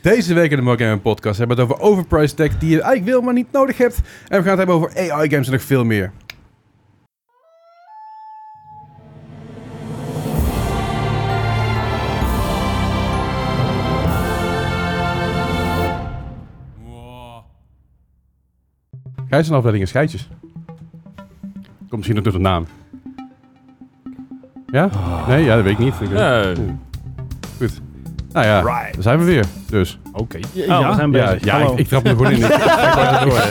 Deze week in de Morgan Podcast hebben we het over overpriced tech die je eigenlijk wil, maar niet nodig hebt. En we gaan het hebben over AI games en nog veel meer. Gijs en afdeling is geitjes. Komt misschien ook door de naam. Ja? Nee, ja, dat weet ik niet. Ik weet- Eh. Goed. Nou ja, daar zijn we weer. Dus. Oké. Ja, Oh, we zijn Ja, bezig. ja Hallo. ik, ik trap er gewoon in. Ik,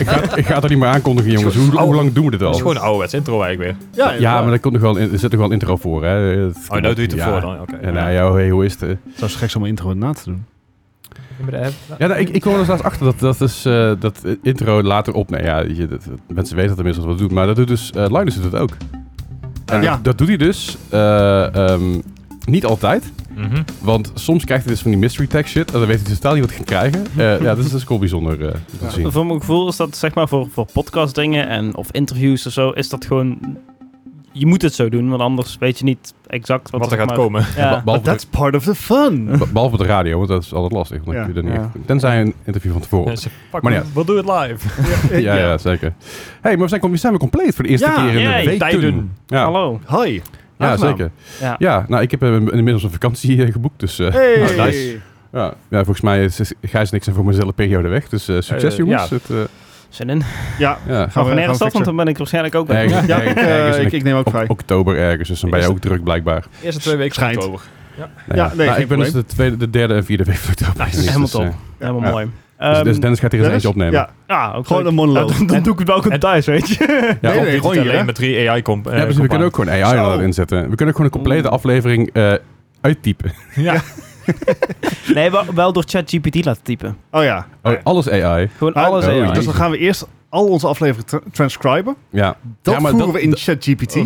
ik, ik ga, ik ga het er niet meer aankondigen, jongens. Hoe, hoe lang doen we dit Het al? is gewoon een ouderwets intro eigenlijk weer. ja, Ja, maar er, komt nog wel in, er zit nog wel een intro voor, hè? Dat Oh, komt nou doe je het wel. ervoor ja. dan. Oké. Ja, nou ja, hey, hoe is het? eh? Het was gek om een intro na te doen. Ja, nou, ik, ik kwam er dus laatst achter dat, dat, is, eh, dat intro later op... Nou ja, je, dat, dat- mensen weten dat inmiddels wat we doen. Maar dat doet dus... eh Linus doet het ook. En ja. Dat doet hij dus eh, ehm, niet altijd. Mhm. Want soms krijgt hij dus van die mystery tag shit. En dan weet hij dus totaal niet wat hij gaat krijgen. Eh, ja, dat is dus cool bijzonder eh, om te zien. Voor mijn gevoel is dat zeg maar voor, voor podcast dingen en of interviews of zo, is dat gewoon. Je moet het zo doen, want anders weet je niet exact wat, Wat er zeg gaat maar- komen. Ja. Behalve de- part of the fun. Be- Behalve op de radio, want dat is altijd lastig. Want dan Ja. kun je er niet Ja. echt- Tenzij een interview van tevoren. Mensen, pak Oh. Maar maar ja. ja. Dus We'll do it live. Ja, ja, zeker. hey, maar we zijn, we zijn weer compleet voor de eerste Ja, keer in yay, de week. tijden. Ja, Hallo. Hoi. ja aangenaam. zeker. Ja. Ja. nou, ik heb eh, inmiddels een vakantie eh, geboekt. Dus eh, Hey. nou, nice. ja, ja, volgens mij is is Gijs en ik zijn voor mezelf een periode weg. Dus eh, succes, Eh, jongens. ja. Het, eh, Zin in. Ja. ja. Gaan we gaan naar de stad, fixen. want dan ben ik waarschijnlijk ook bij. Ergens, Ja, ergens- ik, eh, ergens in ik, ik neem ook ok- vrij. oktober ergens, dus dan ben je ook druk blijkbaar. Eerste twee weken Schijnt. oktober. Nou, Ja, ja. nee, Nou, geen ik ben dus probleem. de, tweede, de derde en vierde week van oktober. Nice. Dus, Helemaal dus, eh, top. Helemaal ja. mooi. dus- Ehm, dus Dennis gaat hier eens Dennis? eentje opnemen. Ja, ah, ook gewoon leuk. een Ja, monoloog. dan, dan doe ik het welkom thuis, weet je. Ja, Nee, Of nee, niet gewoon alleen hier. hè? met drie AI comp. eh, Ja, precies. we kunnen ook gewoon AI Zo. Mm. erin inzetten. We kunnen ook gewoon een complete aflevering eh, uittypen. Ja. Nee, wel, wel door ChatGPT laten typen. Oh ja. Oh, alles AI. Gewoon Ah, alles. oh, AI. ja. Dus dan gaan we eerst al onze afleveringen tra- transcriben. Ja. Dat Ja, maar voeren dat- we in ChatGPT.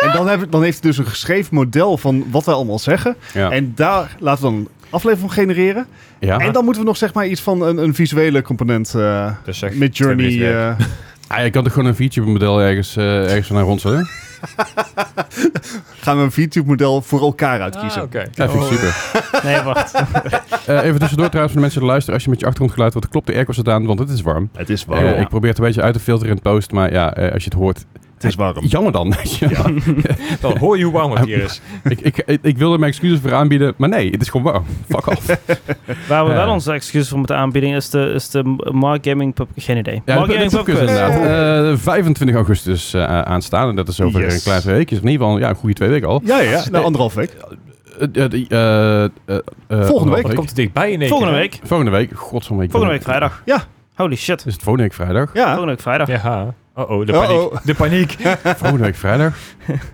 En dan, heb, dan heeft hij dus een geschreven model van wat wij allemaal zeggen. Ja. En daar laten we dan een aflevering van genereren. ja. En dan moeten we nog zeg maar iets van een, een visuele component eh Dus zeg, met Journey. twee minuten eh, Ah, je kan toch gewoon een VTube-model ergens, eh ergens naar rondzetten? gaan we een VTube-model voor elkaar uitkiezen. Ah, oké. Ja, Oh. vind ik super. Nee, wacht. Eh, even tussendoor trouwens, voor de mensen die luisteren. Als je met je achtergrondgeluid wat klopt de airco staat aan, want het is warm. Het is Eh, warm. Ik probeer het een beetje uit te filteren in het post, maar ja, eh, als je het hoort... het is warm. Jammer dan. ja. Dan hoor je hoe warm het hier is. ik, ik, ik, ik wilde mijn excuses voor aanbieden, maar nee, het is gewoon warm. Fuck off. Waar we Ja. wel onze excuses voor moeten aanbieden is de, is de Mark Gaming Pub... Geen idee. Ja, Mark de, de Gaming Pubquiz Pubquiz. inderdaad. Eh, 25 augustus eh, aanstaan. En dat is over Yes. een klein twee weekjes. In ieder geval ja, een goede twee weken al. Ja, ja. Na anderhalf week. Eh, eh, die, eh, eh, eh, Volgende week. Het komt er dichtbij in één Volgende keer, hè? week. Volgende week. Godsom week. Volgende week vrijdag. Ja. Holy shit. Is het volgende week vrijdag? Ja. Volgende week vrijdag. Ja. Oh-oh, de paniek. Uh-oh. De paniek. Volgende week vrijdag.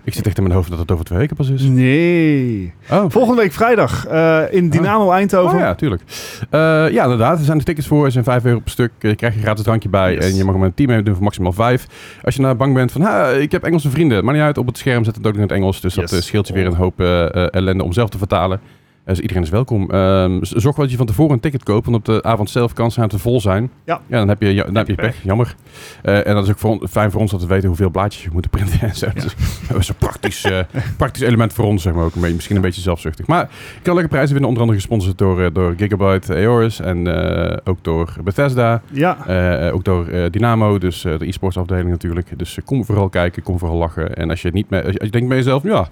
Ik zit echt in mijn hoofd dat het over twee weken pas is. Nee. Oh. Mm. Volgende week vrijdag eh, in Dynamo Eindhoven. Oh ja, tuurlijk. Eh, ja, inderdaad. Er zijn de tickets voor. Er zijn 5 euro per stuk. Eh, Je krijgt een gratis drankje bij. Yes. En je mag hem met een team mee doen voor maximaal 5. Als je nou bang bent van, ha, ik heb Engelse vrienden. Maar niet uit, op het scherm zet het ook nog in het Engels. Dus Yes. dat eh, scheelt je weer een hoop eh, eh, ellende om zelf te vertalen. Eh, Dus iedereen is welkom. Ehm, z- zorg wel dat je van tevoren een ticket koopt. Want op de avond zelf kan ze aan te vol zijn. Ja. dan heb je, ja, dan heb je pech. Jammer. Eh, en dat is ook voor, on- fijn voor ons dat we weten hoeveel blaadjes je moet printen. En zo. Dus dat is een praktisch, eh, praktisch element voor ons, zeg maar. Ook een beetje, misschien een beetje zelfzuchtig. Maar je kan leuke prijzen winnen. Onder andere gesponsord door, eh, door Gigabyte eh, Aorus. En eh, ook door Bethesda. Ja. Eh, eh, ook door eh, Dynamo. Dus eh, de e-sports afdeling natuurlijk. Dus eh, kom vooral kijken. Kom vooral lachen. En als je, het niet mee, als je, als je denkt bij jezelf... Ja,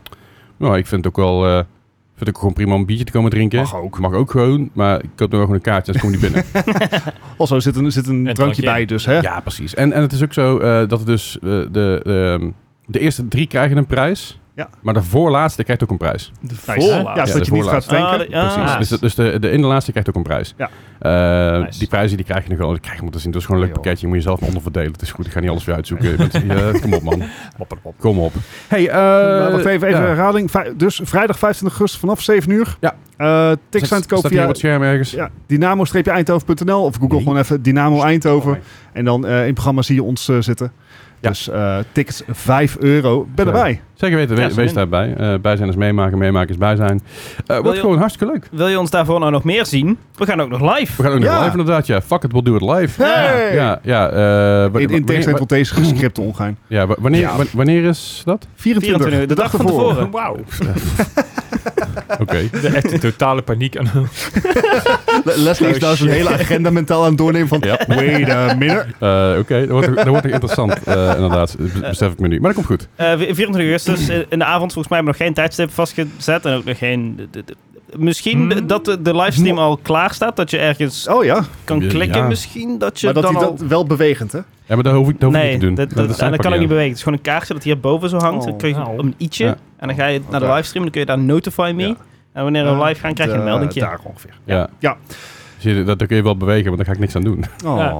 nou, ik vind het ook wel... eh, vind ik gewoon prima om een biertje te komen drinken. Mag ook. Mag ook gewoon. Maar ik koop nog wel gewoon een kaartje. Anders kom je niet binnen. Also, er zit een, zit een Een drankje drankje. bij, dus hè? Ja, precies. En, en het is ook zo eh, dat het dus eh, de, ehm, de eerste drie krijgen een prijs. Ja. Maar de voorlaatste krijgt ook een prijs. De Nice. voorlaatste. Ja, Nou, Ja, zodat de je niet gaat voorlaatste. tanken. Ah, de- ja. Precies. Dus, de- dus de, de inderlaatste krijgt ook een prijs. Ja. Eh, Nice. Die prijzen die krijg je nog wel. Die krijg je moeten zien. Dat is gewoon een leuk Ja, joh. pakketje. Je moet jezelf maar onderverdelen. Het is goed. Ik ga niet alles weer uitzoeken. Je bent- eh, kom op, man. Hopperpop. Kom op. Hey, eh, Nou, wacht even, even ja. herhaling. Vri- dus vrijdag 25 augustus vanaf 7 uur. Ja. Eh, tickets zijn Staat- te koop Staat hier op via het scherm ergens? ja, dynamo-eindhoven.nl of google Nee. gewoon even Dynamo Eindhoven. Oh, En dan eh, in het programma zie je ons eh, zitten. Ja. Dus eh, tickets 5 euro. Ben Ja. erbij. Zeker weten. Ja, we- zin wees in. daarbij. Eh bij zijn is meemaken. Meemaken is bij zijn. Eh, Wil wordt je- gewoon hartstikke leuk. Wil je ons daarvoor nou nog meer zien? We gaan ook nog live. We gaan ook nog Ja. live inderdaad. Ja, fuck it. We'll do it live. Hey! Ja, ja. eh, wa- In, in wanneer- tegenstelling tot deze gescripte ongein. Ja, wa- wanneer, Ja. wa- wanneer is dat? 24, uur, de dag van tevoren. Wauw. Oké. De echte totale paniek. En Le- Leslie is nou zijn hele agenda mentaal aan het doornemen van... Oh, Ja. Wait a minute. Eh, Oké, dat wordt, dat wordt interessant, eh, inderdaad. Dat Besef ik me nu. Maar dat komt goed. Eh, 24 augustus eh, in de avond, volgens mij hebben we nog geen tijdstip vastgezet. En ook nog geen. de- de- de- misschien Hmm. de- dat de, de livestream al klaar staat. Dat je ergens Oh ja, kan Ja. klikken, misschien. Dat je maar dat dan hij al. dat wel bewegend, hè? Ja, maar dat hoef ik, dat hoef ik nee, niet te doen. dat, dat, en snap dat kan ook aan. niet bewegen. Het is gewoon een kaartje dat hierboven zo hangt. Oh. dan krijg je Nou. een i'tje. Ja. En dan ga je naar de Daar. livestream. Dan kun je daar notify me. Ja. En wanneer we Eh, live gaan, krijg je een Eh, meldingje. Daar ongeveer. Ja. Ja. Zie je, dat dat kun je wel bewegen, maar daar ga ik niks aan doen. Oh. Ja.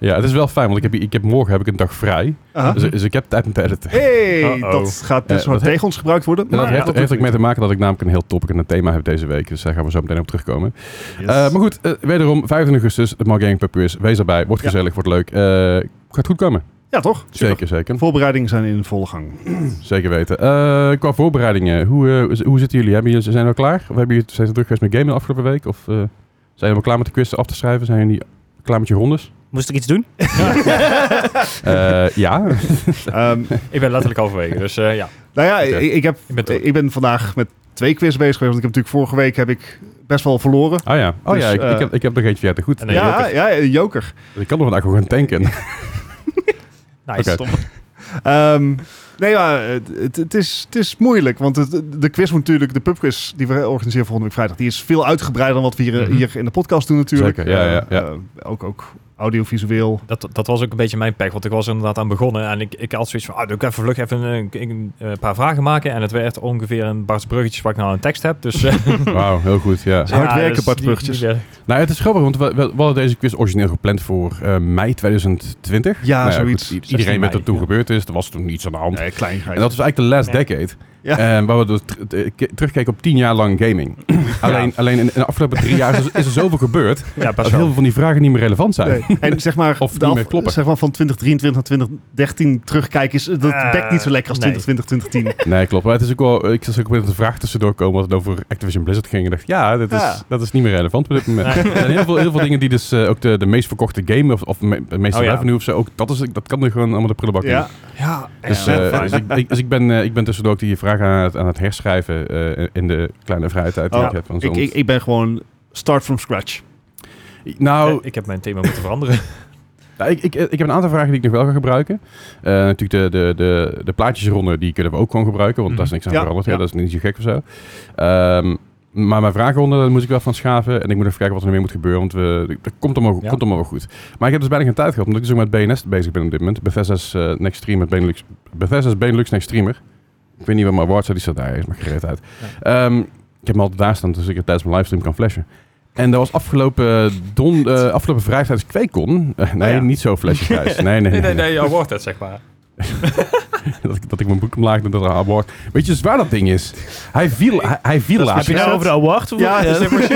Ja, het is wel fijn, want ik heb, ik heb morgen heb ik een dag vrij. Aha. Dus, dus ik heb tijd om te editen. Hey, Uh-oh. dat gaat dus Eh, hard dat tegen ons gebruikt worden. En dat maar heeft, dat heeft ook doet mee te maken dat ik namelijk een heel topic en een thema heb deze week. Dus daar gaan we zo meteen op terugkomen. het Eh, niet. Yes. maar goed, eh, wederom 25 augustus, de Margaming Pub Quiz. Wees erbij, wordt Ja. gezellig, wordt leuk. Eh, gaat goed komen. Ja, toch? Zeker, zeker. De voorbereidingen zijn in volle gang. Zeker weten. Eh, qua voorbereidingen, hoe, eh, hoe zitten jullie? Hebben jullie zijn jullie al klaar? Of hebben jullie, zijn jullie druk geweest met gamen de afgelopen week? Of eh, zijn jullie helemaal klaar met de quiz af te schrijven? Zijn jullie klaar met je rondes? Moest ik iets doen? Eh, ja. Ehm, ik ben letterlijk halverwege, dus eh, ja. nou ja, Oké. ik, ik, heb, Ik ben terug. ik ben vandaag met twee quiz bezig geweest. Want ik heb natuurlijk vorige week heb ik best wel verloren. Oh ja, oh, Dus, ja ik, eh, ik, heb, ik heb nog eentje verder. Goed. En een ja, joker. ja, een joker. Ik kan nog vandaag gewoon tanken. Nice. Oké. Stom. Ehm, nee, maar het, het, het is, het is moeilijk. Want het- de quiz moet natuurlijk, de pubquiz die we organiseren volgende week vrijdag, die is veel uitgebreider dan wat we hier, Mhm. hier in de podcast doen natuurlijk. Zeker, ja, ja, Eh, ja. eh, ook, ook audiovisueel. Dat, dat was ook een beetje mijn pech, want ik was er inderdaad aan begonnen. En ik, ik had zoiets van, ah, doe ik even vlug even een, een- een paar vragen maken. En het werd ongeveer een Bart's bruggetje waar ik nou een tekst heb. Dus, eh, Wauw, heel goed, ja. Hard ja, werken, dus Bart die- die Bruggetjes. weer- Nou, het is grappig, want we, we- we hadden deze quiz origineel gepland voor eh, mei 2020. Ja, Nou zoiets. goed, i- iedereen 16 weet wat mei, toen ja. gebeurd is. Er was toen niets aan de hand. Nee, klein En dat was eigenlijk de last Nee. decade. Ja. Eh, waar we dus ter- eh, ke- terugkijken op tien jaar lang gaming. alleen alleen in, in de afgelopen drie jaar is, er- is er zoveel gebeurd... Ja, dat best heel wel. veel van die vragen niet meer relevant zijn. Nee. En zeg maar, Of de niet meer kloppen. zeg maar van 2023 naar 2013 terugkijken, is, dat Eh, dekt niet zo lekker als nee. 2020, 2010. Nee, klopt. Maar het is ook wel... Ik zag ook weer een vraag tussendoor komen... wat het over Activision Blizzard ging. En dacht, ja, dat is, Ja. Dat is niet meer relevant op dit moment. er zijn heel veel, heel veel dingen die dus... eh, ook de, de meest verkochte game... of, of me- de meeste Oh, ja. revenue of zo... Ook, dat, is, dat kan nu gewoon allemaal de prullenbak in. ja. Ja, Dus, ja, eh, fijn. dus, ik, ik- dus ik, ben, eh, ik ben tussendoor ook die vraag aan het, aan het herschrijven eh, in de kleine vrije tijd die Oh, ik heb. want ik, ik, soms- ik ben gewoon start from scratch. nou, Eh, ik heb mijn thema moeten veranderen. nou, ik, ik, ik heb een aantal vragen die ik nog wel ga gebruiken. Eh, natuurlijk de, de, de, de plaatjesronde, die kunnen we ook gewoon gebruiken, want daar is niks aan Mhm. Ja, veranderd. hè. ja. Dat is niet zo gek of zo. Ehm, maar mijn vragenronde, daar moet ik wel van schaven. En ik moet even kijken wat er nog meer moet gebeuren, want we, dat komt allemaal, Ja. komt allemaal wel goed. Maar ik heb dus bijna geen tijd gehad, omdat ik dus ook met BNS bezig ben op dit moment. Bethesda's eh, Next Streamer, Benelux, Bethesda's Benelux Next Streamer. Ik weet niet waar mijn awards zijn, die staat daar, is maar gereed uit. Ehm, ik heb hem altijd daar staan, dus ik het tijdens mijn livestream kan flashen. En dat was afgelopen, don, eh, afgelopen vrijdag tijdens Kweekon. Eh, nee, Oh ja. niet zo flesje thuis. Nee, nee, nee. Nee, nee. nee, nee, jouw woord het, zeg maar. Dat, ik, dat ik mijn boek omlaag doe, dat er een abort. Weet je dus waar dat ding is? Hij viel, hij, hij viel Heb je later. nou over de award? Of Ja, wat? dat is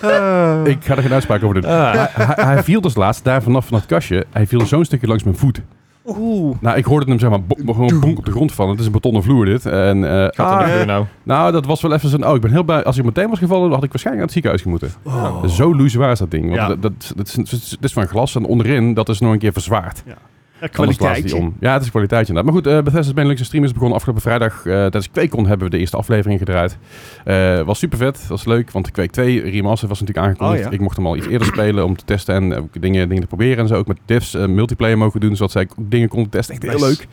Eh, Ik ga er geen uitspraak over doen. Ah. Hij, hij- hij viel dus laatst daar vanaf van dat kastje. Hij viel zo'n stukje langs mijn voet. Oeh. Nou, ik hoorde hem zeg maar bo- gewoon bonk op de grond vallen. Het is een betonnen vloer dit. En, eh, Gaat ah, dat nog doen nou? nou, dat was wel even zo'n... Oh, ik ben heel blij. Als ik meteen was gevallen, dan had ik waarschijnlijk aan het ziekenhuis moeten. oh. Zo loose waar is dat ding. Want Ja. dat, dat, dat is, dat is- dat is van glas en onderin, dat is nog een keer verzwaard. Ja, Anders blaast die kwaliteit. om. Ja, het is kwaliteit inderdaad. Maar goed, eh Bethesda's Benelux en Stream is begonnen afgelopen vrijdag. eh tijdens QuakeCon hebben we de eerste aflevering gedraaid. Eh, was super vet, was leuk, want Quake 2 remaster was natuurlijk aangekondigd. Oh, ja. Ik mocht hem al iets eerder spelen om te testen en ook dingen, dingen te proberen en zo. Ook met devs eh, multiplayer mogen doen, zodat zij ook dingen konden testen. Echt heel Nice. leuk.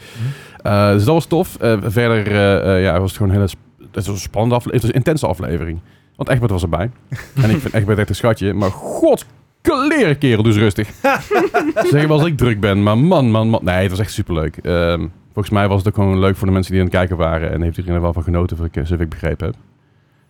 Eh, dus dat was tof. Eh, verder eh, eh, ja, was het gewoon een hele sp- het was een spannende aflevering. Het was een intense aflevering. Want Egbert was erbij. en ik vind Egbert echt een schatje. Maar god, kleren kerel, dus rustig. zeg wel als ik druk ben. Maar man, man, man. Nee, het was echt superleuk. Ehm, volgens mij was het ook gewoon leuk voor de mensen die aan het kijken waren. En heeft iedereen er wel van genoten, wat ik, eh, zover ik begrepen heb.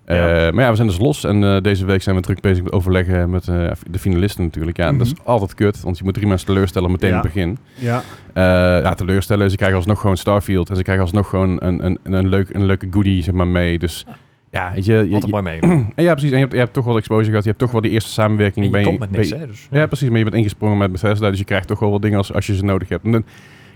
Eh, maar ja, we zijn dus los en eh, deze week zijn we druk bezig met overleggen met eh, de finalisten natuurlijk. Ja, en dat is altijd kut, want je moet drie mensen teleurstellen meteen Ja. in het begin. Ja. Eh, ja, teleurstellen. Ze krijgen alsnog gewoon Starfield. En ze krijgen alsnog gewoon een, een, een, leuk, een leuke goodie zeg maar, mee. Dus ja, weet je, je, Wat een je- mooi mee. En en ja, precies. En je hebt, je hebt toch wel exposure gehad. Je hebt toch wel die eerste samenwerking. je ben komt met niks, ben hè? Dus, je- ja, precies. Maar je bent ingesprongen met Bethesda. Dus je krijgt toch wel wat dingen als, als je ze nodig hebt. En dan,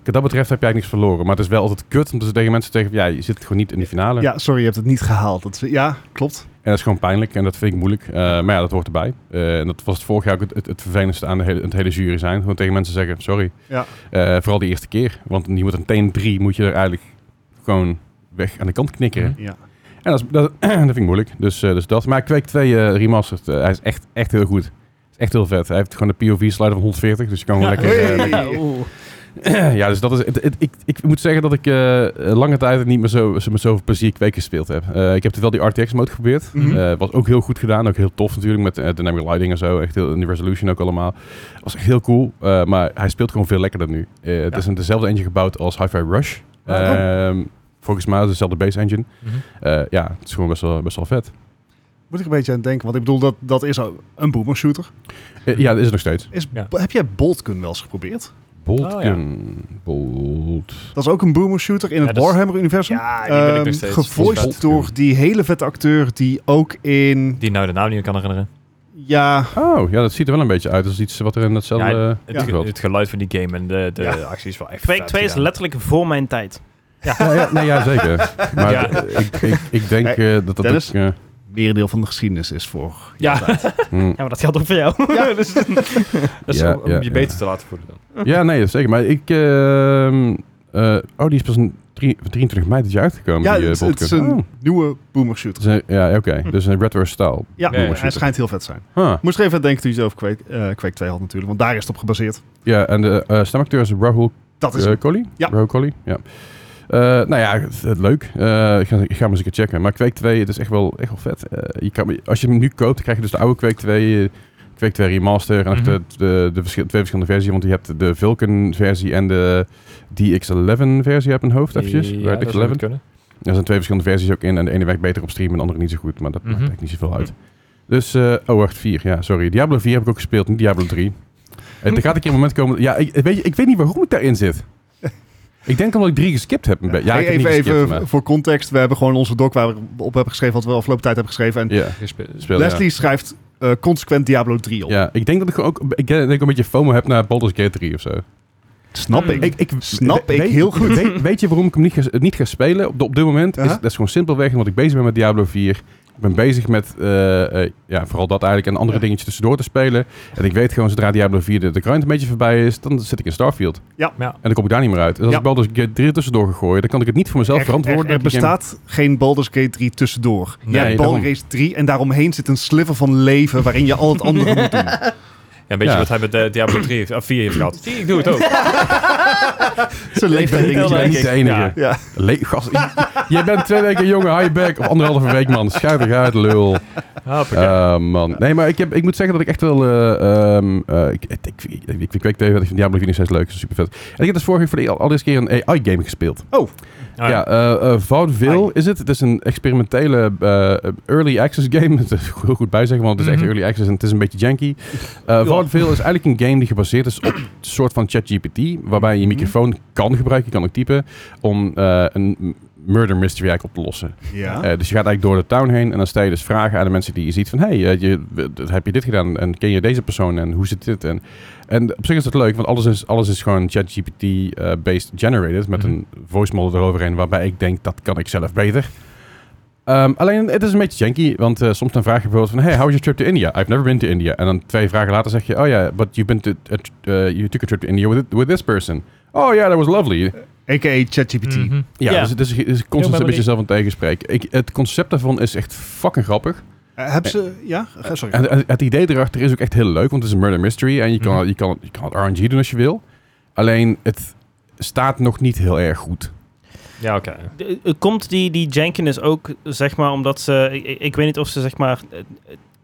wat dat betreft heb je eigenlijk niks verloren. Maar het is wel altijd kut om te tegen mensen tegen... Ja, je zit gewoon niet in de finale. ja, sorry, je hebt het niet gehaald. Dat, is- ja, klopt. En dat is gewoon pijnlijk en dat vind ik moeilijk. Eh, maar ja, dat hoort erbij. Eh, en dat was het vorig jaar ook het, het, het vervelendste aan de hele, het hele jury zijn. Gewoon tegen mensen zeggen, sorry. Ja. Eh, vooral die Mhm. eerste keer. Want je moet meteen drie, moet je er eigenlijk gewoon weg aan de kant knikkeren. Ja. En En dat, is, dat, dat vind ik moeilijk. Dus, eh, dus dat. Maar Quake 2 eh, remastered, eh, hij is echt, echt heel goed. Is echt heel vet. Hij heeft gewoon een POV-slider van 140, dus je kan gewoon Ja. lekker... eh, Hey. lekker- Ja, oeh. ja, dus dat is. Het, het- ik, ik moet zeggen dat ik eh, lange tijd niet meer zo, zo met zoveel plezier kweek gespeeld heb. Eh, ik heb wel die RTX-mode geprobeerd. Mhm. Eh, was ook heel goed gedaan. Ook heel tof natuurlijk. Met eh, dynamic lighting en zo. Echt heel, en die resolution ook allemaal. Was echt heel cool. Eh, maar hij speelt gewoon veel lekkerder nu. Eh, Het Ja. is een dezelfde engine gebouwd als Hi-Fi Rush. Oh. Ehm, volgens mij is het dezelfde base engine. Mhm. Eh, ja, het is gewoon best wel, best wel vet. Moet ik een beetje aan denken, want ik bedoel, dat, dat is ook een boomer shooter. Eh, ja, dat is het nog steeds. Is, Ja. Heb jij Boltgun wel eens geprobeerd? Bolt. Oh, ja. Bolt. Dat is ook een boomer shooter in Ja, het dat is- Warhammer-universum. Ja, die wil ik nog Ehm, steeds. Dat is Gevoiced Boltgun. door die hele vette acteur die ook in... Die nou de naam niet meer kan herinneren. Ja, Oh, ja, dat ziet er wel een beetje uit. Dat is iets wat er in hetzelfde... Ja, eh, Het, veld- ge- het geluid van die game en de, de Ja. actie is wel echt Quake vet 2 is gedaan. letterlijk voor mijn tijd. Ja, ja, nee, ja, zeker. Maar Ja. d- ik, ik, ik denk eh, dat dat Dennis? ook... eh, merendeel van de geschiedenis is voor... Ja. hm. Ja, maar dat geldt ook voor jou. Dus- Dat is Ja, om, om ja, je ja. beter te laten voelen dan. Ja, nee, zeker. Maar ik... ehm, eh, oh, die is pas een drie- 23 mei dit jaar uitgekomen. Ja, die, eh, het, het is Boltgun. een Hm. Oh. nieuwe boomer shooter. Het is een- ja, oké. Dus een retro style. Ja, Boomer hij shooter. schijnt heel vet te zijn. Huh. Moest er even aan denken toen je het over Quake, eh, Quake 2 had natuurlijk, want daar is het op gebaseerd. Ja, en de eh, stemacteur is Rahul Dat is eh Collie? Ja. Rahul Collie, ja. Eh, nou ja, het, het leuk. Eh, ik, ga, ik ga hem eens een keer checken. Maar Quake 2, het is echt wel, echt wel vet. Eh, je kan, als je hem nu koopt, krijg je dus de oude Quake 2, eh, Quake 2 Remaster en ook de, Mhm. de, de verschil- twee verschillende versies. Want je hebt de Vulcan versie en de DX11 versie uit mijn hoofd, eventjes. Ja, Right, dat zou DX11. goed kunnen. Er zijn twee verschillende versies ook in. En de ene werkt beter op stream en de andere niet zo goed. Maar dat Mhm. maakt eigenlijk niet zoveel uit. Dus, eh, oh wacht, 4. Ja, sorry. Diablo 4 heb ik ook gespeeld, niet Diablo 3. Eh, er gaat een keer een moment komen... Ja, ik, weet, je, ik weet niet waarom ik daarin zit. Ik denk omdat ik 3 geskipt heb. Een beetje. ja, ik Hey, heb even, niet geskipt, even maar- voor context. We hebben gewoon onze doc waar we op hebben geschreven wat we afgelopen tijd hebben geschreven. En Ja, Gespe- speel, ja. Leslie schrijft eh, consequent Diablo 3 op. Ja, ik denk dat ik gewoon ook... Ik denk dat ik een beetje FOMO heb naar Baldur's Gate 3 of zo. Snap Hmm. Mm. ik. Ik, ik, Snap we- ik weet- heel goed. Weet, weet je waarom ik hem niet ga, niet ga spelen op, de- op dit moment? Aha. is, dat is gewoon simpelweg omdat ik bezig ben met Diablo 4. Ik ben bezig met eh, eh, ja, vooral dat eigenlijk en andere Ja. dingetjes tussendoor te spelen. En ik weet gewoon zodra Diablo 4 de, de grind een beetje voorbij is, dan zit ik in Starfield. Ja. Ja. En dan kom ik daar niet meer uit. Dus als Ja. ik Baldur's Gate 3 er tussendoor gegooid, dan kan ik het niet voor mezelf Er- verantwoorden. Er, er dat die game- bestaat geen Baldur's Gate 3 tussendoor. Nee, je hebt daarom. Baldur's Gate 3 en daaromheen zit een sliver van leven waarin je al het andere moet doen. Ja, een beetje Ja. wat hij met eh, Diablo 3 heeft, of 4 heeft gehad. Zie, ik doe het ook. Ze leeft Ik ben dingetje. niet de enige. Ja. Ja. Le- gast, j- jij bent twee weken jonger, high back. Of anderhalve week, man. Schuif eruit uit, lul. Hoppakee. Eh, man. Nee, maar ik, heb, ik moet zeggen dat ik echt wel... eh, ehm, eh, ik, ik, ik, ik, ik vind Quake 2 vet, ik vind Diablo 4 nog steeds leuk. is super vet. En ik heb dus vorige keer voor de allereerste keer een AI-game gespeeld. Oh, Ah, ja, eh eh, Vaudeville is het. Het is een experimentele eh, early access game. Het is heel goed bij zeggen, want het is Mhm. echt early access en het is een beetje janky. Eh Vaudeville is eigenlijk een game die gebaseerd is op een soort van ChatGPT, waarbij je je Mhm. microfoon kan gebruiken, je kan ook typen, om eh, een murder mystery eigenlijk op te lossen. Eh, Ja. dus je gaat eigenlijk door de town heen en dan stel je dus vragen aan de mensen die je ziet van... hey, eh, je, w- heb je dit gedaan en ken je deze persoon en hoe zit dit? En, en op zich is dat leuk, want alles is, alles is gewoon ChatGPT-based generated... met Mhm. een voice model eroverheen waarbij ik denk, dat kan ik zelf beter. Ehm, alleen, het is een beetje janky, want eh, soms dan vraag je bijvoorbeeld van... hey, how was your trip to India? I've never been to India. En dan twee vragen later zeg je... oh ja, but you've been to, a tr- eh, you took a trip to India with, with this person. Oh ja, that was lovely. A.k.a. ChatGPT. Mhm. Ja, Ja. dus het is, het is constant een memory. beetje zelf aan het tegenspreken. Ik, het concept daarvan is echt fucking grappig. Eh, hebben ze... Ja? Ga- Sorry. En het- het idee erachter is ook echt heel leuk, want het is een murder mystery. En je kan, Mhm. je kan, je kan het RNG doen als je wil. Alleen, het staat nog niet heel erg goed. Ja, oké. De- eh, Komt die, die Jenkins ook, zeg maar, omdat ze... Ik, ik- ik weet niet of ze, zeg maar, eh,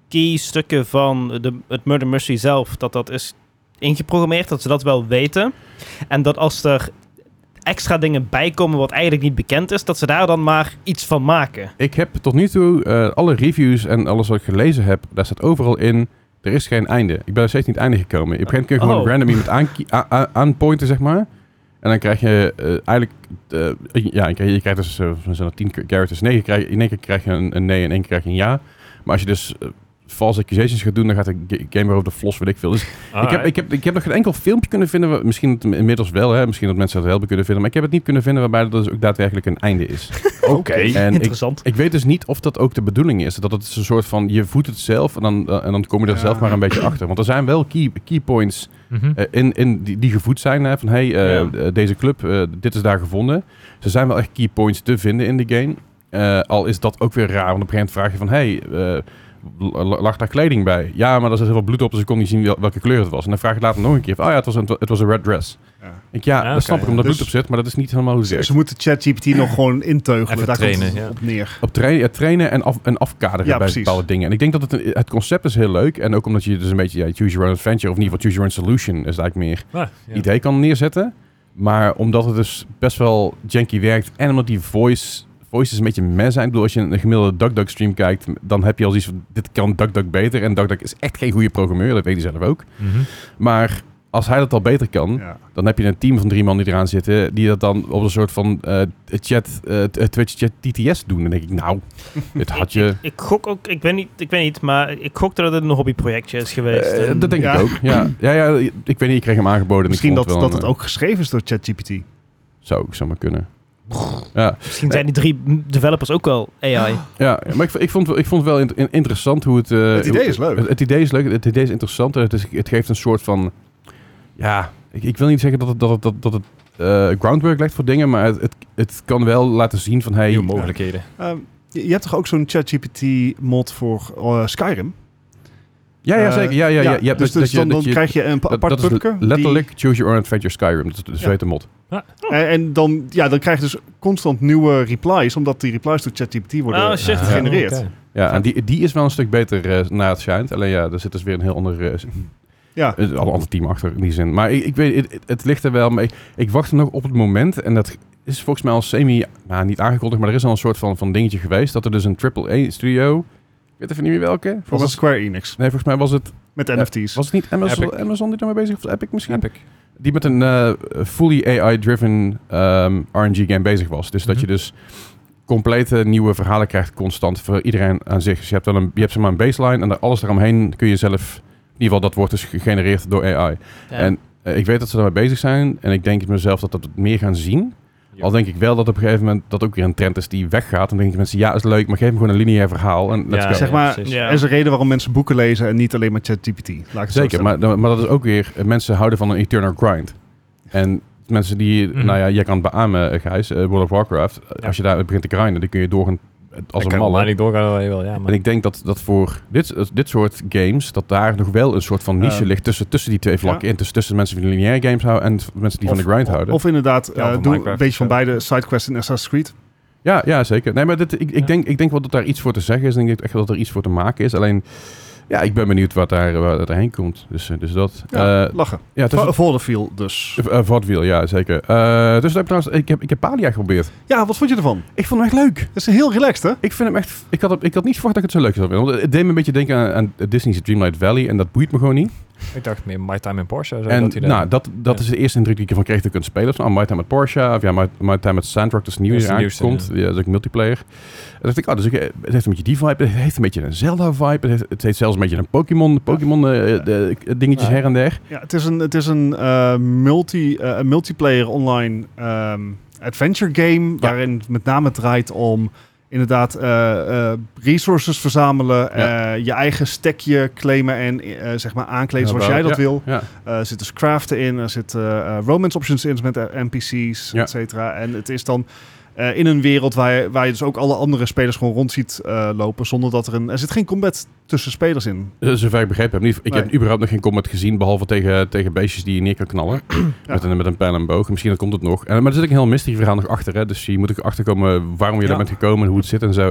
key stukken van de, het Murder Mercy zelf, dat dat is ingeprogrammeerd, dat ze dat wel weten. En dat als er extra dingen bij komen wat eigenlijk niet bekend is, dat ze daar dan maar iets van maken. Ik heb tot nu toe eh, alle reviews en alles wat ik gelezen heb, daar staat overal in... Er is geen einde. Ik ben nog steeds niet einde gekomen. Op een gegeven moment kun je gewoon Oh. random iemand aanki- a- a- aanpointen, zeg maar. En dan krijg je eh, eigenlijk... eh, ja, je krijgt, je krijgt dus eh, van zo'n 10 characters nee. Je krijgt, in één keer krijg je een, een nee en in één keer krijg je een ja. Maar als je dus eh, false accusations gaat doen, dan gaat de ga- game weer over de flos, weet ik veel. Dus ik heb, ik, heb, ik heb nog geen enkel filmpje kunnen vinden. waar- Misschien het inmiddels wel, hè. Misschien dat mensen dat helpen kunnen vinden. Maar ik heb het niet kunnen vinden waarbij dat dus ook daadwerkelijk een einde is. Oké. En ik, Interessant. ik weet dus niet of dat ook de bedoeling is. Dat het is een soort van, je voedt het zelf en dan, eh, en dan kom je er Ja. zelf maar een beetje achter. Want er zijn wel key, key points Mhm. eh, in, in die, die gevoed zijn. Hè, van hey, eh, Ja. eh, deze club, eh, dit is daar gevonden. Ze zijn wel echt key points te vinden in de game. Eh, al is dat ook weer raar, want op een gegeven moment vraag je van... Hey, eh, l- lag daar kleding bij? Ja, maar er zat heel veel bloed op, dus ik kon niet zien wel- welke kleur het was. En dan vraag je later nog een keer van... Oh ja, het was een, het was een red dress. Ja. Ik, ja, Ja, dat oké, snap ik, ja. omdat Dus- bloed op zit, maar dat is niet helemaal hoe het Ze, werkt. ze moeten ChatGPT nog gewoon inteugelen. Even Daar komt trainen, het ja. op neer. Op tra- ja, trainen en, af- en afkaderen bij Ja, precies. bepaalde dingen. En ik denk dat het, een- het concept is heel leuk. En ook omdat je dus een beetje ja, choose your own adventure, of in ieder geval choose your own solution, is het eigenlijk meer Ah, ja. idee kan neerzetten. Maar omdat het dus best wel janky werkt en omdat die voice, voices een beetje meh zijn. Ik bedoel, als je een gemiddelde DuckDuck stream kijkt, dan heb je al zoiets van, dit kan DuckDuck beter. En DuckDuck is echt geen goede programmeur, dat weet hij zelf ook. Mhm. Maar als hij dat al beter kan, Ja. dan heb je een team van drie man die eraan zitten, die dat dan op een soort van eh, chat, eh, t- eh, Twitch chat TTS doen. Dan denk ik, nou, dit had je... Ik gok ook, ik weet niet, ik weet niet maar ik gok dat het een hobbyprojectje is geweest. Eh, En- dat denk Ja. ik ook. Ja. ja, ja, ik weet niet, ik kreeg hem aangeboden. en ik Misschien dat, vond wel dat een, het ook geschreven is door ChatGPT. eh, Zou ook zomaar kunnen. Ja. Misschien zijn die drie m- developers ook wel AI. Ja, maar ik, ik, vond, ik vond het wel in- in- interessant hoe het... eh, Het idee is hoe- leuk. Het, het idee is leuk, het idee is interessant. en Het, is, het geeft een soort van... Ja, ik, ik wil niet zeggen dat het, dat het, dat, dat het eh, groundwork legt voor dingen, maar het, het, het kan wel laten zien van... Hey, Nieuwe mogelijkheden. Ehm, je, je hebt toch ook zo'n ChatGPT-mod voor eh, Skyrim? ja, ja, Eh, zeker. Ja, ja, ja. je hebt dus dat- dat dus je- dan, dat dan je- krijg je een pa- dat- apart dat is pubke. die- Letterlijk Choose Your Own Adventure Skyrim. Dat is de Ja. zweten mod. en, en dan, ja, dan krijg je dus constant nieuwe replies, omdat die replies door ChatGPT worden Oh, shit. eh, gegenereerd. Ah, Ja, oké. Ja, en die, die is wel een stuk beter eh, naar het schijnt. Alleen ja, er zit dus weer een heel ander, eh, een heel ander team achter in die zin. Maar ik, ik weet, het, het- het ligt er wel mee. Ik wacht er nog op het moment. En dat is volgens mij al semi, nou niet aangekondigd, maar er is al een soort van, van dingetje geweest. Dat er dus een AAA-studio, ik weet even niet meer welke. Van Volgens- Square Enix. nee, volgens mij was het, Met Ja, NFT's. was het niet Amazon, Epic. Amazon die daarmee bezig was? Epic misschien? Epic. die met een eh, fully AI-driven ehm, RNG-game bezig was. Dus dat Mhm. je dus complete nieuwe verhalen krijgt constant voor iedereen aan zich. Dus je hebt, wel een, je hebt zeg maar een baseline en dan alles eromheen kun je zelf... In ieder geval, dat wordt dus gegenereerd door AI. En eh, ik weet dat ze daarmee bezig zijn en ik denk mezelf dat dat meer gaan zien. Ja. Al denk ik wel dat op een gegeven moment dat ook weer een trend is die weggaat. Dan denken mensen, ja, is leuk, maar geef hem gewoon een lineair verhaal. En let's Ja, go. Dus zeg maar, precies. Ja. Er is een reden waarom mensen boeken lezen en niet alleen maar ChatGPT. Laat ik het zo Zeker, stellen. maar, maar dat is ook weer... eh, Mensen houden van een eternal grind. En mensen die... Mhm. Nou ja, jij kan het beamen, eh, Gijs. eh, World of Warcraft. eh, Ja. Als je daar begint te grinden, dan kun je door een, als Ik een kan malle. online niet doorgaan waar je wil, ja. Maar En ik denk dat, dat voor dit, dit soort games... dat daar nog wel een soort van niche Eh, ligt... Tussen, tussen die twee vlakken in. Tussen, tussen mensen die van lineaire games houden... en mensen die van de grind houden. Of inderdaad, eh, Ja, van doe een Minecraft beetje van of zo. beide sidequests in Assassin's Creed. Ja, ja, zeker. Nee, maar dit, ik, ik, Ja. denk, ik denk wel dat daar iets voor te zeggen is. En ik denk echt wel dat er iets voor te maken is. Alleen... Ja, ik ben benieuwd wat daar, waar dat heen komt. Dus, eh, dus dat. Ja, Eh, lachen. ja, tussen- Va- Volderfield dus. Eh, eh, Vaudeville, ja, zeker. Eh, dus dat heb ik trouwens, ik heb, ik heb Palia geprobeerd. Ja, wat vond je ervan? Ik vond hem echt leuk. Het is heel relaxed, hè? Ik, vind hem echt, ik, had, hem- ik had niet verwacht dat ik het zo leuk zou vinden. Want het deed me een beetje denken aan, aan Disney's Dreamlight Valley. En dat boeit me gewoon niet. ik dacht meer My Time in Porsche. Zo, en dat hij daar- nou, dat, dat ja. is de eerste indruk die ik ervan kreeg dat ik kunt spelen. Of nou, My Time met Porsche. Of ja, My, My Time met Sandrock, dat is nieuw Dat die is de eraan nieuwste, komt. Ja, dat is ook multiplayer. En dacht ik, ah, dus ik, eh, het heeft een beetje die vibe. Het heeft een beetje een Zelda-vibe. Het heeft, het heeft zelfs een beetje een Pokémon, Pokémon eh, eh, de- eh, dingetjes Ja. her en der. Ja, het is een, het is een eh, multi, eh, een multiplayer online ehm, adventure game. Waarin het met name draait om inderdaad eh, eh, resources verzamelen. eh, je eigen stekje claimen en eh, zeg maar aankleden zoals jij dat Ja, wil. Ja. Eh, er zit dus craften in, er zitten eh, romance options in met eh, NPC's, Ja. et cetera. En het is dan eh, in een wereld waar je, waar je dus ook alle andere spelers gewoon rond ziet eh, lopen. Zonder dat er een... Er zit geen combat tussen spelers in. Eh, Zover ik begrepen heb. Niet, ik Nee. heb überhaupt nog geen combat gezien, behalve tegen, tegen beestjes die je neer kan knallen. met, een, met een pijl en boog. Misschien komt het nog. En, maar er zit ook een heel mystery verhaal nog achter. Hè? Dus je moet ook achterkomen waarom je Ja. daar bent gekomen en hoe het zit en zo.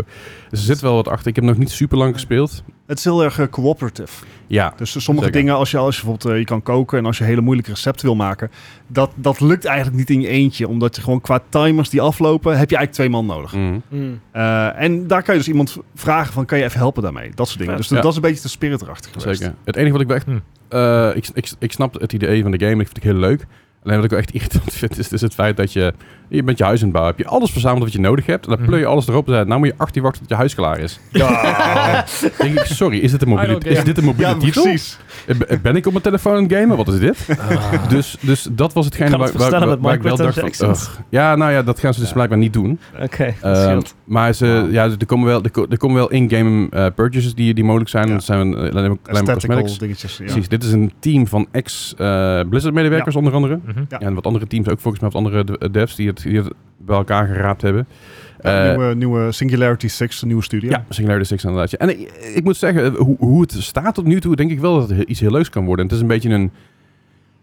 Dus er zit wel wat achter. Ik heb nog niet super lang gespeeld. Het is heel erg eh, cooperative. Ja. Dus sommige Zeker. dingen, als je, als je bijvoorbeeld eh, je kan koken en als je hele moeilijke recepten wil maken, dat, dat lukt eigenlijk niet in je eentje. Omdat je gewoon qua timers die aflopen, heb je eigenlijk twee man nodig. Mm. Hmm. Eh, en daar kan je dus iemand v- vragen van, kan je even helpen daarmee? Dat soort dingen. Vet. Dus dat, Ja. dat is een beetje de spirit erachter geweest. Zeker. Het enige wat ik wel echt... Hm. eh, ik, ik, ik snap het idee van de game. Ik vind het heel leuk. Alleen wat ik wel echt irritant vind, is, is het feit dat je... Je bent je huis aan het bouwen. Heb je alles verzameld wat je nodig hebt. En dan Mhm. pleur je alles erop. En dan nou moet je 18 wachten tot je huis klaar is. Ja, denk ik, sorry, is dit een I mobiele, don't care. is dit een mobiele ja titel? precies. Eh, ben- Ben ik op mijn telefoon aan het gamen? Wat is dit? Dus, dus dat was hetgene Kan waar, het waar, waar, verstaan met waar ik wel dacht van... microtransactions? ugh. Ja, nou ja, dat gaan ze dus Ja. blijkbaar niet doen. Oké, dat Ehm, scheelt. maar ze, ja, er komen wel, er ko- er komen wel in-game eh, purchases die, die mogelijk zijn. Ja. Dat zijn eh, alleen maar alleen maar Aesthetical cosmetics. dingetjes. Ja. Precies, dit is een team van ex-Blizzard-medewerkers eh, onder andere. Mhm. Mhm. Ja. En wat andere teams ook volgens mij, wat andere de- devs die het, die het bij elkaar geraapt hebben. Ja, Eh, nieuwe, nieuwe Singularity 6, een nieuwe studio. Ja, Singularity 6 inderdaad. ja. En ik, ik moet zeggen, eh, hoe, hoe het staat tot nu toe, denk ik wel dat het he- iets heel leuks kan worden. En het is een beetje een...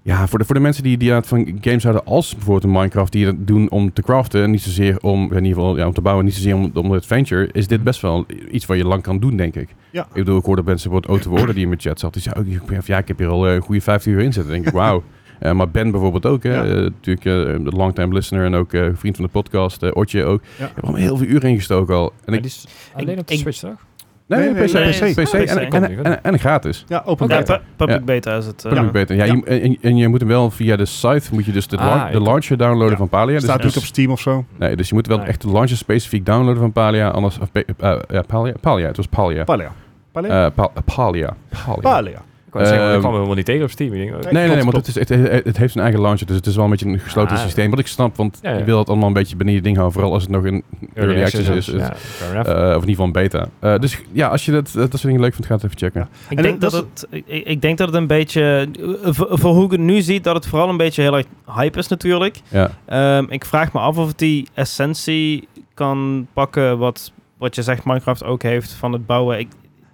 Ja, voor de, voor de mensen die, die aan het van games houden als bijvoorbeeld een Minecraft, die het doen om te craften, en niet zozeer om, in ieder geval ja, om te bouwen, niet zozeer om, om de adventure, is dit best wel iets wat je lang kan doen, denk ik. Ja. Ik bedoel, ik hoorde mensen, bijvoorbeeld Otto Worden die in mijn chat zat, die zei ook, ik ben- ja, ik heb hier al eh, een goede 15 uur in zitten. Dan denk ik, wauw. Eh, maar Ben bijvoorbeeld ook, hè? Ja. Eh, natuurlijk eh, een longtime listener en ook eh, vriend van de podcast, eh, Otje ook. Ja. Ik heb er al heel veel uren ingestoken al. En ik, Maar die is alleen ik- op de ik- Switch, toch? Nee, Nee, nee, PC. nee, PC. nee, PC. En, en, en, en, en gratis. Ja, open Ja, beta. pu- public beta is het. eh. Dat ja. beter. Ja, Ja. Je, en, en je moet hem wel via de site, moet je dus de, Ah, launch- de ik- launcher downloaden Ja. van Palia. Dus, Staat niet op Steam of zo. nee, dus je moet wel Nee. echt de launcher specifiek downloaden van Palia. Anders, of, eh, eh, ja, Palia, Palia, het was Palia. Palea. Palea. Eh, Pa- Palia. Palia. Palea. Ik wou zeggen, want Ehm, ik kwam helemaal niet tegen op Steam. Ik denk, oh, Nee, Nee. nee, nee, Klopt, want het, is, het, het heeft zijn eigen launcher, dus het is wel een beetje een gesloten Ah, ja. systeem. Wat ik snap, want Ja, ja. je wil het allemaal een beetje beneden ding houden, vooral als het nog in early access is. Ja, fair enough. Eh, of in ieder geval een beta. Eh, dus ja, als je dat, dat soort dingen leuk vindt, ga het even checken. Ik En denk, dat dat het, ik, ik denk dat het een beetje, eh, voor, voor hoe ik het nu zie, dat het vooral een beetje heel erg hype is natuurlijk. Ja. Ehm, ik vraag me af of het die essentie kan pakken wat, wat je zegt Minecraft ook heeft van het bouwen. Ik,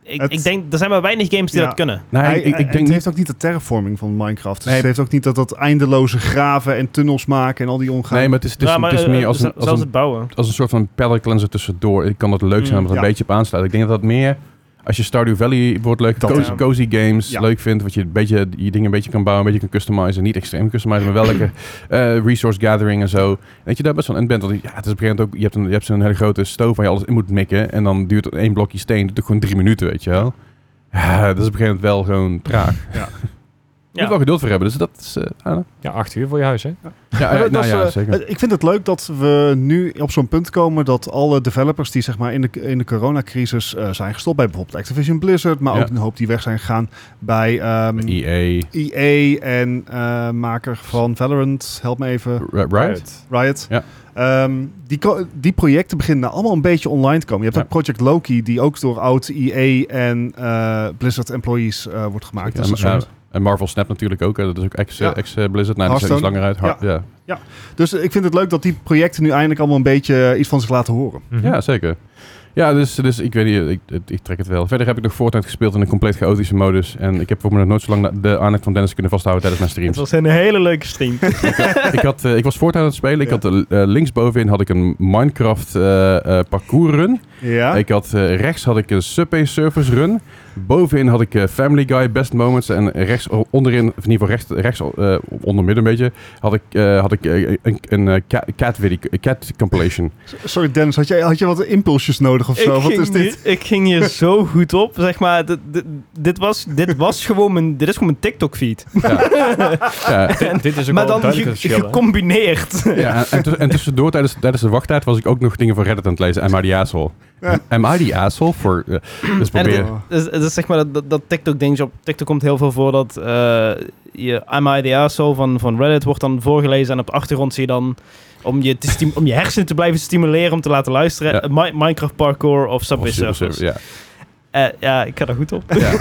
ik, Het- ik denk, er zijn maar weinig games die Ja. dat kunnen. Nee, Hij- Nou, ik, ik hij- denk het niet heeft ook niet de terraforming van Minecraft. Dus Nee. Het heeft ook niet dat, dat eindeloze graven en tunnels maken en al die omgaan. Nee, maar het is, het is, Ja, maar, het is eh, meer als ze- een, als, zelfs een, het bouwen. als een soort van palette cleanser tussendoor. Ik kan dat leuk zijn om Mm, dat een ja. beetje op aansluit. Ik denk dat dat meer, als je Stardew Valley wordt leuk, Dat, cozy, ja. cozy games Ja. leuk vindt, wat je, een beetje, je dingen een beetje kan bouwen, een beetje kan customizen. Niet extreem customizen, maar wel lekker eh, resource gathering en zo. Dat je daar best wel in bent. Want ja, het is op een gegeven moment ook, je hebt, een, je hebt zo'n hele grote stoof waar je alles in moet mikken. En dan duurt het één blokje steen, duurt ook gewoon drie minuten, weet je wel. Ja, dat is op een gegeven moment wel gewoon traag. Je moet Ja. wel geduld voor hebben, dus dat is... eh, I don't know. Ja, acht uur voor je huis, hè? ja, Maar eh, nou dat- dat ja, is, eh, zeker. eh, Ik vind het leuk dat we nu op zo'n punt komen dat alle developers die zeg maar in de, in de coronacrisis eh, zijn gestopt bij bijvoorbeeld Activision Blizzard, maar Ja. ook een hoop die weg zijn gegaan bij ehm, EA, EA en eh, maker van Valorant, help me even, right? Riot. Ja. Ehm, die, ko- die projecten beginnen allemaal een beetje online te komen. Je hebt Ja. ook Project Loki, die ook door oud EA en eh, Blizzard employees eh, wordt gemaakt. Dat is een en, soort- en Marvel Snap natuurlijk ook. hè. Dat is ook ex, Ja. ex eh, Blizzard. Nou, die zijn Hearthstone. iets langer uit. Har- ja. Ja. Dus ik vind het leuk dat die projecten nu eindelijk allemaal een beetje eh, iets van zich laten horen. Mhm. zeker. Ja, dus, dus ik weet niet, ik, ik, ik trek het wel. Verder heb ik nog Fortnite gespeeld in een compleet chaotische modus. En ik heb voor me nog nooit zo lang na- de aandacht van Dennis kunnen vasthouden tijdens mijn Het streams. was een hele leuke stream. ik, had, eh, ik was Fortnite aan het spelen. Ik Ja. had eh, linksbovenin had ik een Minecraft eh, eh, parcours run. Ja. Ik had, eh, rechts had ik een Subway Surfers run. Bovenin had ik eh, Family Guy Best Moments. En rechts o- onderin, of in ieder geval rechts, rechts eh, onder midden een beetje, had ik, eh, had ik eh, een, een eh, cat, cat, video, cat compilation. Sorry Dennis, had jij, had je wat impulsjes nodig of Ik zo? Wat ging is dit? Hier, ik ging hier zo goed op, zeg maar. Dit, dit, dit was, dit was gewoon mijn, dit is gewoon mijn TikTok-feed. Ja, Dit, dit is ook Maar wel een dan duidelijk ge- verschil, hè? gecombineerd. ja, en- en, tuss- en tussendoor, tijdens, tijdens de wachttijd, was ik ook nog dingen van Reddit aan het lezen. Am I the asshole? Ja. Am I the asshole? Voor, eh, dus En probeer. Oh. Dus, dus zeg maar dat, dat, dat TikTok-dingetje op TikTok komt heel veel voor dat eh, je I'm I the asshole van, van Reddit wordt dan voorgelezen en op de achtergrond zie je dan om je, te stim- om je hersenen te blijven stimuleren om te laten luisteren. Ja. eh, Mi- Minecraft parkour of Subway Of Oh, super- Surfers. super- ja. Eh, ja, ik ga er goed op. Ja.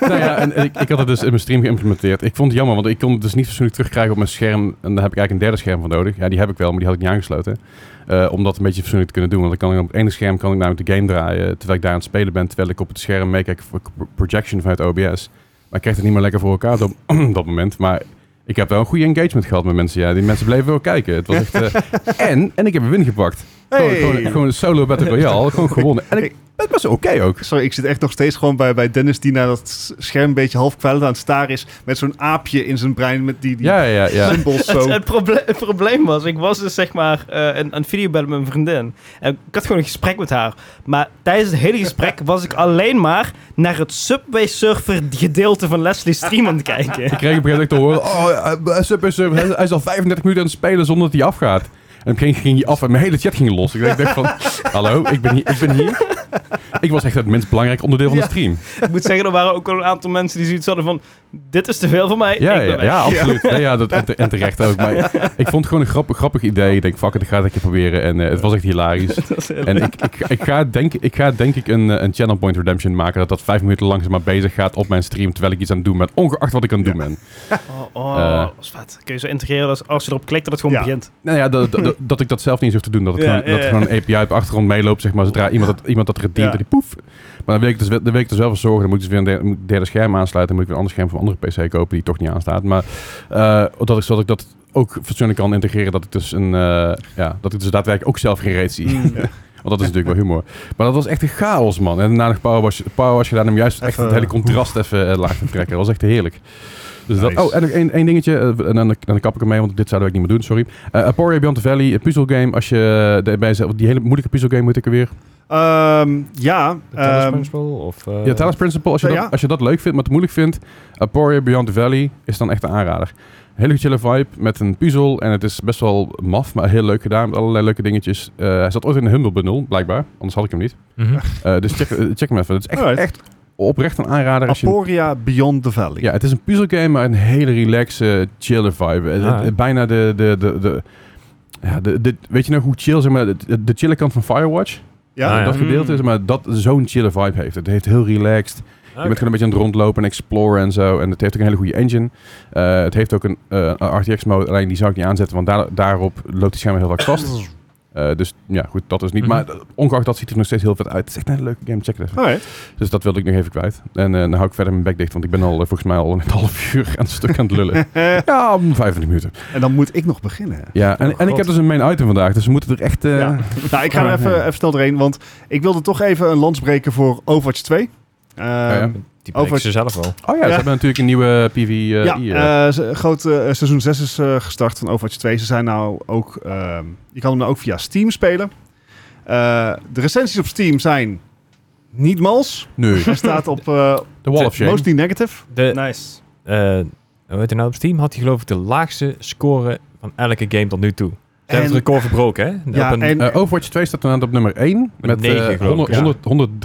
nou ja, en ik, ik had het dus in mijn stream geïmplementeerd. Ik vond het jammer, want ik kon het dus niet fatsoenlijk terugkrijgen op mijn scherm. En daar heb ik eigenlijk een derde scherm voor nodig. Ja, die heb ik wel, maar die had ik niet aangesloten. Eh, om dat een beetje fatsoenlijk te kunnen doen. Want dan kan ik op het ene scherm kan ik namelijk de game draaien. Terwijl ik daar aan het spelen ben. Terwijl ik op het scherm meekijk voor projection vanuit OBS. Maar ik kreeg het niet meer lekker voor elkaar op dat moment. Maar ik heb wel een goede engagement gehad met mensen. Ja, die mensen bleven wel kijken. Het was echt, eh, en, en ik heb een win gepakt. Gewoon, Hey. gewoon, gewoon een solo battle royale. Gewoon gewonnen. En ik, het was oké ook. Sorry, ik zit echt nog steeds gewoon bij, bij Dennis die naar dat s- scherm een beetje half kwijlend aan het staren is. Met zo'n aapje in zijn brein met die, die Ja, ja, ja. symbols Het, zo. het proble- het probleem was, ik was dus zeg maar eh een, een videobellen met mijn vriendin. En ik had gewoon een gesprek met haar. Maar tijdens het hele gesprek was ik alleen maar naar het Subway Surfer gedeelte van Leslie Stream aan het kijken. Ik kreeg op een gegeven moment te horen, oh, eh, eh, sup, eh, sup. hij hij is al 35 minuten aan het spelen zonder dat hij afgaat. En op een gegeven moment ging hij af en mijn hele chat ging los. Ik dacht ik dacht van, hallo, ik ben hier. Ik, ben hier. ik was echt het minst belangrijk onderdeel van de Ja. stream. ik moet zeggen, er waren ook wel een aantal mensen die zoiets hadden van... dit is te veel voor mij. Ja, ik ben ja, weg. ja, absoluut. Nee, ja, dat, en, te- en terecht ook. Maar ik vond het gewoon een grappig, grappig idee. Ik denk, fuck it, ik ga het een keer proberen. En eh, het was echt hilarisch. Dat is heel En leuk. ik, ik, ik, ga denk, ik ga denk ik een, eh, een Channel Point Redemption maken. Dat dat vijf minuten langzaam maar bezig gaat op mijn stream. Terwijl ik iets aan het doen ben. Ongeacht wat ik aan het doen ben. Oh, oh, Eh. dat is vet. Kun je zo integreren dat als je erop klikt dat het gewoon Ja. begint. Nou ja, dat, dat, dat ik dat zelf niet eens hoef te doen. Dat, het Ja, gewoon, ja, dat er ja. gewoon een API op de achtergrond meeloopt. Zeg maar, zodra iemand dat, iemand dat redeemt, Ja. dat die poef. Maar dan wil, ik dus, wel- dan wil ik er zelf voor zorgen. Dan moet ik dus weer een derde, moet ik een derde scherm aansluiten. Dan moet ik weer een ander scherm van een andere PC kopen die toch niet aanstaat. Maar eh, dat, ik, zodat ik dat ook fatsoenlijk kan integreren. Dat ik dus, een, eh, ja, dat ik dus daadwerkelijk ook zelf gereed zie. Mm. Want dat is natuurlijk wel humor. Maar dat was echt een chaos, man. En daarna nog Powerwash, powerwash gedaan om juist echt Even- het hele contrast even eh, laag te trekken. Dat was echt heerlijk. Dus dat, Nice. oh, en nog één, één dingetje. eh, en dan, dan kap ik ermee, want dit zouden we ook niet meer doen, sorry. Eh Aporia Beyond the Valley, een puzzelgame. Als je eh, de- bij zelf- die hele moeilijke puzzelgame moet ik er weer. Ehm, ja, De Talos ehm, Principle of... eh, ja, Talos Principle. Als je, ja, dat, ja. als je dat leuk vindt, maar het moeilijk vindt. Aporia Beyond the Valley is dan echt een aanrader. Een Hele chille vibe met een puzzel. En het is best wel maf, maar heel leuk gedaan. Met allerlei leuke dingetjes. Eh, hij zat ooit in een Humble Bundle, blijkbaar. Anders had ik hem niet. mhm. Eh, dus check, eh, check hem even. Het is echt, Alright. echt oprecht een aanrader. Als je, Aporia Beyond the Valley. ja, het is een puzzelgame, maar een hele relaxe, chille vibe. Het- Ah. het- bijna de... de, de, de ja, de, de- weet je nog hoe chill, zeg maar, de, de chille kant van Firewatch, Ja? Ah, ja. dat gedeelte is, maar dat zo'n chille vibe heeft. Het heeft heel relaxed. Ah, Je bent gewoon een beetje aan het rondlopen en exploren en zo. En het heeft ook een hele goede engine. Eh, het heeft ook een eh, een RTX-mode, alleen die zou ik niet aanzetten, want daar, daarop loopt die scherm heel vaak vast. Eh, dus ja, goed, dat is niet. Hmm. Mhm. Maar eh, ongeacht dat ziet het er nog steeds heel vet uit. Het is echt een hele leuke game, check het even. Alright. Dus dat wilde ik nog even kwijt. En eh dan hou ik verder mijn bek dicht, want ik ben al eh, volgens mij al een half uur aan het stuk aan het lullen. ja, om 25 minuten. en dan moet ik nog beginnen. Ja, en, en ik Oh, God. heb dus een main item vandaag, dus we moeten er echt... eh, Ja. Nou, ik ga er even, even snel doorheen, want ik wilde toch even een lans breken voor Overwatch 2. Ehm, ja. Die breekt Over- ze zelf wel. Oh ja, ze Ja. hebben natuurlijk een nieuwe PV. eh, ja, hier. eh, ze- groot eh, seizoen 6 is eh, gestart van Overwatch 2. Ze zijn nou ook, ehm, je kan hem nou ook via Steam spelen. Eh, de recensies op Steam zijn niet mals. nee, Hij staat op eh, de Wall of Shame. mostly negative. De, Nice. eh hoe heet hij nou op Steam? Had hij geloof ik de laagste score van elke game tot nu toe. Ze hebben het En- record verbroken, hè? Ja, Op een- en- Eh, Overwatch 2 staat inderdaad op nummer 1 met eh, negen, geloof ik, 100 100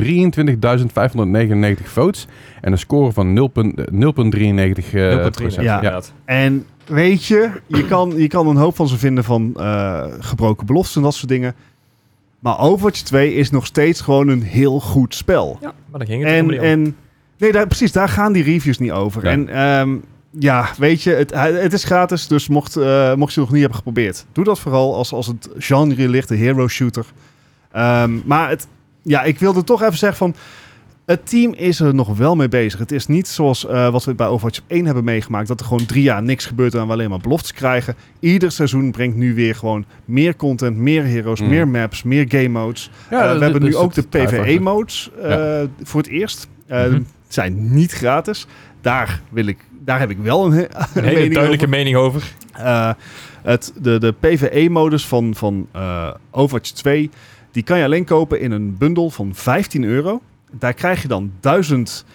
123.599 votes en een score van 0,93. eh, 0,3, procent. ja. ja. inderdaad. En weet je, je kan, je kan een hoop van ze vinden van eh, gebroken beloftes en dat soort dingen. Maar Overwatch 2 is nog steeds gewoon een heel goed spel. Ja, maar dan ging het En, er om. en nee, daar, precies, daar gaan die reviews niet over. Ja. En ehm, ja, weet je, het, het is gratis, dus mocht, eh, mocht je het nog niet hebben geprobeerd, doe dat vooral als, als het genre ligt, de hero shooter. Ehm, maar het, ja, ik wilde toch even zeggen van, het team is er nog wel mee bezig. Het is niet zoals eh, wat we bij Overwatch 1 hebben meegemaakt, dat er gewoon drie jaar niks gebeurt en we alleen maar beloftes krijgen. Ieder seizoen brengt nu weer gewoon meer content, meer heroes, Mm. meer maps, meer game modes. dat- Eh, we hebben dat nu is ook de het uitwachten. PvE-modes voor het eerst. Eh, Mhm. Zijn niet gratis. Daar, wil ik, daar heb ik wel een, he- Een hele mening duidelijke over. mening over. Eh, het, de de PvE-modus van, van eh, Overwatch 2... die kan je alleen kopen in een bundel van 15 euro. Daar krijg je dan 1000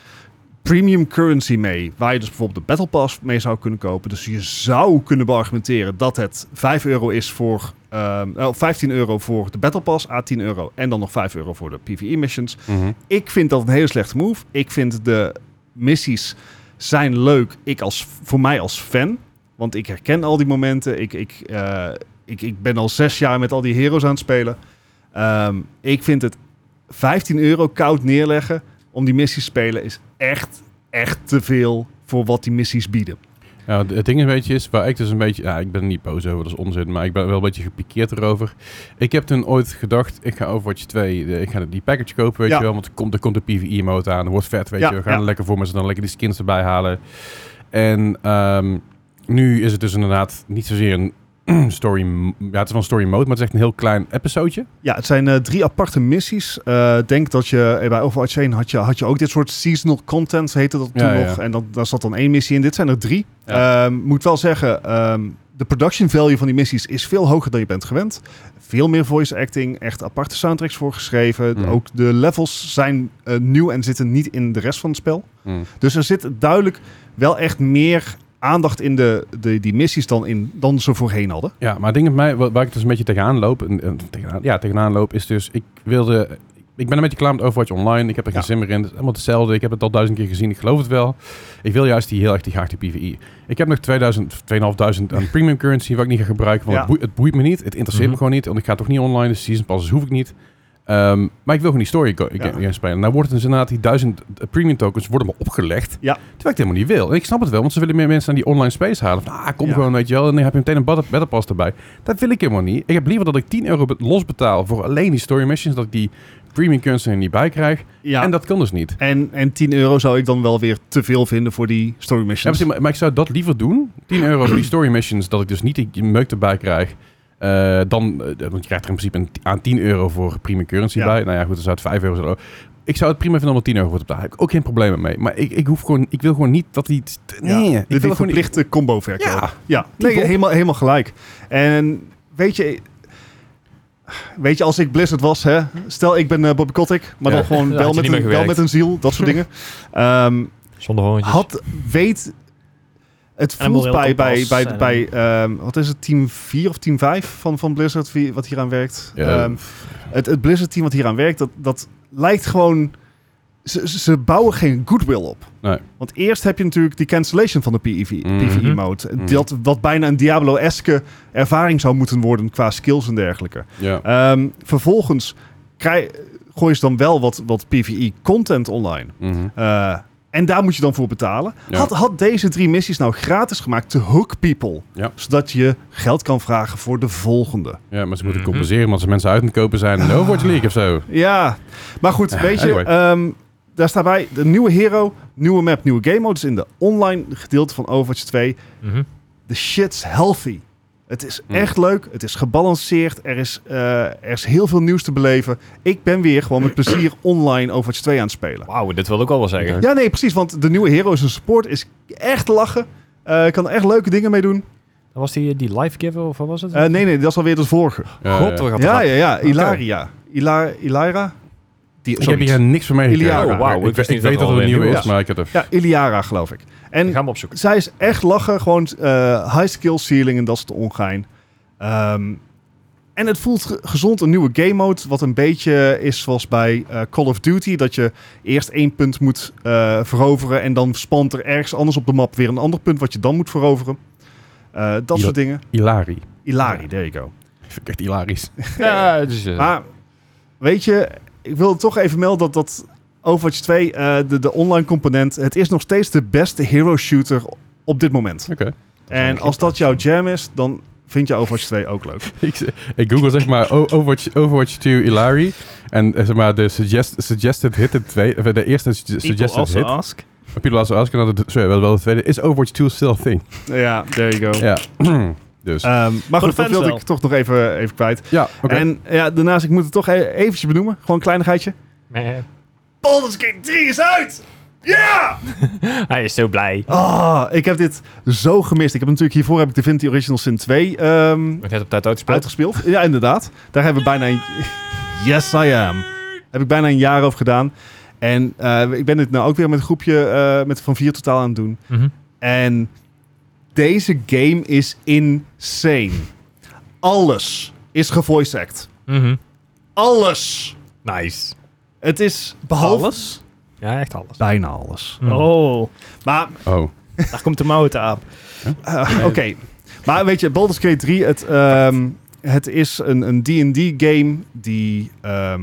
premium currency mee... waar je dus bijvoorbeeld de Battle Pass mee zou kunnen kopen. Dus je zou kunnen beargumenteren dat het 5 euro is voor... ehm, nou, 15 euro voor de Battle Pass, A10 euro... en dan nog 5 euro voor de E PvE-missions... Mhm. Ik vind dat een hele slechte move. Ik vind de missies zijn leuk. Ik als, voor mij als fan. Want ik herken al die momenten. Ik, ik, eh, ik, ik ben al zes jaar met al die heroes aan het spelen. Ehm, ik vind het 15 euro koud neerleggen om die missies te spelen is echt, echt te veel voor wat die missies bieden. Ja, Nou, het het ding een beetje is, waar ik dus een beetje... Ja, ik ben er niet boos over, dat is onzin. Maar ik ben wel een beetje gepikeerd erover. Ik heb toen ooit gedacht, ik ga Overwatch 2... eh, Ik ga die package kopen, weet Ja. je wel. Want er komt, er komt de PvE-mode aan. Er wordt vet, weet Ja, je wel. We gaan ja. er lekker voor met z'n dan lekker die skins erbij halen. En ehm, nu is het dus inderdaad niet zozeer een story... m- Ja, het is wel een story mode, maar het is echt een heel klein episodeje. Ja, het zijn eh, drie aparte missies. Eh, denk dat je eh, bij Overwatch 1 had je, had je ook dit soort seasonal content, heette dat toen Ja, ja. nog. En dan, daar zat dan één missie in. Dit zijn er drie. Ja. Ehm, moet wel zeggen, ehm, de production value van die missies is veel hoger dan je bent gewend. Veel meer voice acting, echt aparte soundtracks voor geschreven. Mm. Ook de levels zijn eh, nieuw en zitten niet in de rest van het spel. Dus er zit duidelijk wel echt meer aandacht in de, de, die missies dan, in, dan ze voorheen hadden. Ja, maar het ding met mij, wa- waar ik dus een beetje tegenaan loop... en- en tegenaan, ja, tegenaan loop, is dus... Ik wilde... ik ben een beetje klaar met Overwatch Online. Ik heb er geen Ja. zin meer in. Het is helemaal hetzelfde. Ik heb het al duizend keer gezien. Ik geloof het wel. Ik wil juist die heel erg die graag die PvE. Ik heb nog 2000, 2500 aan premium currency wat ik niet ga gebruiken. Want Ja. het, boe- het boeit me niet. Het interesseert Mhm. me gewoon niet. Want ik ga toch niet online. Dus season passes hoef ik niet. Ehm, maar ik wil gewoon die story go- Ja. ga- gaan spelen. Nou wordt het dus inderdaad die duizend eh, premium tokens worden me opgelegd. Ja. Terwijl ik het helemaal niet wil. En ik snap het wel. Want ze willen meer mensen aan die online space halen. Van, ah, kom Ja. gewoon, weet je wel. En dan heb je meteen een battle battle pass erbij. Dat wil ik helemaal niet. Ik heb liever dat ik 10 euro be- los betaal voor alleen die story missions. Dat ik die premium currency er niet bij krijg. Ja. En En, dat kan dus niet. en, 10 euro zou ik dan wel weer te veel vinden voor die story Ja, missions. precies, maar, maar ik zou dat liever doen. 10 euro voor die story missions. Dat ik dus niet die meuk erbij krijg. eh, dan, eh, want je krijgt er in principe een, aan 10 euro voor premium currency Ja. bij. Nou ja, goed, dan zou het 5 euro zijn. Ik zou het prima vinden om er 10 euro voor te betalen. Heb ik ook geen problemen mee. Maar ik, ik, hoef gewoon, ik wil gewoon niet dat die... Ja, Nee, ik de, wil die gewoon niet... verplichte combo verkoop. Ja. Ja, Die nee, bom. helemaal, helemaal gelijk. En weet je, weet je, als ik Blizzard was, hè, stel ik ben eh, Bobby Kotick, maar Ja. dan gewoon Ja, wel had je met, niet een, meer wel gewerkt. met een ziel, dat soort dingen. Ehm, Zonder hondjes. had, weet, het En een voelt bij, moreel bij, kompas eh, bij, en- bij ehm, wat is het, team 4 of team 5 van, van Blizzard, wie, wat hieraan werkt. Ja. Ehm, het, het Blizzard team wat hieraan werkt, dat, dat lijkt gewoon, ze, ze- ze bouwen geen goodwill op. Nee. Want eerst heb je natuurlijk die cancellation van de E PEV, Mhm. PvE-mode. Mhm. Dat wat bijna een Diablo-eske ervaring zou moeten worden qua skills en dergelijke. Ja. Ehm, vervolgens krij- gooi je dan wel wat, wat PvE-content online. Mhm. Eh, en daar moet je dan voor betalen. Ja. Had, had deze drie missies nou gratis gemaakt te Hook People. Ja. Zodat je geld kan vragen voor de volgende. Ja, maar ze moeten Mhm. compenseren omdat ze mensen uit aan het kopen zijn in de Overwatch League of zo. Ja, maar goed, weet je... ehm, daar staat bij, de nieuwe hero, nieuwe map, nieuwe game mode. Dus in de online gedeelte van Overwatch 2 Mhm. The shit's healthy. Het is Hmm. echt leuk. Het is gebalanceerd. Er is, eh, er is heel veel nieuws te beleven. Ik ben weer gewoon met plezier online Overwatch 2 aan het spelen. Wauw, dit wil ik al wel zeggen. Ja. Ja, nee, precies. Want de nieuwe hero is een support. Is echt lachen. Eh kan er echt leuke dingen mee doen. Dat was die, die live giver of wat was het? Eh, nee, nee, dat is alweer het vorige. Ja, God, wat gaat ja, Ja, ja, ja. Ilaria. Ila Ilara? Die, Ik heb zoiets. hier niks van meegekregen. Iliara. Ja, Oh, wauw, ik ik, wist ik niet weet dat dat er het een alweer nieuwe nieuw is, was. maar ik heb het even... Ja, Iliara, geloof ik. En Ik ga hem opzoeken. Zij is echt lachen. Gewoon eh, high skill ceiling en dat is de ongein. Ehm, en het voelt ge- gezond een nieuwe game mode. Wat een beetje is zoals bij eh, Call of Duty. Dat je eerst één punt moet eh, veroveren. En dan spant er ergens anders op de map weer een ander punt. Wat je dan moet veroveren. Eh, dat Ja. soort dingen. Hilari. Hilari, there you go. Vind ik echt hilarisch. Ja, dus, eh, Maar weet je, ik wil toch even melden dat, dat Overwatch 2, eh, de, de online component. Het is nog steeds de beste hero shooter op dit moment. Oké. En als dat jouw jam is, dan vind je Overwatch 2 ook leuk. ik, ik google zeg maar O- Overwatch, Overwatch 2 Ilari. En eh, zeg maar de suggest, suggested hit, de, twee, of de eerste su- People suggested also hit. ask. People also ask. En dan de, sorry, wel, wel de tweede. Is Overwatch 2 still a thing? Ja, there you go. Ja. dus. maar Voor goed, de dat fans wilde wel. ik toch nog even, even kwijt. ja, oké. Eh, En ja, daarnaast, ik moet het toch e- eventjes benoemen. Gewoon een kleinigheidje. meh. Baldur's Gate 3 is uit! Hij is zo blij. Ah, ik heb dit zo gemist. Ik heb natuurlijk hiervoor heb ik Divinity Original Sin 2 ehm, Ik ben net op tijd uitgespeeld. uitgespeeld. Ja, inderdaad. Daar hebben we bijna een... Yes, I am. Heb ik bijna een jaar over gedaan. En eh, ik ben dit nou ook weer met een groepje eh, met van vier totaal aan het doen. Mhm. En deze game is insane. Alles is gevoice act. Mhm. Alles. Nice. Het is Alles? Ja, echt alles. Bijna alles. Hmm. Mhm. Oh, Maar oh. daar komt de mouten aan. eh, oké. Maar weet je, Baldur's Gate 3, het, ehm, het is een een D&D game die... ehm,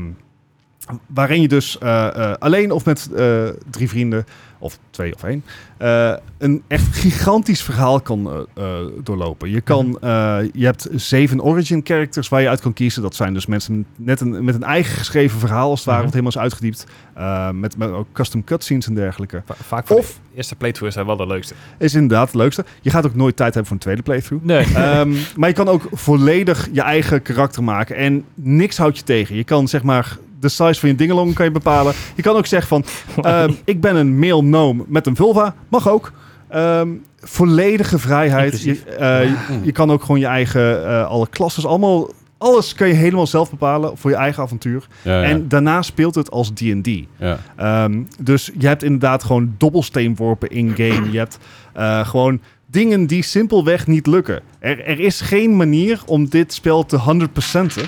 waarin je dus eh, eh, alleen of met eh, drie vrienden, of twee of één, eh, een echt gigantisch verhaal kan eh, eh, doorlopen. Je, kan, eh, je hebt zeven origin characters waar je uit kan kiezen. Dat zijn dus mensen net een, met een eigen geschreven verhaal, als het ware, Mhm. wat helemaal is uitgediept. Eh, met, met ook custom cutscenes en dergelijke. Va- vaak voor Of- de eerste playthrough is hij wel de leukste. Is inderdaad het leukste. Je gaat ook nooit tijd hebben voor een tweede playthrough. Nee. Eh, Ehm, maar je kan ook volledig je eigen karakter maken. En niks houdt je tegen. Je kan zeg maar de size van je dingelong kan je bepalen. Je kan ook zeggen van, ehm, ik ben een male gnome met een vulva. Mag ook. Ehm, volledige vrijheid. Je, Inclusief. eh, je, je kan ook gewoon je eigen, eh, alle klasses, allemaal... Alles kan je helemaal zelf bepalen voor je eigen avontuur. Ja, ja, En daarna speelt het als D&D. ja. Ehm, dus je hebt inderdaad gewoon dobbelsteenworpen in-game. Je hebt eh, gewoon dingen die simpelweg niet lukken. Er, er is geen manier om dit spel te 100%en.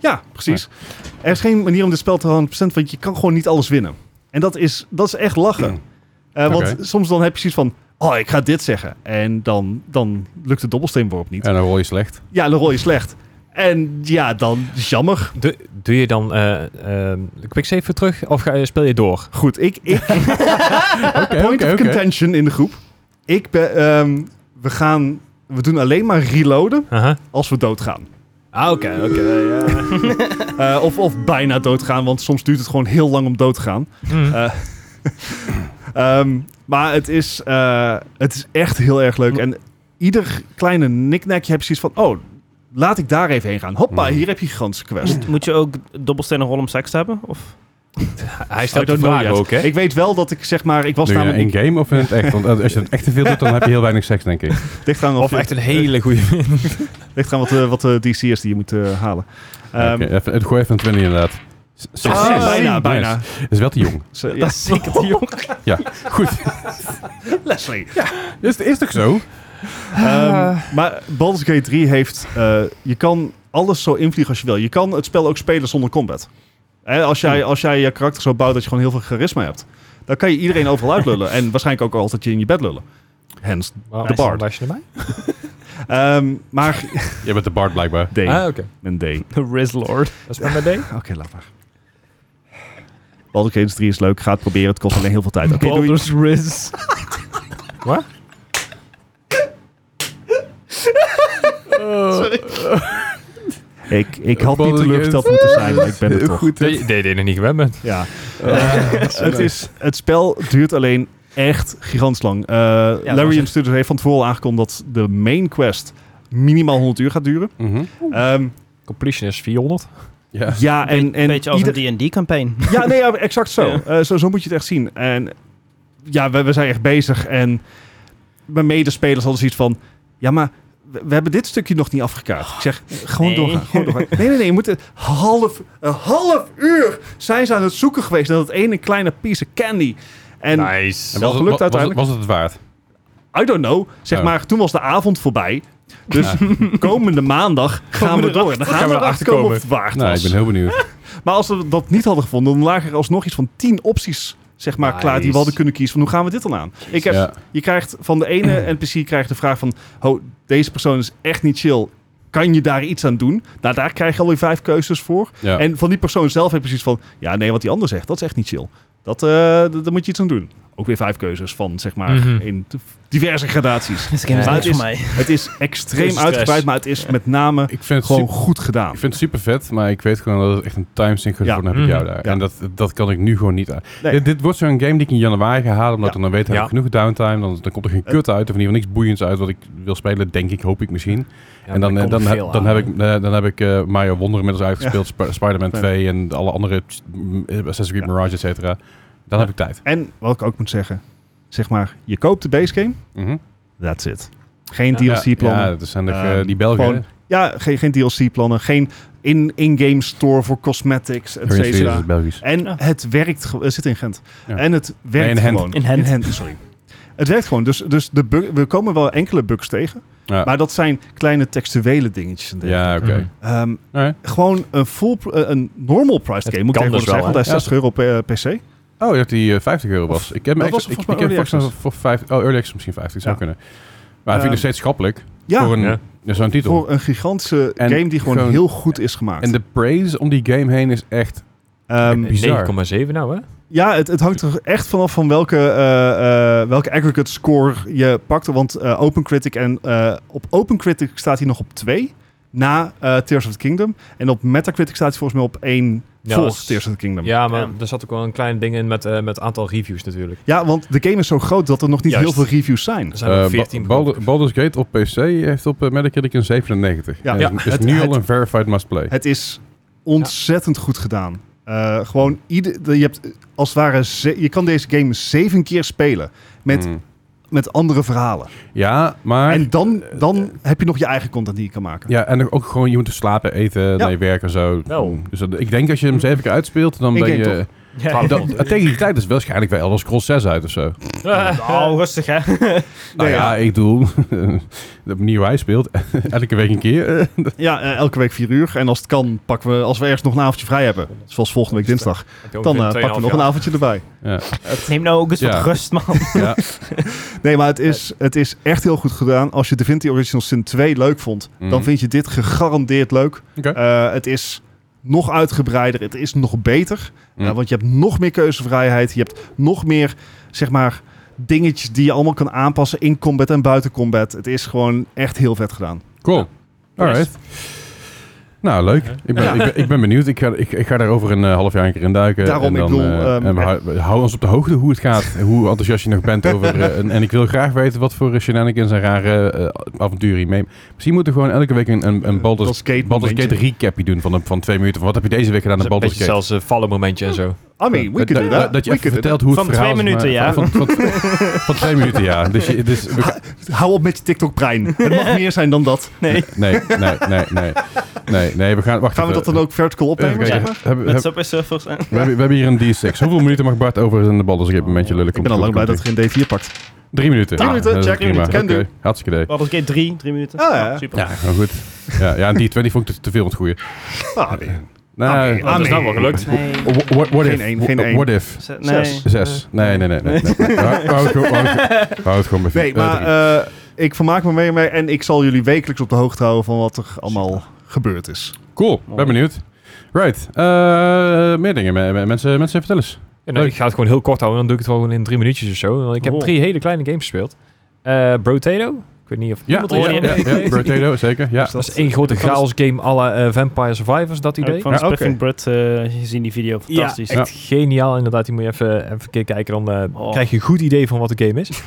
Ja, precies. Er is geen manier om dit spel te 100%, want je kan gewoon niet alles winnen. En dat is, dat is echt lachen. Eh, want Oké. soms dan heb je zoiets van, oh, ik ga dit zeggen. En dan, dan lukt de dobbelsteenworp niet. En dan rol je slecht. Ja, dan rol je slecht. En ja, dan is jammer. Doe, doe je dan eh eh quicksave weer terug of ga, je- speel je door? Goed, ik, ik Oké, point oké, of oké. contention in de groep. Ik ben, ehm, we gaan, we doen alleen maar reloaden Aha. als we doodgaan. Ah, oké, oké. Eh, of, of bijna doodgaan, want soms duurt het gewoon heel lang om dood te gaan. Eh, Hm. Ehm, maar het is, eh, het is echt heel erg Hmm. leuk. En ieder kleine niknakje heb je zoiets van... Oh, laat ik daar even heen gaan. Hoppa, Mm. hier heb je gigantische quest. Hmm. Oh, Moet, moet je ook dobbelstenen rol om seks te hebben? Of? Hij I stelt de don't know vraag yet. ook, hè? Ik weet wel dat ik zeg maar... Ik was Doe je nou namelijk in game of in het echt? Want eh, als je het echt te veel doet, dan heb je heel weinig seks, denk ik. dicht aan, Of of echt een hele goede. dicht aan wat, eh, wat eh, DC's die je moet eh, halen. Ehm, Oké, even, het gooi even een 20 inderdaad. S- s- ah, zes. bijna, Nice. bijna. Is wel te jong. Ze- ja, is zeker te jong. Goed. Leslie. Is, is toch zo? Ehm, maar Baldur's Gate 3 heeft... eh, je kan alles zo invliegen als je wil. Je kan het spel ook spelen zonder combat. Hè, als, jij, als jij je karakter zo bouwt dat je gewoon heel veel charisma hebt... dan kan je iedereen overal uitlullen. en waarschijnlijk ook altijd je in je bed lullen. Hens. Waarom De Bard. Was je erbij? Ehm, maar... Je bent de Bard blijkbaar. D. Ah, oké. Een D. Oké, Rizlord. Dat is maar bij D. laat maar. Baldur's Gate 3 is leuk. Ga het proberen. Het kost alleen heel veel tijd. Oké, doei. Baldur's Riz. Wat? Ik, ik had niet Baldur's Gate. teleurgesteld moeten zijn, maar ik ben het toch. Goed. hè? Nee, nee, nee, nog niet gewend bent. Ja. Eh, het, is, het spel duurt alleen echt gigantisch lang. Eh, Larian echt- Studios heeft van tevoren aangekondigd dat de main quest minimaal 100 uur gaat duren. Mhm. Ehm, Completion is 400. Ja. ja, en, en Een beetje als ieder- een D&D-campaign. Ja, nee, ja, exact zo. Ja. Eh, zo. Zo moet je het echt zien. En ja, we, we zijn echt bezig. En mijn medespelers hadden zoiets van... Ja, maar we, we hebben dit stukje nog niet afgekaart. Ik zeg, gewoon Nee. doorgaan. Gewoon doorgaan. Nee, nee, nee. Je moet het- half, een half uur zijn ze aan het zoeken geweest... naar dat ene kleine piece of candy. En nice. wel was, gelukt het, was, het, uiteindelijk. was het het waard? I don't know. Zeg Oh. maar, toen was de avond voorbij. Dus komende maandag gaan we Komende door. Dan gaan we erachter komen of het waard Nou, was. ik ben heel benieuwd. Maar als we dat niet hadden gevonden, dan lagen er alsnog iets van tien opties zeg maar, Nice. klaar die we hadden kunnen kiezen. Van hoe gaan we dit dan aan? Ik heb, Ja. Je krijgt van de ene NPC krijgt de vraag van... Ho, deze persoon is echt niet chill. Kan je daar iets aan doen? Nou, daar krijg je alweer vijf keuzes voor. Ja. En van die persoon zelf heb je precies van... Ja, nee, wat die ander zegt, dat is echt niet chill. Dat, eh, d- daar moet je iets aan doen. Ook weer vijf keuzes van, zeg maar, Mhm. in t- diverse gradaties. This game is Ja. niks Het voor mij. Het is extreem Stress. uitgebreid, maar het is met name ik vind het gewoon super, goed gedaan. ik vind het super vet, maar ik weet gewoon dat het echt een timesink is Ja. voor dan heb ik jou Mhm. daar. Ja. En dat, dat kan ik nu gewoon niet aan. Nee. Dit, dit wordt zo'n game die ik in januari ga halen, omdat Ja. Eh. ik dan weet heb Ja. ik genoeg downtime, dan, dan komt er geen kut uit of in ieder geval niks boeiends uit wat ik wil spelen, denk ik, hoop ik misschien. en dan, eh, dan, heb- dan, heb ik, eh, dan heb ik eh, Mario Wonder inmiddels uitgespeeld, Sp- Spider-Man Ja. 2 en alle andere mm, eh, Assassin's Creed Ja. Mirage, et cetera. Dan heb ik tijd. En wat ik ook moet zeggen, zeg maar, je koopt de base game, Mhm. that's it. Geen Ja. DLC-plannen. Ja, Ja, dat zijn de, Ehm, eh, die Belgen. gewoon- hè? geen, geen DLC-plannen. Geen in- in-game store voor cosmetics, et Larian Studios cetera. is Belgisch. En Ja. het werkt, ge- eh, zit in Gent. Ja. En het Nee, werkt in Gent. gewoon. In Gent. sorry. Het werkt gewoon. Dus, dus de bug- we komen wel enkele bugs tegen. Ja. Maar dat zijn kleine textuele dingetjes. en dergelijke. Ja, oké. Mhm. Ehm, Alright. gewoon een, full, pr- eh, een normal priced Het game, moet ik kan even dus zeggen. wel, Want hij is hè? 60 euro per eh, PC. Oh, je hebt die eh, 50 euro was. ik heb hem dat was ex- ik, volgens ik heb mij early volgens mij access. voor 5 oh, early access misschien 50 zou Ja. kunnen. Maar ik vind ik Ehm, nog steeds schappelijk Ja, voor een Ja. ja, zo'n titel. voor een gigantische En game die gewoon, gewoon- heel goed is gemaakt. en de praise om die game heen is echt Ehm, bizar. 9,7 nou, hè? ja, het, het hangt er echt vanaf van welke, eh, eh, welke aggregate score je pakt. Want eh OpenCritic en eh, op OpenCritic staat hij nog op 2 na eh, Tears of the Kingdom. En op Metacritic staat hij volgens mij op 1 Ja, voor dat is- Tears of the Kingdom. Ja. Ja, maar Ja. er zat ook wel een klein ding in met, eh, met aantal reviews natuurlijk. want de game is zo groot dat er nog niet Juist. heel veel reviews zijn. Er zijn er Eh, 14 Ba- begonnen. Baldur- Baldur's Gate op PC heeft op eh, Metacritic een 97. Ja. En Ja. Is, is Het- nu het- al een verified must play. Het is ontzettend goed gedaan. Eh, gewoon ieder, de- je hebt eh, als het ware ze- je kan deze game zeven keer spelen met, Mm. met andere verhalen. Ja, maar... Eh, En dan, dan heb je nog je eigen content die je kan maken. ja, en ook gewoon, je moet dus slapen, eten, naar je werk en zo. Wel. Dus dat- ik denk als je hem zeven keer uitspeelt, dan Ik ben denk je... Ja. Dat, tegen die tijd is waarschijnlijk wel Elder Scrolls 6 uit of zo. Oh, eh, rustig hè. Nou ja, ik doe de manier hoe hij speelt, elke week een keer. eh, Ja, eh, elke week vier uur. En als het kan, pakken we, als we ergens nog een avondje vrij hebben, zoals volgende week dinsdag, dan eh, pakken we nog een avondje erbij. ja. Neem nou ook eens Ja. wat rust, man. Ja. Nee, maar het is, het is echt heel goed gedaan. Als je Divinity Original Sin 2 leuk vond, Mhm. dan vind je dit gegarandeerd leuk. Oké. Eh, het is nog uitgebreider, het is nog beter. Mm. Eh, want je hebt nog meer keuzevrijheid. Je hebt nog meer, zeg maar, dingetjes die je allemaal kan aanpassen in combat en buiten combat. Het is gewoon echt heel vet gedaan. Cool. Alright. Nou, leuk. Ik ben, ik ben, ik ben benieuwd. Ik ga, ik, ik ga daar over een eh, half jaar een keer in duiken. Daarom, en ik dan, bedoel, eh, ehm, en we, hou- we houden ons op de hoogte hoe het gaat. Hoe enthousiast je nog bent over... eh, en, en ik wil graag weten wat voor shenanigans en rare eh, avonturen hier mee... Misschien moeten we gewoon elke week een, een, een Baldur's, Eh, Baldur's Gate Baldur's Gate momentje. recapje doen van, een, van twee minuten. Van wat heb je deze week gedaan aan een Baldur's beetje Gate? zelfs een vallen momentje en zo. I mean, we Eh, Dat- could do dat- that. Dat je We even could do vertelt hoe het Van verhaal twee is, maar- minuten, ja. Van, van, van- van twee minuten, ja. Dus, je, dus we gaan- that. Hou op met je TikTok-brein. het mag meer zijn dan dat. Nee, Nee, nee, nee, nee. Nee, nee, we gaan... Wacht Gaan we even. dat dan ook vertical Even opnemen, kijken. zeg maar? Hebben- met hebben- subway surfers. en- We hebben, we hebben hier een D6. Hoeveel minuten mag Bart over in de bal? Dus ik heb een momentje lullen. Ik ben al lang blij dat er geen D4 pakt. Drie minuten. Drie minuten, dat is check. prima. Drie minuten, Oké, can do. hartstikke idee. Baldur's Gate 3, 3 minuten. Ah, ja. Oh, super. Ja, gewoon goed. Ja, ja, en die 20 vond ik te, te veel het goede. Ah, nee. Nou, nee. eh, Dat is nou wel gelukt. Nee. wha- wha- what, Geen if? één, Wha- geen één. What if? Z- nee. Zes. Zes. Nee, nee, nee. nee, nee. We houden we houden gewoon- we houden- we houden het gewoon bij vier. Nee, eh, maar drie. eh, ik vermaak me mee, mee en ik zal jullie wekelijks op de hoogte houden van wat er allemaal gebeurd is. Cool, ben benieuwd. Right, eh, meer dingen. me- me- Mensen, mensen vertel eens. En dan, Leuk. ik ga het gewoon heel kort houden, dan doe ik het gewoon in drie minuutjes of zo. Want ik heb Oh. drie hele kleine games gespeeld. Eh Brotato, ik weet niet of... Ja, iemand ja, er ja, iets van ja, heeft. Potato, zeker. Dus Ja. Dat is één grote Van de- chaos game à la eh, Vampire Survivors, dat idee. Ook van Ja, Spiffing oké. Brut eh, gezien die video. Fantastisch. Ja, echt geniaal inderdaad. Die moet je even, even een keer kijken, dan eh, Oh. krijg je een goed idee van wat de game is.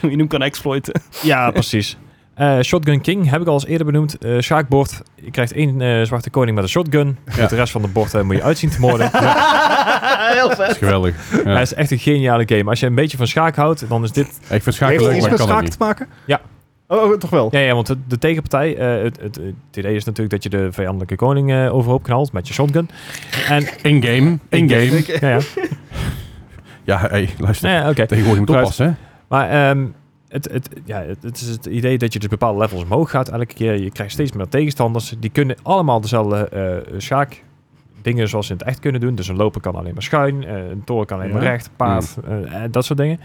Wie noemt kan exploiten. Ja, precies. Eh, shotgun King heb ik al eens eerder benoemd. Eh schaakbord. Je krijgt één eh, zwarte koning met een shotgun. Ja. De rest van de bord eh, moet je uitzien te moorden. Heel vet. Dat is geweldig. Ja. Hij is echt een geniale game. Als je een beetje van schaak houdt, dan is dit... Ik vind schaken Heeft leuk, het iets maar ik met kan het schaak niet. te maken? Ja. Oh, oh, toch wel? Ja, ja want de, de tegenpartij... eh, het, het, het idee is natuurlijk dat je de vijandelijke koning eh, overhoop knalt met je shotgun. En, In-game, in-game. ja, ja. Ja, hey, luister. Nou ja, oké. Tegenwoordig moet Right. oppassen, hè? Maar ehm, het, het, ja, het, het is het idee dat je dus bepaalde levels omhoog gaat elke keer. Je krijgt steeds meer tegenstanders. Die kunnen allemaal dezelfde eh schaak dingen zoals ze in het echt kunnen doen. Dus een loper kan alleen maar schuin, eh, een toren kan alleen maar Ja. Mm. recht, paard, eh, eh, dat soort dingen.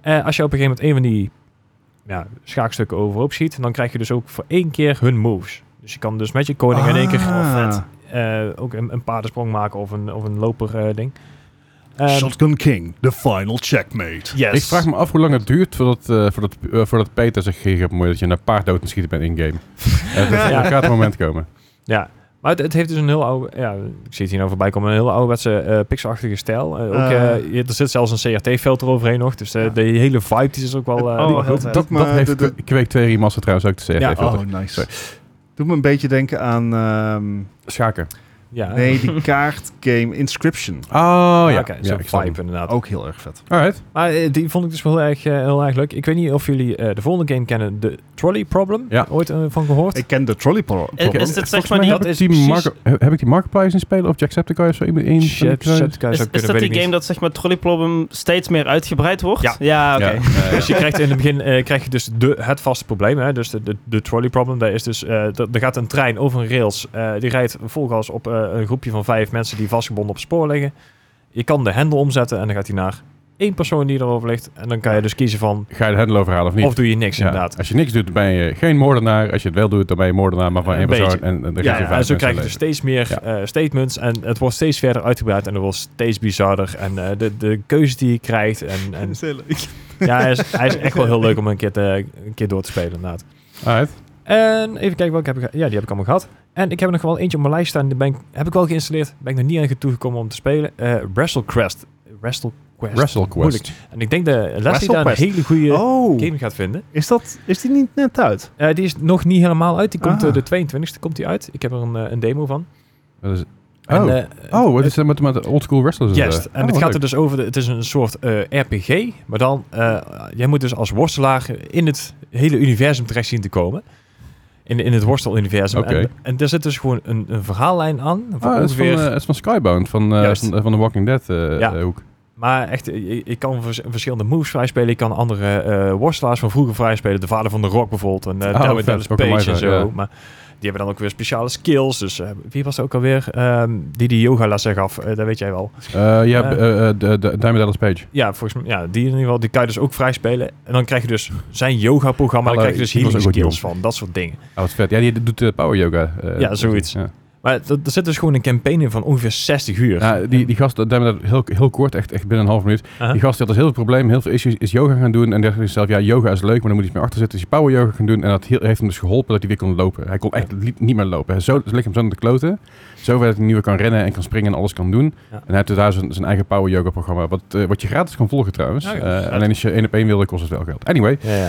Eh, als je op een gegeven moment een van die ja, schaakstukken overhoop ziet, dan krijg je dus ook voor één keer hun moves. Dus je kan dus met je koning in één keer Ah, eh, ook een, een paardensprong maken of een, of een loper eh, ding. Ehm, Shotgun King, the final checkmate. yes. Ik vraag me af hoe lang het duurt voordat, eh, voordat, eh, voordat Peter zich gegeven moment dat je naar paard dood en schieten bent in-game. Eh, dat- Ja. Er gaat een moment komen. Ja, maar het, het heeft dus een heel oude... Ja, ik zie het hier nou voorbij komen. Een heel ouderwetse eh pixelachtige stijl. Eh, ook, Eh. eh, je- er zit zelfs een CRT-filter overheen nog. Dus eh, de hele vibe die is ook wel... eh, Oh, wel heel goed. vet. Dat, dat maar heeft de- de- Quake 2 Remaster trouwens ook te zeggen. Ja, even Oh, dat- nice. Sorry. Doet me een beetje denken aan... ehm, Schaken. Ja, nee, die kaartgame Inscription. Oh Ah, ja. oké, ja zo'n ik snap vibe hem. inderdaad. Ook heel erg vet. Alright. Maar eh, die vond ik dus wel heel erg, eh, heel erg leuk. Ik weet niet of jullie eh, de volgende game kennen, de Trolley Problem. Ja. Ooit eh, van gehoord? Ik ken de trolley pro- Is, problem. is dit zeg Volgens maar mij die, heb dat ik, is die precies- Marco, he- heb ik die Markiplier zien spelen of Jacksepticeye of zo? Iemand in Shit, shit, kan je is, zo is kunnen, dat weet die ik game niet. dat zeg maar trolley problem steeds meer uitgebreid wordt? Ja. oké. Ja, ja, ja. Dus je krijgt in het begin eh, krijg je dus de, het vaste probleem. Hè? Dus de, de, de trolley problem. Daar is dus, eh, dat- er gaat een trein over een rails. eh, die rijdt volgas op eh, een groepje van vijf mensen die vastgebonden op het spoor liggen. Je kan de hendel omzetten en dan gaat hij naar één persoon die erover ligt. En dan kan je dus kiezen van Ga je de hendel overhalen of niet? of doe je niks Ja. inderdaad. Als je niks doet, dan ben je geen moordenaar. Als je het wel doet, dan ben je moordenaar, maar van Een één persoon. beetje. En, en dan Ja, geef je Ja, vijf en zo mensen krijg je een dus steeds meer Ja. eh, statements en het wordt steeds verder uitgebreid en het wordt steeds bizarder. En eh, de, de keuze die je krijgt. En, en, ja, hij is, hij is echt wel heel leuk om een keer, te, een keer door te spelen inderdaad. leven. Alright. En even kijken welke heb ik... ge- Ja, die heb ik allemaal gehad. En ik heb er nog wel eentje op mijn lijst staan. Die ben ik, heb ik wel geïnstalleerd. Ben ik nog niet aan toegekomen om te spelen. Eh WrestleCrest. WrestleQuest. WrestleQuest. En ik denk dat Leslie daar een WrestleQuest. hele goede Oh, game gaat vinden. is, dat, is die niet net uit? Eh, die is nog niet helemaal uit. Die komt Ah. eh, de 22e komt die uit. Ik heb er een, eh, een demo van. Dat is- En, Oh. eh, Oh, wat is dat met, met oldschool wrestlers? Yes, eh? en Oh, het wat gaat er leuk. dus over, de- het is een soort eh, RPG, maar dan, eh, jij moet dus als worstelaar in het hele universum terecht zien te komen. in, in het worsteluniversum. Oké. En, en daar zit dus gewoon een, een verhaallijn aan. Van Ah, dat is van, ongeveer, eh, dat is van Skybound, van, eh, Juist. van, van de Walking Dead eh, Ja. eh, hoek. Maar echt, eh, je, je kan vers- verschillende moves vrijspelen. Je kan andere eh worstelaars van vroeger vrijspelen. De vader van de Rock bijvoorbeeld. En eh Oh, David vet. Dallas Ook een Page en live, zo. ja. Maar die hebben dan ook weer speciale skills. Dus eh, wie was er ook alweer? Ehm, die die yogalessen gaf. eh, dat weet jij wel. Eh, je hebt eh, eh, de, de Diamond Dallas Page. Ja, volgens mij. Ja, die in ieder geval. Die kan je dus ook vrijspelen. En dan krijg je dus zijn yoga-programma. Dan Hallo, krijg je dus ik was healing ook wel skills van. Dat soort dingen. Ah, wat vet. Ja, die doet eh, power yoga. eh, Ja, zoiets. Ja. Maar dat- er zit dus gewoon een campaign in van ongeveer 60 uur. Ja, die, die gast, eh, Diamond Dallas- heel, heel kort, echt, echt binnen een half minuut. Aha. Die gast die had dus heel veel probleem, heel veel issues, is yoga gaan doen. En dacht hij zelf, ja, yoga is leuk, maar dan moet hij iets meer achter zitten. Dus hij power yoga gaan doen. En dat heel- heeft hem dus geholpen dat hij weer kon lopen. Hij kon echt li- niet meer lopen. Hij zo, het lichaam zo naar de kloten. Zover dat hij nu weer kan rennen en kan springen en alles kan doen. Ja. En hij heeft dus daar zijn, zijn eigen power yoga programma. Wat, eh, wat je gratis kan volgen trouwens. Oh, ja. Eh, alleen als je één op één wilde, kost het wel geld. Anyway, Ja, ja.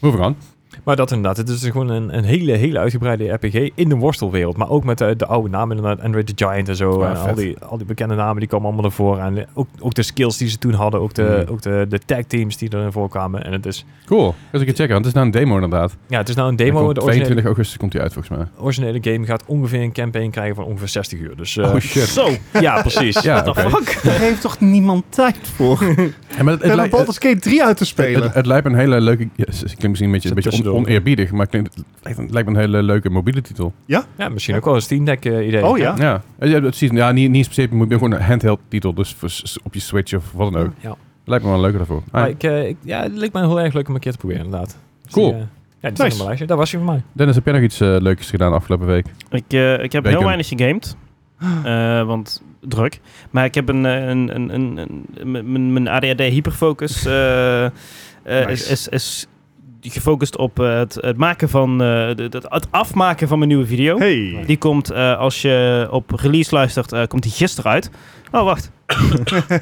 moving on. Maar dat inderdaad, het is dus gewoon een, een hele, hele uitgebreide RPG in de worstelwereld. Maar ook met eh, de, oude namen, inderdaad, Andre the Giant en zo. Ja, en vet. al, die, al die bekende namen, die komen allemaal ervoor. En eh, ook, ook de skills die ze toen hadden, ook de, Mhm. ook de, de tag teams die erin voorkwamen. En het is, Cool. Ga eens een keer checken, want het is nou een demo inderdaad. ja, het is nou een Hij demo. komt De originele, 22 augustus komt hij uit volgens mij. originele game gaat ongeveer een campaign krijgen van ongeveer 60 uur. Dus eh, oh shit. Zo, ja, precies. Ja, what the oké. fuck? Daar heeft toch niemand tijd voor? We Ja, maar het, het, hebben lijkt- het, Baldur's Gate 3 uit te spelen. het- het lijkt me een hele leuke... Ja, het klinkt misschien een beetje, een Zit beetje on- tussendoor. oneerbiedig, maar het, klinkt, het lijkt, het lijkt me een hele leuke mobiele titel. Ja, misschien ook wel een Steam Deck eh, idee. Oh ja. Ja, ja. ja, precies. Ja, niet, niet specifiek, maar gewoon een handheld titel. Dus voor s- op je Switch of wat dan ook. Ja. Lijkt me wel een leuke daarvoor. Ah, Maar ik, eh, ik- ja, het leek mij heel erg leuk om een keer te proberen, inderdaad. Dus Cool. die, eh, ja, die staat Nice. op mijn lijstje. Dat was hij voor mij. Dennis, heb jij nog iets eh, leuks gedaan afgelopen week? Ik, eh, ik heb Bacon. heel weinig gegamed. Eh, want druk. Maar ik heb een, eh, een, een, een, een- m- m- mijn ADHD hyperfocus eh, eh, Nice. is, is, is gefocust op eh, het, het maken van eh, de- de- het afmaken van mijn nieuwe video. Hey. Die komt eh, als je op release luistert, eh, komt die gisteren uit. Oh, wacht.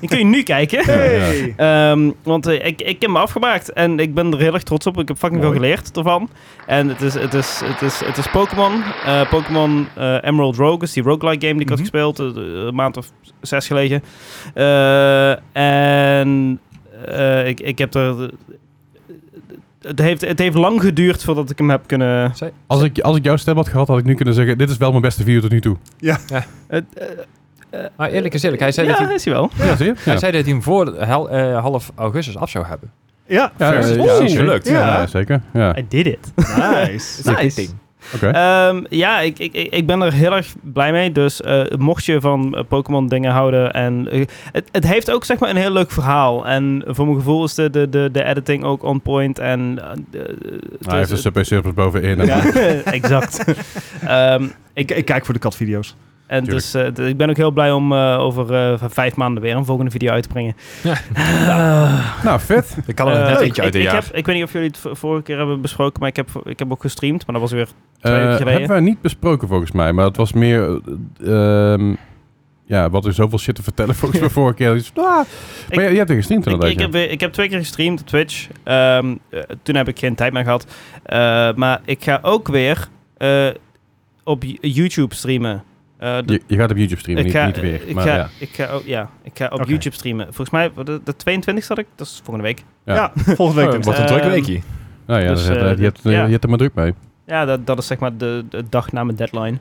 die kun je nu kijken. Hey. Ehm, want eh, ik, ik heb me afgemaakt en ik ben er heel erg trots op. Ik heb fucking Mooi. veel geleerd ervan. En het is, het is, het is, het is Pokémon. Eh, Pokémon eh, Emerald Rogue is die roguelike game die ik Mhm. had gespeeld. eh, een maand of zes geleden. Eh, en eh, ik, ik heb er... Het heeft, het heeft lang geduurd voordat ik hem heb kunnen... Als ik, als ik jouw stem had gehad, had ik nu kunnen zeggen... Dit is wel mijn beste video tot nu toe. Het, eh, Maar eerlijk is eerlijk, hij zei dat ja, hij is hij wel. Ja, zie je? Hij Ja. zei dat hij hem voor hel- eh, half augustus af zou hebben. Ja, Ja, fair. eh, Oeh, ja, is zeker. gelukt. Ja, Ja. ja, zeker. Ja, Nou, oké. I did it. Nice. Nice. eh, Ehm, ja, ik, ik, ik ik ben er heel erg blij mee. Dus eh, mocht je van eh, Pokémon dingen houden. En, eh, het, het heeft ook zeg maar een heel leuk verhaal. En voor mijn gevoel is de, de, de, de editing ook on point. En, eh, de- het Hij heeft een is- sub service bovenin. en- exact. Ehm, Ik, ik kijk voor de katvideo's. en Tuurlijk. dus eh, d- ik ben ook heel blij om eh, over eh, vijf maanden weer een volgende video uit te brengen. Ja. Ah. Nou, vet. Ik kan er Eh, net ik- eentje uit ik, een ik, jaar. heb, ik weet niet of jullie het v- vorige keer hebben besproken, maar ik heb, ik heb ook gestreamd. Maar dat was weer Eh, weken geleden. hebben wij niet besproken volgens mij. Maar het was meer... eh, ehm, ja, wat er zoveel shit te vertellen volgens mij vorige keer. Dus, ah, maar Ik- je, je hebt er gestreamd Ik, inderdaad. ik, ja. heb, weer- ik heb twee keer gestreamd op Twitch. Ehm, eh, toen heb ik geen tijd meer gehad. Eh, maar ik ga ook weer eh, op Y- YouTube streamen. Eh, d- je, je gaat op YouTube streamen, ik niet, ga, niet weer. Ik maar ga, ja. ik ga, ook- ja, ik ga op Oké. YouTube streamen. Volgens mij, de, de 22 zat ik, dat is volgende week. Ja. Ja, volgende week. Oh, dinsdag. wat een druk Ehm, weekje. Nou ja, Dus, dat- eh, dat- je, dat- hebt, eh, ja. je hebt er maar druk mee. Ja, dat, dat is zeg maar de, de dag na mijn deadline.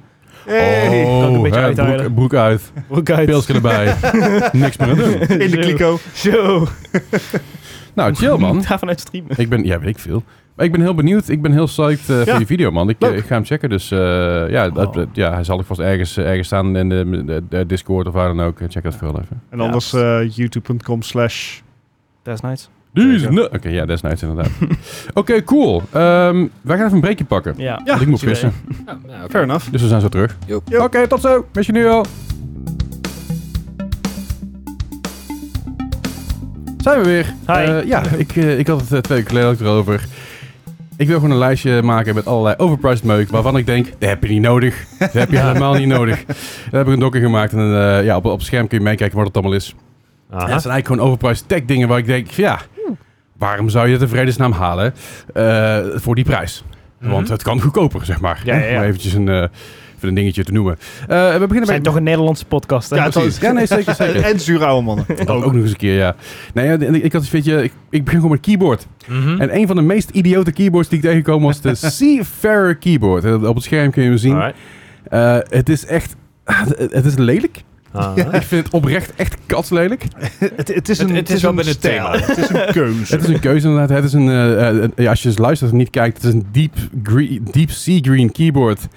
Hey. kan ik een beetje Oh, hè, uithalen. broek, broek uit, Ook uit. pilsje erbij, niks meer aan doen. In de kliko. Zo. Nou, chill man. Ik ga vanuit streamen. Ik ben, ja, weet ik veel. Maar ik ben heel benieuwd. Ik ben heel psyched eh, Ja. voor je video, man. Ik, Leuk. ik ga hem checken. Dus eh, ja, dat, Oh. ja, hij zal ik vast ergens, eh, ergens staan in de, de- de Discord of waar dan ook. Eh, Check dat vooral even. En anders eh, youtube.com slash... Dat is nice. Deze nu- Oké, ja, dat is nice inderdaad. Oké, cool. Ehm, wij gaan even een breakje pakken. Ja. Want ik moet Goed idee. pissen. Eh, Fair enough. Dus we zijn zo terug. Yo. Oké, tot zo. Mis je nu al. Zijn we weer. Hi. Eh, ja, ik, eh, ik had het eh, twee weken geleden ook erover. Ik wil gewoon een lijstje maken met allerlei overpriced meuk, waarvan ik denk, dat heb je niet nodig. Dat heb je helemaal niet nodig. Daar heb ik een dokker gemaakt en eh, ja, op, op het scherm kun je meekijken wat het allemaal is. Aha. Ja, dat zijn eigenlijk gewoon overpriced tech dingen waar ik denk, ja, waarom zou je het in vredesnaam halen eh, voor die prijs? Want Mhm. het kan goedkoper, zeg maar. Ja, ja, ja. Om eventjes een eh, Even een dingetje te noemen. Eh, we beginnen We zijn bij... toch een Nederlandse podcast, hè? Ja, precies. het is- Ja, nee, zeker, zeker. En zure oude mannen. Dat ook. nog eens een keer, ja. Nee, ja, ik, ik had, weet je, ik, ik begin gewoon met keyboard. Mhm. En een van de meest idiote keyboards die ik tegenkwam was de Seafarer keyboard. Eh, Op het scherm kun je hem zien. Alright. Eh, het is echt... ah, Het het is lelijk. Ah. Ik vind het oprecht echt katslelijk. het, het is Het- een, het is wel een binnen het stijl. thema. Het is een keuze. Het is een keuze inderdaad. Het is een, eh, eh, ja, als je eens luistert en niet kijkt, het is een deep, green, deep sea green keyboard.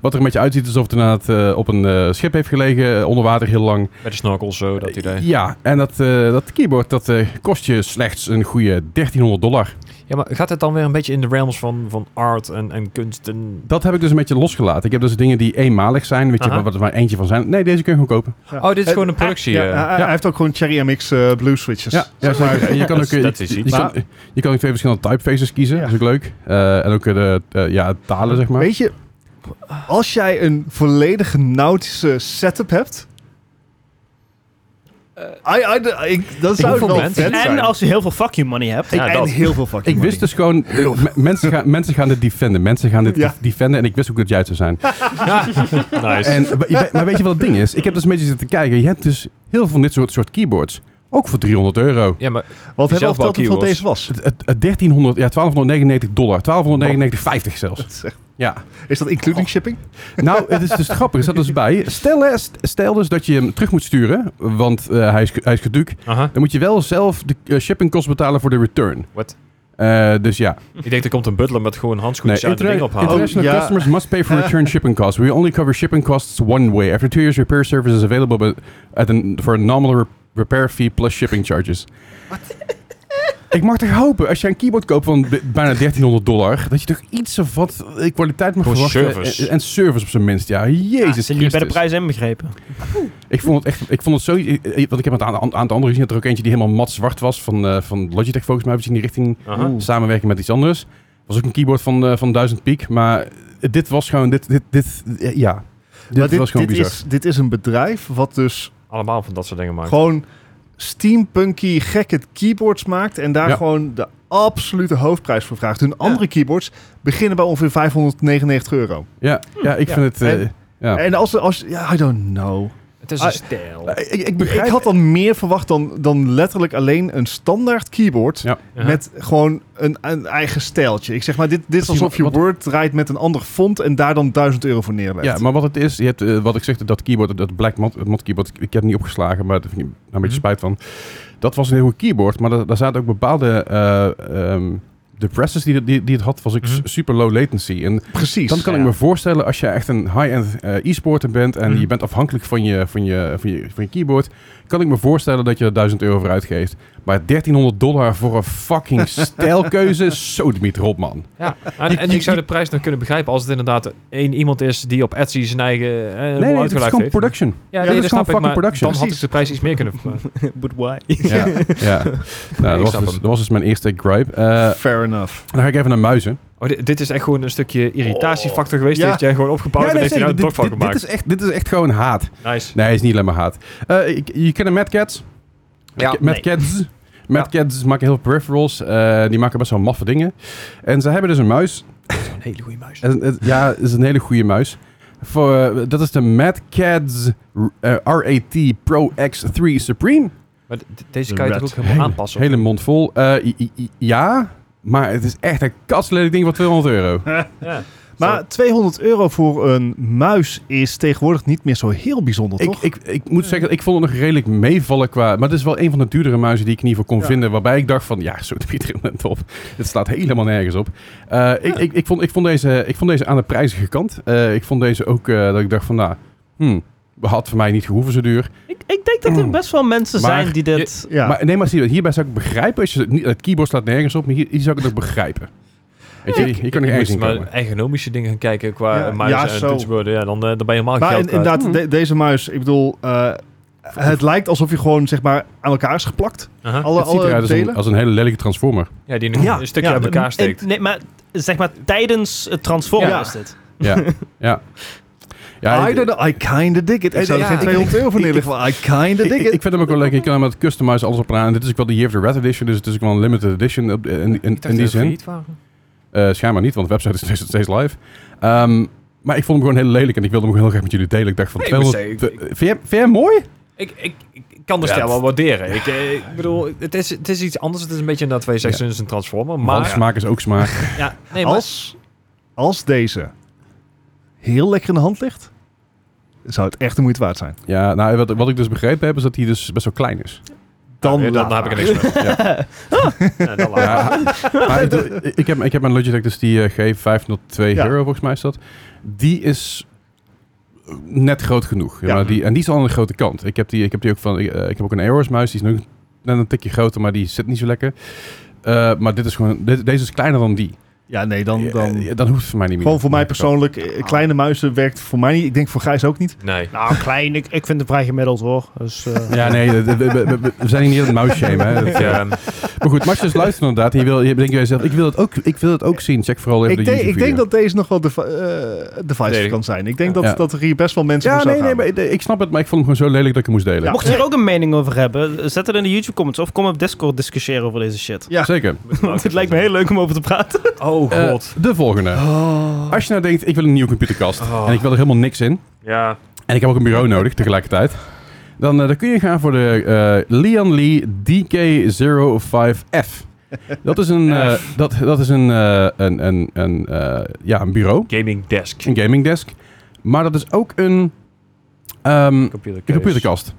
Wat er een beetje uitziet alsof het inderdaad eh, op een eh, schip heeft gelegen, eh, onder water heel lang. Met de snorkel zo, dat idee. Ja, en dat, eh, dat keyboard dat, eh, kost je slechts een goede 1300 dollar. Ja, maar gaat het dan weer een beetje in de realms van, van art en, en kunst en... Dat heb ik dus een beetje losgelaten. Ik heb dus dingen die eenmalig zijn, weet je, Aha. wat er maar eentje van zijn. Nee, deze kun je gewoon kopen. Ja. Oh, dit is Eh, gewoon een productie. ja, eh. hij- ja. Hij heeft ook gewoon Cherry MX eh, Blue Switches. Ja, ja Zeg maar, zeker. En je kan ook, Dus Dat eh, is- dat is je, iets. kan, je kan ook twee verschillende typefaces kiezen, Ja. dat is ook leuk. Eh, en ook eh, de eh, ja, talen, zeg maar. Weet je, als jij een volledige nautische setup hebt... I- I- de- ik, dan zou het hoeveel wel mensen- vet zijn. En als je heel veel fuck you money hebt. Ja, en dat. heel veel fucking Ik wist dus gewoon, m- mensen, gaan, mensen gaan dit defenden. Mensen gaan dit Ja. defenden en ik wist ook dat jij het zou zijn. Nice. En, maar je- maar weet je wat het ding is? Ik heb dus een beetje zitten kijken. Je hebt dus heel veel van dit soort, soort keyboards. Ook voor 300 euro. ja, maar Wat hebben we al zelf wel verteld hoeveel keywords. deze was? Het, het, het 1300, ja, 1299 dollar. 1299,50 zelfs. Dat is echt- Ja. Is Oh. dat including shipping? Nou, het is dus grappig. Er staat dus bij. Stel, hè, st- stel dus dat je hem terug moet sturen. Want eh, hij is, hij is geduuk. aha. Dan moet je wel zelf de eh, shippingkosten betalen voor de return. What? Eh, dus ja. ik denk er komt een butler met gewoon handschoentjes uit de interna- ding ophalen. interna- International Oh, ja. customers must pay for return shipping costs. We only cover shipping costs one way. After two years, repair service is available but at an, for a nominal re- repair fee plus shipping charges. Ik mag toch hopen, als je een keyboard koopt van b- bijna 1300 dollar, dat je toch iets of wat eh, kwaliteit mag Gewoon verwachten. service. En, en service op zijn minst, ja. Jezus zijn jullie bij de Christus. prijs inbegrepen? Ik vond het echt, ik vond het zo, eh, eh, want ik heb het aan de aan de andere gezien, dat er ook eentje die helemaal mat zwart was van, eh, van Logitech volgens mij, we zien die richting Aha. Oeh. samenwerking met iets anders. Was ook een keyboard van, eh, van 1000 piek. Maar dit was gewoon. Dit, dit, dit, eh, ja. Dit, Maar was gewoon dit bizar. Is, dit is een bedrijf wat dus Allemaal van dat soort dingen maken. gewoon steampunky gekke keyboards maakt en daar Ja. gewoon de absolute hoofdprijs voor vraagt. Hun andere keyboards beginnen bij ongeveer 599 euro. Ja, ja, ik Ja. vind het. eh, En- ja. En als, als, ja, I don't know. Het is Ah, een stijl. Eh, ik, ik Ik begrijp. had dan meer verwacht dan, dan letterlijk alleen een standaard keyboard Ja. Ja. met gewoon een, een eigen stijltje. Ik zeg maar, dit, dit is Misschien alsof je wat- Word draait met een ander font en daar dan 1000 euro voor neerlegt. ja, maar wat het is, je hebt, eh, wat ik zeg, dat keyboard, dat black mat, het mat keyboard, ik ik heb het niet opgeslagen, maar daar heb ik nou een beetje Mhm. spijt van. Dat was een heel goed keyboard, maar da- daar zaten ook bepaalde eh ehm depressors die, die, die het had, was ik Mhm. s- super low latency. En Precies. Dan kan Ja. ik me voorstellen, als je echt een high-end eh, e-sporter bent en Mhm. je bent afhankelijk van je, van, je, van, je, van je keyboard, kan ik me voorstellen dat je er 1000 euro voor uitgeeft. Maar 1300 dollar voor een fucking stijlkeuze, zo Dimitri op, man. Ja, en, en ik zou de prijs nog kunnen begrijpen als het inderdaad één iemand is die op Etsy zijn eigen eh Nee, nee, rol het is uitgelegd gewoon heeft. production. Ja, dat nee, is gewoon dat snap ik, fucking maar production. dan had ik Precies. de prijs iets meer kunnen... But why? Ja, ja. ik Nou, dat, was snap dus, hem. dat was dus mijn eerste gripe. Eh, Fair enough. dan ga ik even naar muizen. Oh, dit, dit is echt gewoon een stukje irritatiefactor geweest. Ja. Die heeft jij gewoon opgebouwd en heeft hij nou een dit, blok van dit, dit gemaakt. is echt, dit is echt gewoon haat. Nice. Nee, is niet alleen maar haat. Eh, ik- je kent een Mad Cats? Ja. Mad Cats. Mad Cats maken heel veel peripherals. eh, die maken best wel maffe dingen. En ze hebben dus een muis. Een hele goede muis. En het- ja, is een hele goede muis. Voor, eh, dat is de Mad Cats eh, RAT Pro X3 Supreme. Maar de- de- deze De kan je red. toch ook helemaal aanpassen? Hele mond vol. Eh, i- i- i- ja, maar het is echt een kastlelijk ding van 200 euro. Ja. Maar 200 euro voor een muis is tegenwoordig niet meer zo heel bijzonder, Ik, toch? ik, ik moet zeggen, ik vond het nog redelijk meevallen qua... Maar het is wel een van de duurdere muizen die ik in ieder geval kon Ja. vinden. Waarbij ik dacht van, ja, zo Pieter net op. Het slaat helemaal nergens op. Eh, ik, ik, ik, vond, ik, vond deze, ik vond deze aan de prijzige kant. Eh, ik vond deze ook eh, dat ik dacht van, nou... Hmm, had voor mij niet gehoeven zo duur. Ik, ik denk dat er best wel mensen Maar zijn die dit... ja. Maar nee, maar zie je, hierbij zou ik begrijpen. Als je het, niet, het keyboard slaat nergens op, maar hier, hier zou ik het ook begrijpen. Weet je, hier kan ik Je ergens moest in maar komen. ergonomische dingen gaan kijken qua Ja, muizen muis ja, en zo. toetsenborden. Ja, dan, eh, dan ben je helemaal maar geld in- kwijt. inderdaad, Mm. de- deze muis, ik bedoel, eh, het lijkt alsof je gewoon zeg maar aan elkaar is geplakt. Aha. Alle, Het ziet alle eruit als een, delen. als een hele lelijke transformer. Ja, die een, Ja, een stukje ja, uit elkaar steekt. Eh, Nee, maar zeg maar tijdens het transformen Ja. is dit. Ja, ja. ja I, ik- don't know, I kinda dig it. Ik Ik- zou er ja, geen ik- 200 euro voor neerleggen, maar I kinda Ik, dig ik it. vind hem ook wel leuk. Je kan hem met customize alles op aan. En dit is ook wel de Year of the Rat Edition. Dus het is ook wel een limited edition op- in, in, in die zin. Eh, schijnbaar niet, want de website is nog steeds live. Ehm, Maar ik vond hem gewoon heel lelijk en ik wilde hem gewoon heel graag met jullie delen. Ik dacht van, Nee, ik moet 200 zeggen, vind, jij, vind jij hem mooi? Ik, ik, ik kan dus Ja, de stijl het- wel waarderen. Ik, eh, ik bedoel, het is, het is iets anders. Het is een beetje inderdaad wat je zegt, Ja. het is een transformer. Maar Maar, smaak is ook smaak. ja, nee, maar als, als deze heel lekker in de hand ligt, zou het echt de moeite waard zijn. Ja, nou, wat, wat ik dus begrepen heb, is dat hij dus best wel klein is. Dan, dan, laat dan heb ik maar. er niks mee. Ja, dan laat maar. Ja, maar ik, ik heb, ik heb mijn Logitech, dus die eh, G502 Ja. Hero, volgens mij is dat. Die is eh, net groot genoeg. Ja. Ja. maar die, en die is al aan de grote kant. Ik heb die, ik heb die ook van, eh, ik heb ook een Aorus muis, die is nu net een tikje groter, maar die zit niet zo lekker. Eh, maar dit is gewoon, dit- deze is kleiner dan die. Ja, nee, dan... dan Eh, dan hoeft het voor mij niet meer. gewoon voor mij persoonlijk, eh, kleine muizen werkt voor mij niet. Ik denk voor Gijs ook niet. Nee. Nou, klein. Ik, ik vind het vrij gemiddeld hoor. Dus, eh, Ja, nee, we, we- we- we- we zijn hier niet aan het muisshamen. hè. Ik, Dat, eh, ehm, Maar goed, Max is luistert inderdaad. En je wil, je denkt bij jezelf, ik wil het ook, ik wil het ook zien. Check vooral even Ik, de denk- YouTube ik denk video. dat deze nog wel de eh divisive Nee. kan zijn. Ik denk dat, Ja. dat er hier best wel mensen Ja, voor nee, zouden nee, gaan. maar ik, ik snap het, maar ik vond hem gewoon zo lelijk dat ik hem moest delen. Ja. Mocht je er ook een mening over hebben, zet het in de YouTube comments of kom op Discord discussiëren over deze shit. Ja. Zeker. Want het lijkt me heel leuk om over te praten. Oh Eh, god. de volgende. Oh. Als je nou denkt, ik wil een nieuwe computerkast en ik wil er helemaal niks in. Ja. En ik heb ook een bureau nodig tegelijkertijd. Dan, eh, dan kun je gaan voor de eh Lian Lee DK05F. Dat is een, eh, dat, dat is een, eh, een, een, een, eh, ja, een bureau, Gaming desk. een gaming desk. Maar dat is ook een, ehm, Computer. een computerkast.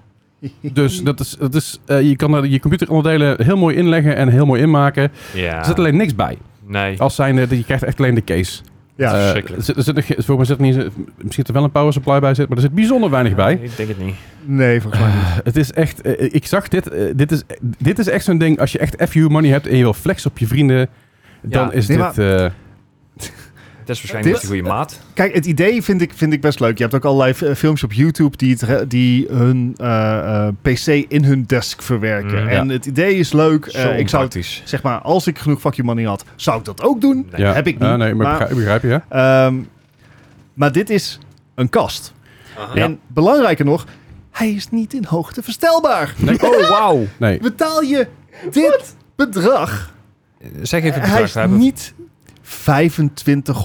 Dus dat is, dat is, eh, je kan er je computeronderdelen heel mooi inleggen en heel mooi inmaken. Ja. Er zit alleen Oh, niks bij. Nee. Als zijnde, dat je krijgt echt alleen de case. Ja. Eh, verschrikkelijk. er zit- er zit, er ge- volgens mij zit er niet, zo- misschien zit er wel een power supply bij zit, maar er zit bijzonder weinig bij. Ik denk het niet. Nee, volgens mij niet. Het is echt, eh, ik zag dit, eh, dit is, dit is echt zo'n ding, als je echt FU money hebt en je wil flex op je vrienden, dan Ja, is nee, dit... eh, Het is waarschijnlijk Dit- niet de goede maat. Kijk, het idee vind ik, vind ik best leuk. Je hebt ook allerlei eh, filmpjes op YouTube die, het, re- die hun eh, eh, PC in hun desk verwerken. Mm, en het idee is leuk. Eh, Zo ik zou het, onpraktisch. zeg maar, als ik genoeg fuck you money had, zou ik dat ook doen. Nee. ja. heb ik niet, Ah, nee, maar, maar- ik begrijp- ik begrijp je, ja. Ehm, maar dit is een kast. Aha. Ja. En belangrijker nog, hij is niet in hoogte verstelbaar. Oh, wauw. Nee, Betaal je dit bedrag? Zeg even het hij bedrag. is we hebben- niet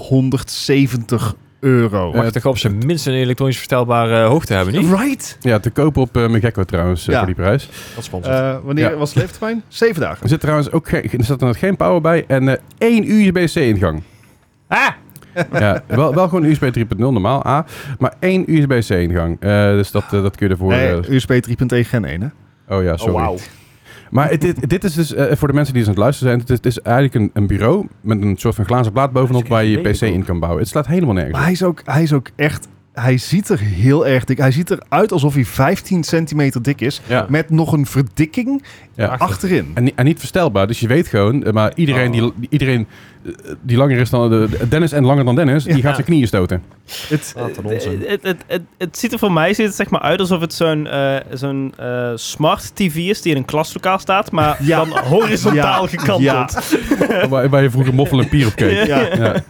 2570 euro. Mag je toch op zijn minst een elektronisch verstelbare eh, hoogte hebben, niet? Right? ja, te koop op eh Megekko trouwens, eh, Ja. voor die prijs. Dat sponsor. Eh, wanneer Ja. was de leeftermijn? Zeven dagen. Er zit trouwens ook geen, er zat er nog geen power bij en eh, één USB-C-ingang. ah! ja, wel, wel gewoon USB 3.0 normaal, A. Maar één USB-C-ingang. dus dat, eh, dat kun je ervoor... Nee, eh, USB 3.1 Gen 1, hè? oh ja, Oh, sorry. wauw. Maar het- dit, dit is dus, eh, voor de mensen die eens aan het luisteren zijn, het is, het is eigenlijk een, een bureau met een soort van glazen plaat bovenop Dat waar is je je geen pc in idee. kan bouwen. Het slaat helemaal nergens Maar op. hij is ook, hij is ook echt... Hij ziet er heel erg dik. Hij ziet eruit alsof hij 15 centimeter dik is. Ja. Met nog een verdikking Ja. achterin. En, ni- en niet verstelbaar, dus je weet gewoon, eh, maar iedereen, die, die- iedereen eh, die langer is dan de- de- Dennis en langer dan Dennis, die Ja. gaat zijn knieën stoten. Het, Wat een onzin. Eh, Het, het, het, het, het ziet er voor mij ziet het zeg maar uit alsof het zo'n eh, zo'n eh, smart TV is die in een klaslokaal staat, maar Ja. dan horizontaal Ja. gekanteld. Ja. waar, waar je vroeger moffel en pier op keek. Ja, ja. ja. Het-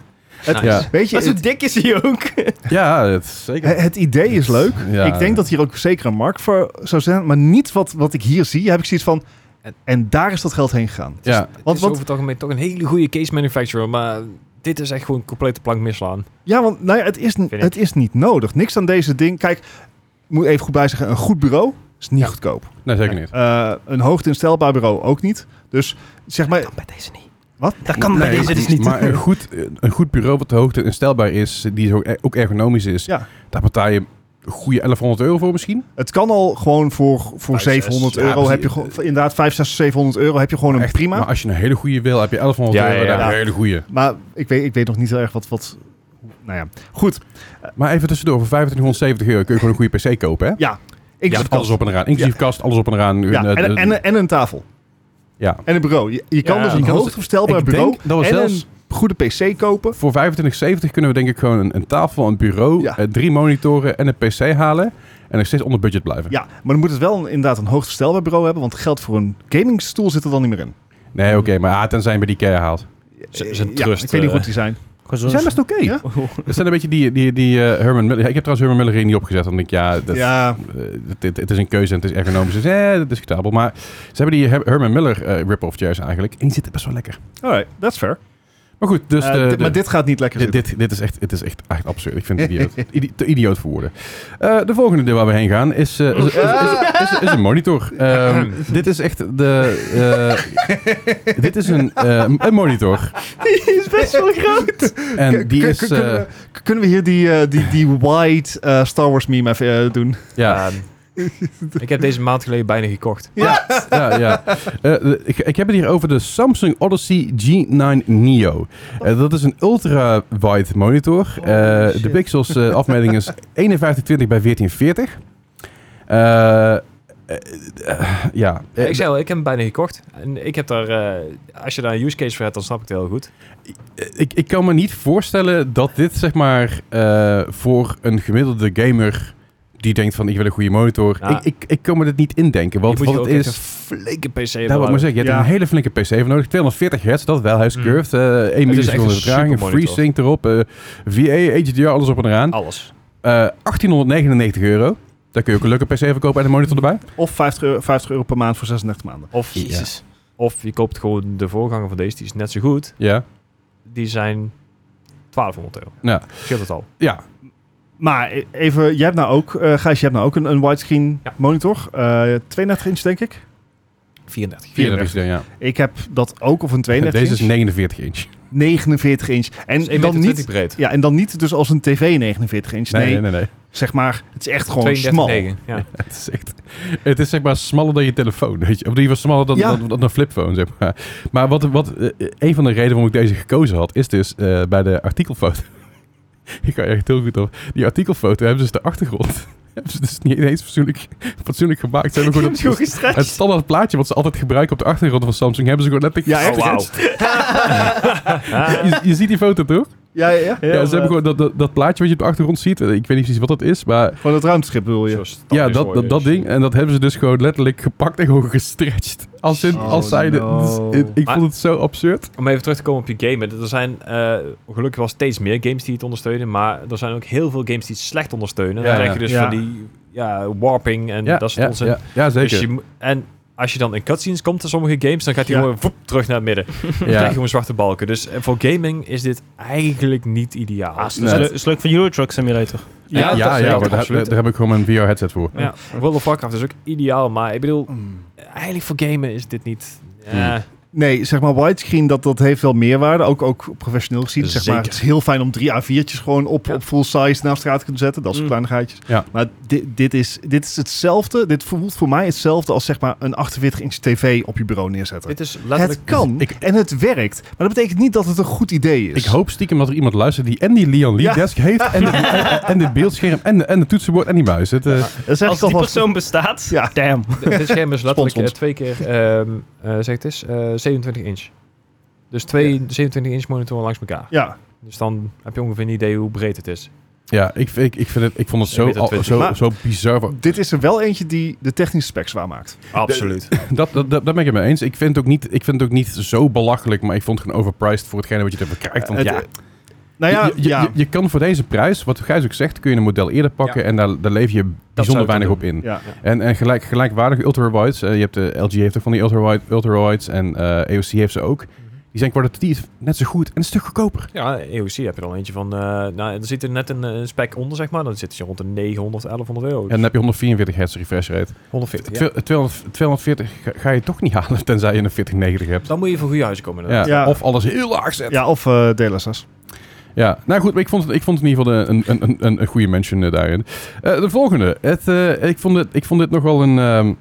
Ja. Weet je, Maar zo het, dik is hij ook. het is zeker. het- het idee is leuk. Ja. ik denk dat hier ook zeker een markt voor zou zijn. Maar niet wat, wat ik hier zie. Heb ik zoiets van... En daar is dat geld heen gegaan. Ja, Het Want- is want- over het algemeen toch een hele goede case manufacturer, maar dit is echt gewoon een complete plank mislaan. Ja, want nou ja, het, is, ik. het is niet nodig. Niks aan deze ding. Kijk, ik moet even goed bij zeggen. Een goed bureau is niet goedkoop. nee, zeker niet. Eh, een hoogte instelbaar bureau ook niet. Dus zeg maar... Dat kan bij deze niet. Wat? Dat kan bij Nee, deze dus niet. Maar een goed, een goed bureau wat de hoogte instelbaar is, die zo- e- ook ergonomisch is, Ja. daar betaal je een goede 1100 euro voor misschien. Het kan al gewoon voor, voor Vijf, zes. 700 Ja, euro. precies. Heb je gewoon, inderdaad, 5, 6, 700 euro heb je gewoon een Echt, prima. Maar Maar, als je een hele goede wil, heb je 1100 Ja, euro. ja, ja. daar Een hele goede. ik, weet, ik weet nog niet heel erg wat... wat nou ja, goed. Maar even tussendoor, voor 2570 euro kun je gewoon een goede PC kopen, hè? Ja, ik Inclusief alles op en eraan. Inclusief kast, alles op en eraan. Ja, Een, eh, en, en, en een tafel. ja. En een bureau. Je, je kan Ja, dus je een kan dus- hoogverstelbaar ik bureau denk dat we en zelfs- een goede PC kopen. Voor 2570 kunnen we denk ik gewoon een, een tafel, een bureau, Ja. eh, drie monitoren en een PC halen. En nog steeds onder budget blijven. Ja, maar dan moet het wel een, inderdaad een hoogverstelbaar bureau hebben, want geld voor een gamingstoel zit er dan niet meer in. Nee, oké, maar ah, tenzij je bij die IKEA haalt. Z- is een Ja, trust, ik weet niet eh, goed die zijn. Ze zijn best oké. Ja? Dat zijn een beetje die, die, die eh, Herman Miller. Ik heb trouwens Herman Miller hier niet opgezet. Want ik denk, ja, dat, ja, eh, het- het, het is een keuze en het is ergonomisch. Dus eh, discutabel. Maar ze hebben die Her- Herman Miller eh, rip-off chairs eigenlijk. En die zitten best wel lekker. alright, that's fair. Maar goed, dus... Eh, de- de- dit- maar dit gaat niet lekker dit, zitten. dit, dit is echt, het is echt, echt absurd. Ik vind het idioot. Idi- te idioot voor woorden. Eh, de volgende deel waar we heen gaan is, eh, is, is, is- is- is een monitor. Ehm, dit is echt de... eh, dit is een, eh, een monitor. Die is best wel groot. En K- die k- is... k- kunnen, eh, we, kunnen we hier die, eh, die, die wide eh, Star Wars meme even eh, doen? ja, Ehm, ik heb deze een maand geleden bijna gekocht. ja, ja. Eh, ik, ik heb het hier over de Samsung Odyssey G9 Neo. Eh, dat is een ultra-wide monitor. Eh, de pixels eh, afmeting is 5120 bij 1440. Eh, eh, eh, ja. ik zei al, ik heb hem bijna gekocht. En ik heb daar, eh, als je daar een use case voor hebt, dan snap ik het heel goed. ik, ik kan me niet voorstellen dat dit, zeg maar, eh, voor een gemiddelde gamer die denkt van ik wil een goede monitor. Ja. Ik, ik, ik kan me dit niet indenken. Je Want moet je wat ook het echt is. een flinke PC Nou, wat ik bouwen. maar zeggen, je hebt Ja. een hele flinke PC voor nodig. 240 hertz, dat wel, hij is Mm. curved. eh 1 echt milliseconde een vertraging, supermonitor. FreeSync erop, eh VA, HDR, alles op en eraan. Alles. Eh 1899 euro. Daar kun je ook een leuke PC voor kopen en een monitor erbij. Of 50 euro, 50 euro per maand voor 36 maanden. Of, Jezus. of je koopt gewoon de voorganger van deze, die is net zo goed. Ja, Die zijn 1200 euro. Ja. Scheelt het al. ja. Maar e- even, jij hebt nou ook, eh Gijs, jij hebt nou ook een, een widescreen Ja. monitor. Eh 32 inch, denk ik. 34. 34 inch, ja. Ik heb dat ook, of een En 32 Deze is Dus inch. 49 inch. 49 inch. Dus En dan niet... breed. Ja, en dan niet dus als een tv 49 inch. Nee, Nee, nee, nee. nee. zeg maar, het is echt gewoon smal. 32,9. Ja. Het, is echt, het is zeg maar smaller dan je telefoon, weet je. Of in ieder geval smaller dan, Ja. dan, dan een flipphone, zeg maar. Maar wat, wat, eh, een van de redenen waarom ik deze gekozen had, is dus eh, bij de artikelfoto. ik kan echt heel goed op. Die artikelfoto hebben ze dus de achtergrond. hebben ze dus niet eens fatsoenlijk, fatsoenlijk gemaakt. Ze hebben gewoon het, het standaard plaatje wat ze altijd gebruiken op de achtergrond van Samsung, hebben ze gewoon Ja, letterlijk echt. Oh, wauw. je, je ziet die foto toch? Ja, ja, ja. Ja, ze hebben gewoon dat, dat, dat plaatje wat je op de achtergrond ziet. eh, Ik weet niet precies wat dat is, maar Gewoon het ruimteschip bedoel je. Zo'n Ja, standaard dat, voor je. dat, dat ding. En dat hebben ze dus gewoon letterlijk gepakt en gewoon gestretched. Als, in, Oh, als zij... de- no. dus, ik- ik Maar- Mm, vond het zo absurd. Om even terug te komen op je game. hè, Er zijn eh, gelukkig wel steeds meer games die het ondersteunen. Maar er zijn ook heel veel games die het slecht ondersteunen. Ja, dan ja. krijg je dus Ja. van die ja, warping en Ja, dat soort ja, onzin. ja, ja, Dus zeker. je mo- en als je dan in cutscenes komt in sommige games, dan gaat hij Ja. gewoon voep, terug naar het midden. Dan krijg ja. je gewoon zwarte balken. Dus eh, voor gaming is dit eigenlijk niet ideaal. Ah, is, Nee. leuk- is leuk van Euro Truck Simulator. Ja, dat ja, zeker, maar daar, absoluut. daar heb ik gewoon mijn VR-headset voor. Ja, World of Warcraft is ook ideaal, maar ik bedoel, Mm. eigenlijk voor gamen is dit niet... eh, Hmm. Nee, zeg maar, widescreen, dat, dat heeft wel meerwaarde. Ook, ook professioneel gezien, zeg maar. Zeker. Het is heel fijn om drie A4'tjes gewoon op, Ja. op full size naast elkaar te kunnen zetten. Dat soort Mm. kleinigheidjes. Ja. Maar dit, dit, is, dit is hetzelfde. Dit voelt voor mij hetzelfde als zeg maar een 48-inch tv op je bureau neerzetten. Dit is Het letterlijk... kan Ik- en het werkt. Maar dat betekent niet dat het een goed idee is. Ik hoop stiekem dat er iemand luistert die en die Leon Lee Ja. desk heeft... en, de, en, en dit beeldscherm en, de- en het toetsenbord en die muis. Het, eh, Dat is echt Als toch die wel- persoon bestaat, Ja. damn. Dit scherm is letterlijk eh, ons. twee keer, ehm eh, zeg het eens, eh, 27 inch. Dus twee 27 inch monitoren langs elkaar. Ja, Dus dan heb je ongeveer een idee hoe breed het is. ja, ik, ik, ik, vind het, ik vond het Ik zo, weet het, al- weet zo, ik. zo bizar. dit is er wel eentje die de technische specs waar maakt. Absoluut. Dat, dat, dat, dat ben ik het mee eens. Ik vind, het ook niet, ik vind het ook niet zo belachelijk, maar ik vond het gewoon overpriced voor hetgene wat je ervoor krijgt. Eh, Want Eh, Het- ja, Nou ja, je, je, ja. je- je kan voor deze prijs, wat Gijs ook zegt, kun je een model eerder pakken en daar, daar leef je zou bijzonder ik dan weinig op doen. in. ja. En, en gelijk, gelijkwaardige ultrawides, eh, je hebt de LG heeft ook van die ultrawide, ultrawides en eh, EOC heeft ze ook. Mhm. Die zijn kwalitatief net zo goed en een stuk goedkoper. Ja, EOC heb je dan eentje van, eh nou, er zit er net een, eh, spec onder, zeg maar. Dan zit je rond de 900, 1100 euro. En dan heb je 144 hertz refresh rate. 140, ja. Twe- 200 240 ga, ga je toch niet halen, tenzij je een 4090 hebt. Dan moet je voor goede huizen komen. Ja, inderdaad. Ja. Of alles heel laag zetten. Ja, of eh DLSS. Ja, nou goed, maar ik vond het, ik vond het in ieder geval eh, een, een, een, een, een goede mention eh, daarin. Eh, de volgende. Het, eh, ik, vond het, ik vond dit nog wel een, ehm,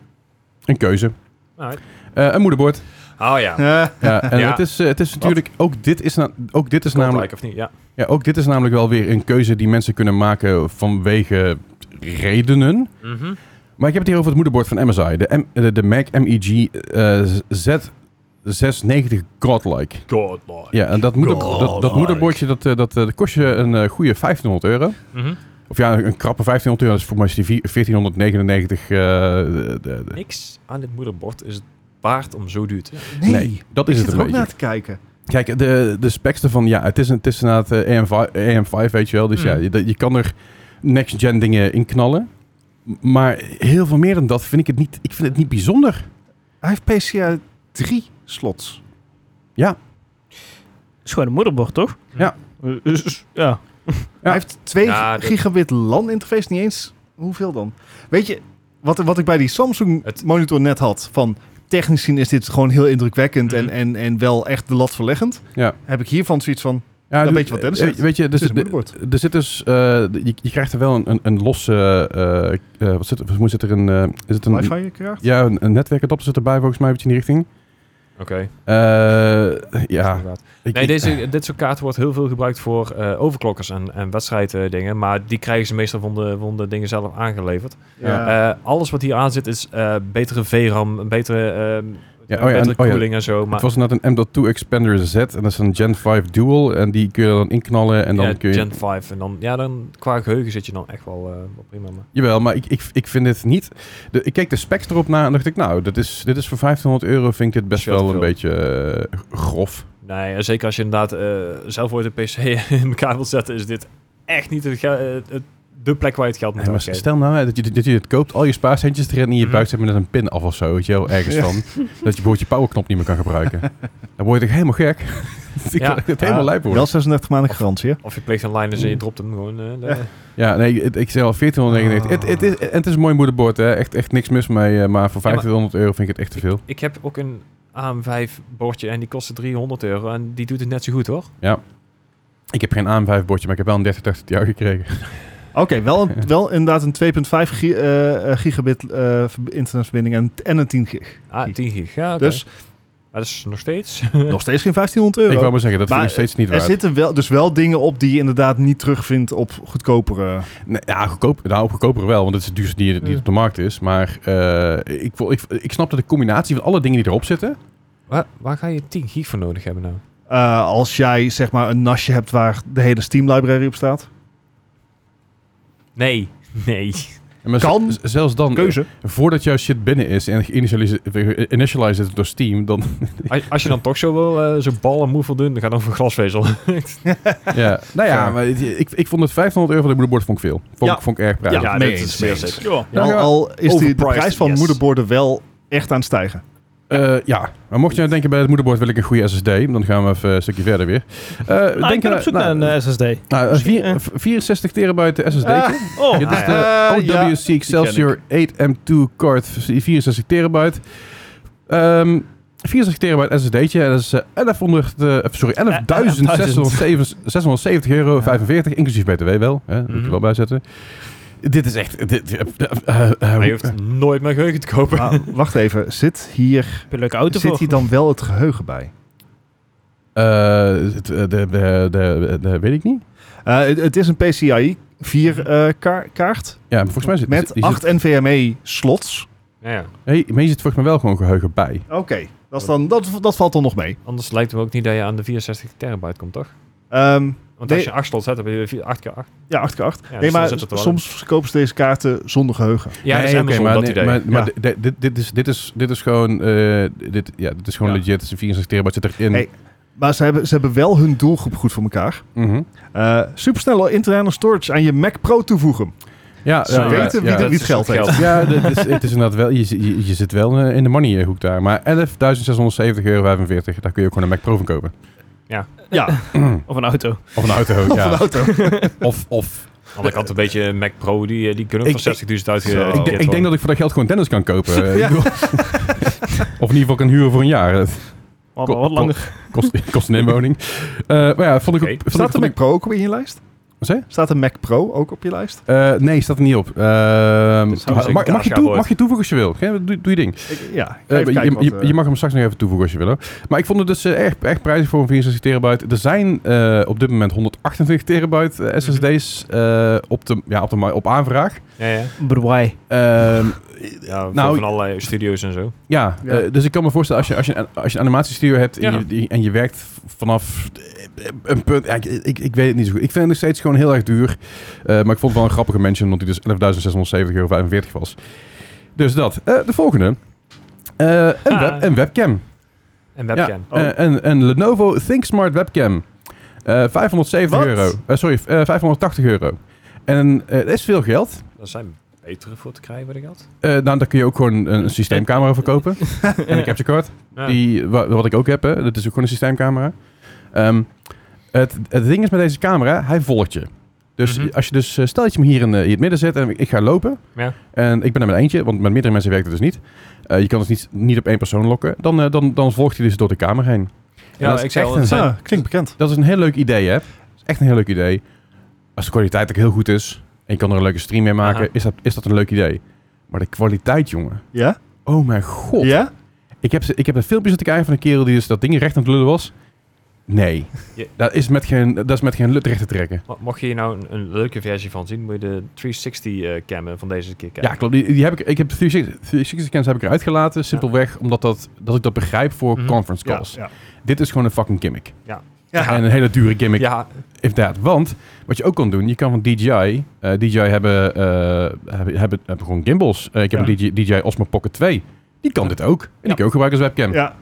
een keuze. Alright. Eh, een moederbord. Oh ja. Eh, Ja, en Ja. Het, is, eh, het is natuurlijk... Ook dit is, na- ook, dit is namelijk, Namelijk, of niet? Ja. ja, ook dit is namelijk wel weer een keuze die mensen kunnen maken vanwege redenen. Mhm. Maar ik heb het hier over het moederbord van MSI. De, M- de, de Mac MEG eh, Z690 Godlike. Godlike. Ja, en dat, moeder, dat, dat moederbordje dat, eh, dat, eh, dat kost je een eh, goede 1500 euro. Mhm. Of ja, een krappe 1500 euro. Dat is voor mij is die vier- 1499. eh, de- de- de- Niks aan dit moederbord is het waard om zo duur te nee. dat Ik is zit het er een ook naar beetje. te kijken. Kijk, de, de specs ervan, ja, het is, een, het is inderdaad eh, AM5, AM5, weet je wel. Dus Hmm. Mm. ja, je, dat- je kan er next-gen dingen in knallen. M- Maar heel veel meer dan dat vind ik het niet, ik vind het niet bijzonder. Hij heeft PCI 3 slots. Is gewoon een moederbord, toch? Ja. Dus, ja. Ja. Hij heeft 2 Ja, dit- gigabit LAN-interface, niet eens. Hoeveel dan? Weet je, wat, wat ik bij die Samsung Het- monitor net had, van technisch gezien is dit gewoon heel indrukwekkend Mhm. en, en, en wel echt de lat verleggend. Ja. Heb ik hiervan zoiets van, Ja, Dan d- weet je wat Dennis eh, zegt. Weet je, dus, dit is een de- moederbord. er zit dus, eh, je, je krijgt er wel een, een, een losse, eh, eh, wat zit, er- hoe zit er een, eh, is het een, Wifi krijgt? ja, een, een netwerkadapter zit erbij volgens mij, wat in die richting. Oké. Eh, ja. Inderdaad. Ik- Nee, deze, dit soort kaarten wordt heel veel gebruikt voor eh overklokkers en, en wedstrijddingen. Maar die krijgen ze meestal van de, van de dingen zelf aangeleverd. Ja. Eh, alles wat hier aan zit is eh, betere VRAM, een betere, ehm, Ja, een oh ja, betere en- oh ja. koeling en zo. Maar Het was net een M.2 Expander Z en dat is een Gen 5 Dual en die kun je er dan inknallen en dan ja, kun je... Gen 5. En dan, ja, dan qua geheugen zit je dan echt wel, eh, wel prima. Maar. Jawel, maar ik, ik, ik vind dit niet... De, ik keek de specs erop na en dacht ik, nou, dit is, dit is voor 1500 euro vind ik dit best Veel te wel een veel. beetje eh, grof. Nee, en zeker als je inderdaad eh, zelf ooit een PC in elkaar wilt zetten, is dit echt niet het ge- eh, het- de plek waar je het geld moet Nee, maar uitgeven. stel nou hè, dat je, dit- dat je dit koopt, al je spaarcentjes erin en je Mhm. buik zit met een pin af of zo, weet je wel, ergens van. Dat je bijvoorbeeld je powerknop niet meer kan gebruiken. Dan word je toch helemaal gek? ik Ja. wil het helemaal Ah, lijp worden. Wel 36 maanden garantie, hè? Of je pleegt een line en je dropt hem gewoon. eh, de- Ja. Mm. Ja, nee, het- ik zei al 1499. Ah. Het, het, is, en het is een mooi moederbord, hè. Echt, echt niks mis mee, eh, maar voor Ja, maar- 1500 euro vind ik het echt te veel. Ik heb ook een AM5 bordje en die kostte 300 euro en die doet het net zo goed hoor. Ik heb geen AM5-bordje, maar ik heb wel een 3080 Ti gekregen. Oké, wel, een- wel inderdaad een 2.5 gi- eh, eh, gigabit eh, verb- internetverbinding en, en een 10 gig. Ah, 10 gig. Ja, oké. Dus Maar dat is nog steeds. nog steeds geen 1500 Ik wou euro. maar zeggen, dat vind Maar, ik steeds niet Er waard. zitten wel, dus wel dingen op die je inderdaad niet terugvindt op goedkopere... Nee, ja, goedkoop, nou, goedkoper wel, want het is het duurste die, die op de markt is. Maar eh, ik, wil- ik, ik snap dat de combinatie van alle dingen die erop zitten... waar, waar ga je 10 gig voor nodig hebben nou? Eh, als jij zeg maar een nasje hebt waar de hele Steam library op staat. Nee, nee. en maar Kan. z- Zelfs dan, Keuze. voordat jouw shit binnen is en initialize het door Steam, dan... Als, als je dan toch zo wil, eh, zo'n bal en moe doen, dan ga dan voor glasvezel. ja, nou ja, maar het- ik, ik vond het 1500 euro voor de moederbord vond ik veel. Vond, Ja. ik- vond ik erg prijzig. Ja, dat mee is eens, meer mee eens. zeker. Ja. Ja. al, Nou, al is die, de Overpriced, prijs van yes. moederborden wel echt aan het stijgen. Eh, ja, maar mocht je nou denken bij het moederbord wil ik een goede SSD, dan gaan we even een stukje verder weer. Eh, Nou, ik denken ben op we- zoek nou, naar een eh, SSD. nou, een vier- eh. v- 64 terabyte SSD. Ah, Oh, Dit ah, is de ja. Eh, ja, OWC Excelsior 8M2 card, 64 terabyte. Ehm 64 terabyte SSD'tje, en dat is eh, 1100, eh, sorry, 11.670 euro, 45, inclusief BTW wel, hè, moet je Mhm. wel bijzetten. Dit is echt... Dit, eh, eh, eh, Maar je hoeft nooit meer geheugen te kopen. Maar wacht even, zit hier, heb je een leuke auto zit voor. hier dan wel het geheugen bij? eh, het, eh, de, de, de, de- weet ik niet. Eh, het, het is een PCI 4 eh, ka- kaart Ja, maar volgens mij zit met die 8 NVMe E slots. Ja, ja. Zit, hey, maar hier zit volgens mij wel gewoon geheugen bij. Oké, dat, is dan- dat, dat valt dan nog mee. Anders lijkt het me ook niet dat je aan de 64 terabyte komt, toch? Ehm, Want Nee. als je 8 slot hebt, heb je 4 8 keer 8. ja, 8 keer 8. Ja, nee, dus dan maar zit het er wel soms verkopen ze deze kaarten zonder geheugen. Ja, dat is Nee, Amazon, oké, maar, dat nee, idee. maar, maar Ja. di- di- dit, is, dit, is, dit is gewoon, eh, dit, ja, dit is gewoon Ja. legit. Het is een 64 terabyte zit erin. Hey. Maar ze hebben, ze hebben wel hun doelgroep goed voor elkaar. Mhm. Eh supersnelle interne storage aan je Mac Pro toevoegen. Ja, Ze ja, weten ja, wie ja. er dat niet is geld het heeft. geld. Ja, dit is, het is inderdaad wel, je, zi- je, je zit wel eh, in de money eh, hoek daar. Maar 11.670,45 euro, daar kun je ook gewoon een Mac Pro van kopen. Ja, Of een auto. Of een auto, of een ja. auto. Of, of. Aan de andere kant een beetje Mac Pro, die, eh, die kunnen Ik- voor 60.000 Zo. uitgeven. ik, denk- ik denk dat ik voor dat geld gewoon Dennis kan kopen. Eh, ik bedoel- of in ieder geval kan huren voor een jaar. Dat Wat, Ko- wat ko- langer. Kost, kost een inwoning. Eh, maar ja, vond ik... Oké. Vond ik- Staat de vond ik- Mac Pro ook op in je lijst? Wat zei je? Staat de Mac Pro ook op je lijst? Eh, nee, staat er niet op. Ehm, is gewoon mag, een mag je kaasjaar toe, wordt. mag je toevoegen als je wil. Doe, doe je ding. Ik- ja, Eh, je, even kijken je, wat, eh, je mag hem straks nog even toevoegen als je wil. hoor. Maar ik vond het dus eh, echt, echt prijzig voor een 64 terabyte. Er zijn eh, op dit moment 128 terabyte eh, SSD's Mhm. eh, op, de, ja, op, de, ma- op aanvraag. Ja, ja. But why? Ehm, ja voor- Nou, van allerlei studio's en zo. ja, Ja. eh, dus ik kan me voorstellen als je, als je, een- als je een animatiestudio hebt en, Ja. je, die- en je werkt v- vanaf eh, een punt. ja, ik, ik, ik weet het niet zo goed. Ik vind het nog steeds gewoon heel erg duur. Eh, maar ik vond het wel een grappige mention, omdat die dus 11.670,45 euro was. Dus dat. Eh, de volgende. Eh, een, Ah. web, een webcam. En webcam. Oh. Eh, een, een Lenovo ThinkSmart webcam. Eh 570 Wat? euro. Eh, sorry, eh, 580 euro. En eh, dat is veel geld. Daar zijn betere voor te krijgen, weet ik had. Eh nou, daar kun je ook gewoon een, een systeemcamera voor kopen. en een capture card. Ja. Die, wa- wat ik ook heb, hè. Dat is ook gewoon een systeemcamera. Ehm, Het, het ding is met deze camera, hij volgt je. Dus Mhm. als je dus, eh, stel dat je hem hier in, eh, hier in het midden zet en ik ga lopen. Ja. En ik ben er met eentje, want met meerdere mensen werkt het dus niet. Eh, je kan dus niet, niet op één persoon lokken. Dan, eh, dan, dan volgt hij dus door de kamer heen. Ja, dat is ik zei echt al, het een- zijn- Ja, Ah, klinkt bekend. Dat is een heel leuk idee, hè? Dat is echt een heel leuk idee. Als de kwaliteit ook heel goed is en je kan er een leuke stream mee maken, Aha. is, dat, is dat een leuk idee. Maar de kwaliteit, jongen. Ja? Oh mijn god. Ja? Ik heb, ze- ik heb een filmpje zitten kijken van een kerel die dus dat ding recht aan het lullen was. Nee. Ja. Dat, is met geen, dat is met geen lut recht te trekken. Mo- Mocht je hier nou een, een leuke versie van zien, moet je de 360-cam eh, van deze keer Ja, kijken. klopt. Die, die heb ik, ik heb de 360 360 scans heb ik eruit gelaten. Simpelweg omdat dat, dat ik dat begrijp voor Mhm. conference Ja, calls. ja. Dit is gewoon een fucking gimmick. Ja. En een hele dure gimmick. Ja, Inderdaad, want wat je ook kan doen, je kan van DJI, eh, DJI hebben, eh, hebben, hebben, hebben gewoon gimbals. Eh, ik heb Ja. een DJI, DJI Osmo Pocket 2. Die kan dit ook. En die Ja. kan je ook gebruiken als webcam. ja.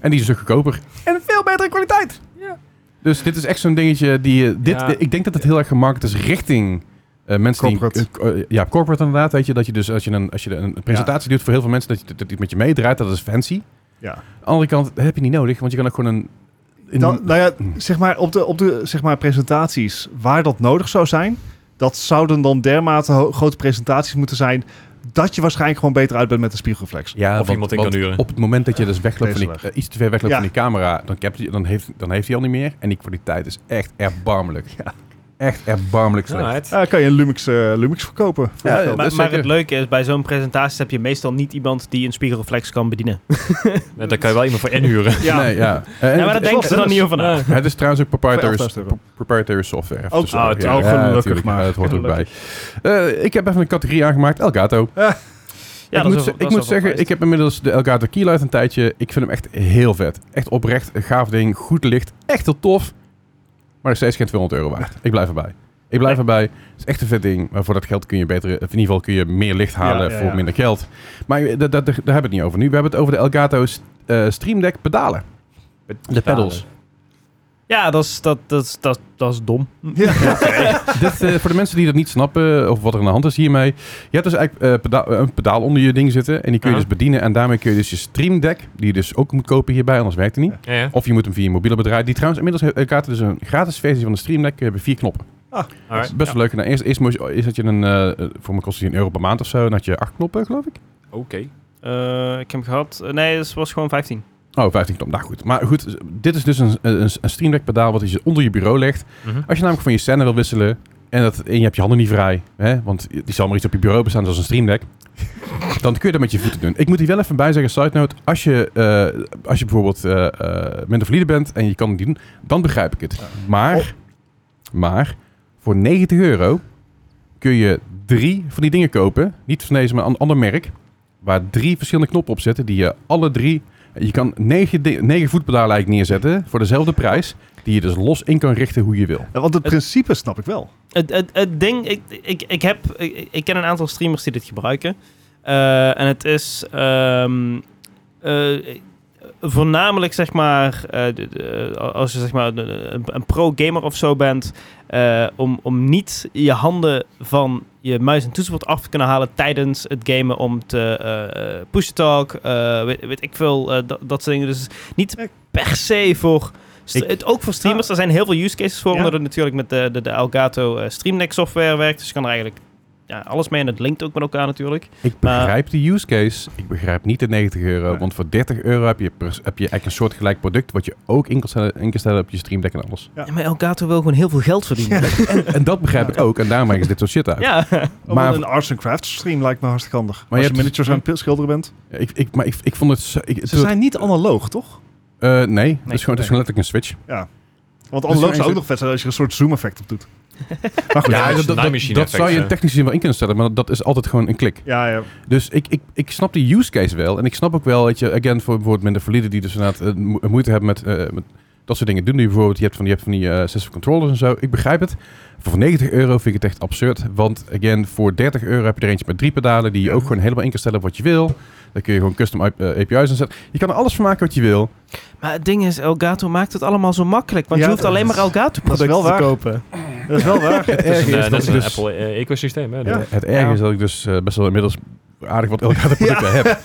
En die is een stuk goedkoper. En veel betere kwaliteit. Ja. Dus dit is echt zo'n dingetje die... je- Dit, Ja. Ik denk dat het heel erg gemaakt is richting... eh, mensen die Corporate. eh, eh, ja corporate inderdaad weet je dat je dus als je een als je een presentatie doet voor heel veel mensen dat je dat dit met je meedraait dat is fancy. Ja. Aan de andere kant dat heb je niet nodig want je kan ook gewoon een in- Dan, nou ja, zeg maar, op de, op de zeg maar, presentaties waar dat nodig zou zijn, dat zouden dan dermate ho- grote presentaties moeten zijn dat je waarschijnlijk gewoon beter uit bent met een spiegelreflex. Ja, Of iemand in kan duren. Op het moment dat je dus wegloopt van die, Vreselijk. eh, iets te ver wegloopt Ja. van die camera, dan, capt hij- dan, heeft, dan heeft hij al niet meer. En die kwaliteit is echt erbarmelijk. Echt erbarmelijk slecht. nou, het- Eh, kan je een Lumix, eh, Lumix verkopen. Voor Ja, geld. dat Maar, is maar zeker. het leuke is, bij zo'n presentatie heb je meestal niet iemand die een spiegelreflex kan bedienen. nou, daar kan je wel iemand voor inhuren. ja. Nee, ja. Eh, en Ja, maar het, daar denken ze dan dus. niet over na. het is trouwens ook proprietary, Voor 11.000 euro. proprietary software. Even Ook- tussendoor. oh, Ja, oh, ja, gelukkig natuurlijk. maar. Ja, dat hoort er ook bij. Eh, ik heb even een categorie aangemaakt. Elgato. Ja, ik dat moet, is ze- wel- ik dat moet is wel zeggen, ik heb inmiddels de Elgato Keylight een tijdje. Ik vind hem echt heel vet. Echt oprecht, een gaaf ding, goed licht, echt heel tof. Maar nog steeds geen 200 euro waard. Ik blijf erbij. Ik blijf erbij. Het is echt een vet ding. Maar voor dat geld kun je beter, of in ieder geval kun je meer licht halen Ja, ja, voor ja. minder geld. Maar eh, dat, dat, daar hebben we het niet over nu. We hebben het over de Elgato eh, Stream Deck pedalen. De pedals. Ja, dat is, dat, dat, is- dat, dat is dom. Dit, eh, voor de mensen die dat niet snappen of wat er aan de hand is hiermee. Je hebt dus eigenlijk eh, peda- een pedaal onder je ding zitten. En die kun je Ja. dus bedienen. En daarmee kun je dus je Stream Deck, die je dus ook moet kopen hierbij, anders werkt het niet. Ja, ja. Of je moet hem via je mobiele bedrijf. Die trouwens inmiddels heeft Elgato dus een gratis versie van de Stream Deck. We hebben vier knoppen. Alright. Best wel leuk. En dan eerst, eerst moest, je- is dat je een, eh, voor me kostte die een euro per maand of zo. En dan had je acht knoppen, geloof ik. Oké. Eh, ik heb hem gehad. Eh, Nee, het was gewoon 15. Oh, 15 knop. Nou goed. Maar goed, dit is dus een, een, een Stream Deck pedaal wat je onder je bureau legt. Mhm. Als je namelijk van je scène wil wisselen en, dat, en je hebt je handen niet vrij, hè, want die zal maar iets op je bureau bestaan zoals een Stream Deck, dan kun je dat met je voeten doen. Ik moet hier wel even bij zeggen, side note, als je, eh, als je bijvoorbeeld eh eh minder valide bent en je kan het niet doen, dan begrijp ik het. Maar, maar, voor 90 euro kun je drie van die dingen kopen, niet van deze, maar een ander merk, waar drie verschillende knoppen op zitten die je alle drie... Je kan negen, di- negen voetpedalen eigenlijk neerzetten voor dezelfde prijs, die je dus los in kan richten hoe je wil. Ja, Want het Oh, Het- principe snap ik wel. Het, het, het ding, ik, ik, ik, heb, ik, ik ken een aantal streamers die dit gebruiken. Eh, en het is ehm, eh, voornamelijk, zeg maar, eh, de- de- als je zeg maar een- een, een pro-gamer of zo bent, eh, om, om niet je handen van je muis en toetsenbord af te kunnen halen tijdens het gamen om te eh, eh, push-to-talk, eh, weet, weet ik veel, eh, dat, dat soort dingen. Dus niet per se voor... st- Ik- het, ook voor streamers, er zijn heel veel use cases voor, Ja. omdat het natuurlijk met de, de, de Elgato eh, Stream Deck software werkt. Dus je kan er eigenlijk ja, alles mee en het linkt ook met elkaar natuurlijk. Ik Maar- begrijp de use case. Ik begrijp niet de 90 euro. Nee. Want voor 30 euro heb je, pers- heb je eigenlijk een soortgelijk product... wat je ook in kan stellen, in kan stellen op je Stream Deck en alles. Ja. Ja, maar Elgato wil gewoon heel veel geld verdienen. En dat begrijp ik ook. En daarom maken ze dit soort shit uit. Ja, Maar- Maar een arts and crafts stream lijkt me hartstikke handig. Maar Maar je Als je, hebt- miniatures aan het schilderen bent. Ik, ik, maar ik, ik vond het... zo- Ik, Ze zijn niet analoog, toch? eh, nee, het, is gewoon, het is gewoon letterlijk een switch. Want is analoog er zou ook eentje- nog vet zijn als je er een soort zoom effect op doet. Maar goed. Ja, Ja, is dat, een dat, naaimachine dat effect, zou je hè. in technisch zin wel in kunnen stellen. Maar dat is altijd gewoon een klik. ja, ja. Dus ik, ik, ik snap die use case wel. En ik snap ook wel, weet je, again, voor bijvoorbeeld minder valide die dus inderdaad eh, mo- moeite hebben met, eh, met dat soort dingen doen. Die bijvoorbeeld, je hebt van die, je hebt van die eh, sensitive controllers en zo. Ik begrijp het. Voor 90 euro vind ik het echt absurd. Want again, voor 30 euro heb je er eentje met drie pedalen die je ook gewoon helemaal in kan stellen wat je wil. Daar kun je gewoon custom eh, API's in zetten. Je kan er alles van maken wat je wil. maar het ding is, Elgato maakt het allemaal zo makkelijk. Want Ja, je hoeft dat alleen is- maar Elgato dat is wel producten te waar. kopen. Dat is wel Het waar. Dat is erge een, is eh, dat is een ik dus- Apple eh, ecosysteem. Hè? Ja, Dat- Het erge Ja. is dat ik dus eh, best wel inmiddels aardig wat elkaar producten heb.